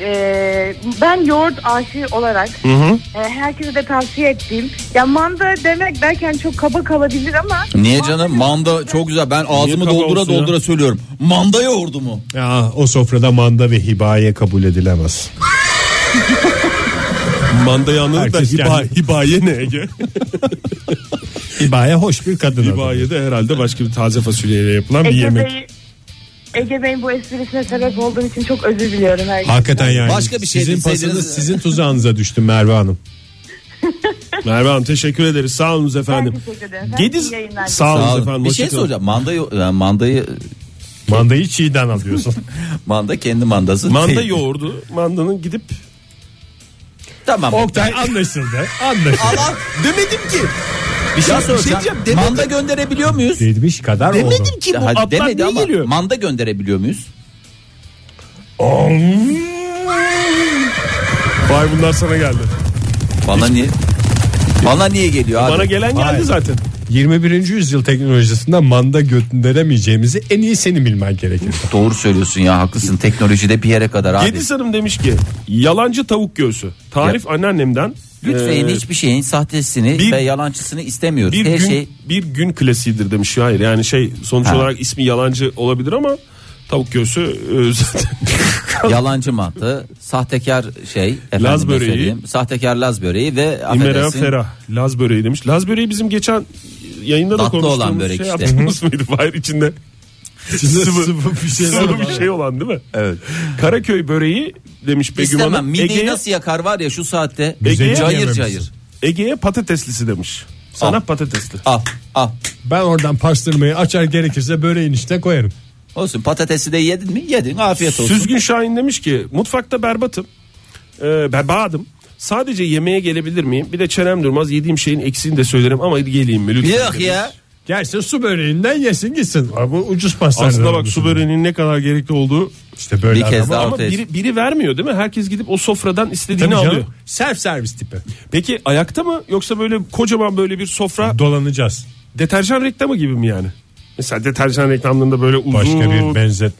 S13: Ee, ben yoğurt aşığı olarak
S4: Hı hı.
S13: e, herkese de tavsiye ettiğim ya manda demek derken çok kaba kalabilir ama
S3: Niye canım? Manda çok güzel. Ben ağzımı
S8: kaba
S3: doldura
S8: olsun ya?
S3: doldura söylüyorum. Manda yoğurdu mu?
S8: Ya, o sofrada manda ve hibaye kabul edilemez.
S4: Mandayı anladık da
S8: Herkes
S4: hiba,
S8: kendi-
S4: hibaye ne Ege?
S8: hibaye hoş bir kadın.
S4: Hibaye de herhalde başka bir taze fasulyeyle yapılan bir
S13: Ege
S4: yemek.
S13: Bey Ege Bey'in bu esprisine sebep olduğum için çok özür diliyorum herkese.
S8: Hakikaten yani.
S13: Başka bir şey
S8: sizin
S13: deseydiniz-
S8: pasınız sizin tuzağınıza düştü Merve Hanım.
S4: Merve Hanım teşekkür ederiz. Sağ olunuz efendim. Gediz- Sağ olun efendim,
S3: Bir
S4: hoşça
S3: şey
S4: kalın.
S3: soracağım. Manda yo- yani mandayı
S8: mandayı çiğden alıyorsun.
S3: manda kendi mandası.
S4: *laughs* Manda
S3: değil.
S4: yoğurdu. Mandanın gidip
S3: Tamam.
S8: Oktay anlaşıldı. Anlaşıldı.
S3: Allah demedim ki. Bir şey
S8: Ya, bir şey
S3: soracağım.
S8: diyeceğim, demedim.
S3: Manda gönderebiliyor muyuz?
S8: Demiş kadar oldu.
S3: Demedim ki bu
S8: Daha
S3: atlar demedi
S8: demedi
S3: ama manda gönderebiliyor muyuz?
S4: Vay bunlar sana geldi.
S3: Bana niye? Bana niye geliyor abi?
S4: Bana gelen geldi zaten.
S8: 21. yüzyıl teknolojisinde manda gönderemeyeceğimizi en iyi senin bilmen gerekir.
S3: Doğru söylüyorsun ya haklısın. Teknolojide bir yere kadar abi.
S4: Gediz Hanım demiş ki yalancı tavuk göğsü. Tarif anneannemden.
S3: Lütfen
S4: Ee,
S3: hiçbir şeyin sahtesini ve yalancısını istemiyoruz.
S4: bir
S3: Her
S4: gün,
S3: şey
S4: bir gün klasiğidir demiş. Hayır yani şey sonuç
S3: Ha.
S4: olarak ismi yalancı olabilir ama tavuk göğsü e, zaten
S8: *laughs*
S3: Yalancı mantı, sahtekar şey, efendime
S4: Laz böreği.
S3: söyleyeyim, sahtekar laz böreği ve
S4: İmeren
S3: affedersin,
S4: Ferah. Laz böreği demiş. Laz böreği bizim geçen yayında da
S3: Tatlı
S4: konuştuğumuz
S3: olan börek
S4: şey
S3: işte.
S4: yaptığımız mıydı? Hayır içinde sıvı, sıvı bir şey,
S3: olan.
S4: olan değil mi? Evet. Karaköy böreği demiş Begüm
S3: İstemem.
S4: Hanım.
S3: Mideyi
S4: Ege'ye-
S3: nasıl yakar var ya şu saatte.
S4: Ege'ye
S3: cayır cayır.
S4: Ege'ye patateslisi demiş. Sana
S3: Al.
S4: patatesli.
S3: Al al.
S8: Ben oradan pastırmayı açar gerekirse böreğin içine koyarım.
S3: Olsun patatesi de yedin mi? Yedin. Afiyet olsun.
S4: Süzgün Şahin demiş ki mutfakta berbatım. Ee, berbadım. Sadece yemeğe gelebilir miyim? Bir de çenem durmaz. Yediğim şeyin eksiğini de söylerim ama geleyim mi lütfen?
S3: Yok ya.
S2: Gelsin su böreğinden yesin gitsin. Abi ucuz pastanede.
S4: Aslında bak su böreğinin ne kadar gerekli olduğu
S2: işte böyle
S4: ama-
S2: adam-
S4: ama biri, biri vermiyor değil mi? Herkes gidip o sofradan istediğini
S2: Tabii canım.
S4: alıyor.
S2: Self servis tipi.
S4: Peki ayakta mı yoksa böyle kocaman böyle bir sofra
S2: dolanacağız.
S4: Deterjan reklamı gibi mi yani? Mesela deterjan reklamlarında böyle uzun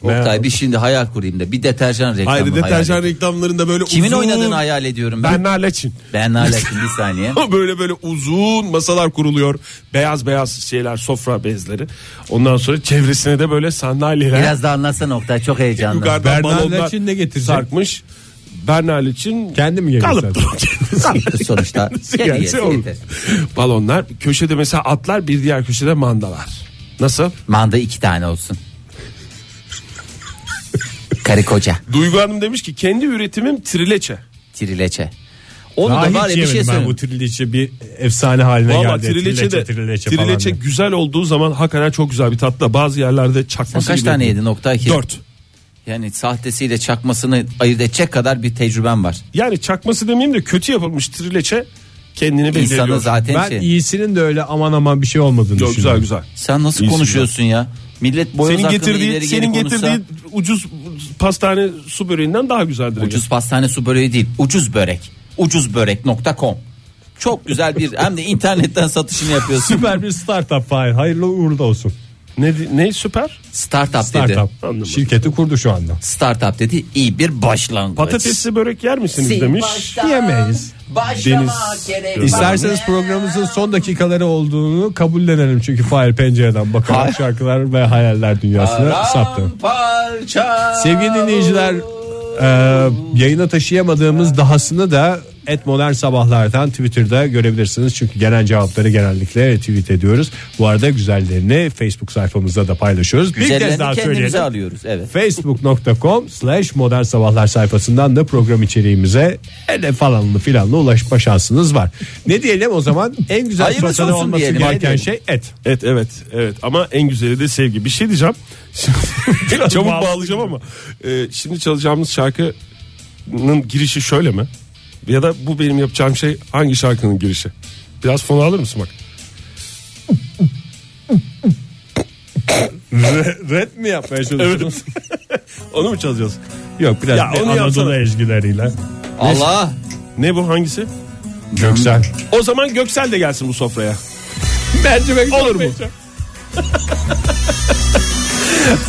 S3: Oktay bir şimdi hayal kurayım da bir deterjan reklamı
S4: Hayır,
S3: hayal
S4: deterjan
S3: edeyim.
S4: reklamlarında böyle
S3: Kimin
S4: uzun-
S3: oynadığını hayal ediyorum ben.
S4: Berna Leçin.
S3: Berna Leçin, bir saniye.
S4: *laughs* böyle böyle uzun masalar kuruluyor. Beyaz beyaz şeyler sofra bezleri. Ondan sonra çevresine de böyle sandalyeler.
S3: Biraz da anlatsana Oktay çok heyecanlı.
S4: Yukarıdan balonlar sarkmış. Bernal için
S2: kendi mi
S4: Kalıp *laughs*
S3: sonuçta.
S4: Kendi yese yeter. Balonlar köşede mesela atlar bir diğer köşede mandalar. Nasıl?
S3: Manda iki tane olsun. Karı koca.
S4: Duygu Hanım demiş ki kendi üretimim trileçe.
S3: Trileçe. Onu
S2: Daha
S3: da var
S2: hiç
S3: ya bir şey
S2: yemedim ben
S3: söyleyeyim.
S2: bu trileçe bir efsane haline
S4: Valla
S2: geldi.
S4: trileçe de
S2: trileçe
S4: trileçe,
S2: falan diye.
S4: güzel olduğu zaman hakikaten çok güzel bir tatlı. Bazı yerlerde çakması
S3: Sen kaç
S4: gibi
S3: tane
S4: yapıyor.
S3: yedin Oktay ki?
S4: Dört.
S3: Yani sahtesiyle çakmasını ayırt edecek kadar bir tecrüben var.
S4: Yani çakması demeyeyim de kötü yapılmış trileçe kendini belirliyor.
S3: İnsanı zaten
S2: Ben
S3: şey.
S2: iyisinin de öyle aman aman bir şey olmadığını
S4: Yok,
S2: düşünüyorum.
S4: güzel, güzel.
S3: Sen nasıl
S2: İyisi
S3: konuşuyorsun ya? Millet boyoz
S4: senin
S3: hakkında
S4: getirdiği
S3: ileri
S4: senin
S3: geri konuşsa-
S4: getirdiği ucuz pastane su böreğinden daha güzeldir.
S3: Ucuz pastane su böreği değil. Ucuz börek. Ucuzbörek.com. Çok güzel bir hem de internetten satışını yapıyorsun.
S2: Süper bir startup Fahir. Hayırlı uğurlu olsun.
S4: Ne, ne süper?
S3: Startup, dedi.
S2: Startup. Şirketi kurdu şu anda.
S3: Startup dedi. iyi bir başlangıç.
S4: Patatesli börek yer misiniz
S3: Sil
S4: demiş.
S3: baştan
S2: Yemeyiz.
S3: Başlama gerek var.
S2: İsterseniz programımızın son dakikaları olduğunu kabullenelim. Çünkü Fahir pencereden bakan şarkılar ve hayaller dünyasına saptı.
S3: Parça.
S2: Sevgili dinleyiciler e, yayına taşıyamadığımız dahasını da et modern sabahlardan Twitter'da görebilirsiniz. Çünkü gelen cevapları genellikle tweet ediyoruz. Bu arada güzellerini Facebook sayfamızda da paylaşıyoruz. Bir kez
S3: Güzellerini
S2: daha
S3: kendimize
S2: söyleyelim.
S3: alıyoruz. Evet.
S2: Facebook.com slash modern sabahlar sayfasından da program içeriğimize ele falanlı filanla ulaşma şansınız var. Ne diyelim o zaman en güzel
S4: Hayırlısı
S2: sofrada
S4: olsun
S2: olması
S4: diyelim,
S2: gereken
S4: hadi.
S2: şey et.
S4: Evet evet evet ama en güzeli de sevgi. Bir şey diyeceğim. Şimdi, *laughs* çabuk bağlayacağım ama e, şimdi çalacağımız şarkının girişi şöyle mi? Ya da bu benim yapacağım şey hangi şarkının girişi? Biraz fonu alır mısın bak?
S2: Red mi yapmaya
S4: çalışıyorsunuz? *laughs* onu mu çalacağız?
S2: Yok biraz
S4: Ya
S2: bir
S4: onu
S2: Anadolu
S4: yapsana.
S2: ezgileriyle.
S3: Allah.
S4: Ne bu hangisi?
S2: Göksel.
S4: O zaman Göksel de gelsin bu sofraya.
S2: Bence
S4: Olur mu? *laughs*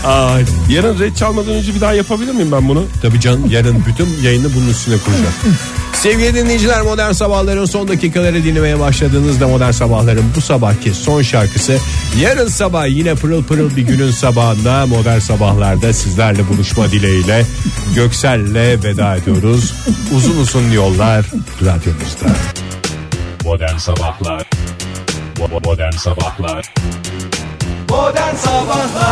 S4: Ay, yarın red çalmadan önce bir daha yapabilir miyim ben bunu?
S2: Tabii canım yarın bütün yayını bunun üstüne kuracağım. Sevgili dinleyiciler Modern Sabahların son dakikaları dinlemeye başladığınızda Modern Sabahların bu sabahki son şarkısı yarın sabah yine pırıl pırıl bir günün sabahında Modern Sabahlarda sizlerle buluşma dileğiyle Göksel'le veda ediyoruz. Uzun uzun yollar radyomuzda.
S15: Modern Sabahlar Bo- Modern Sabahlar
S5: Modern Sabahlar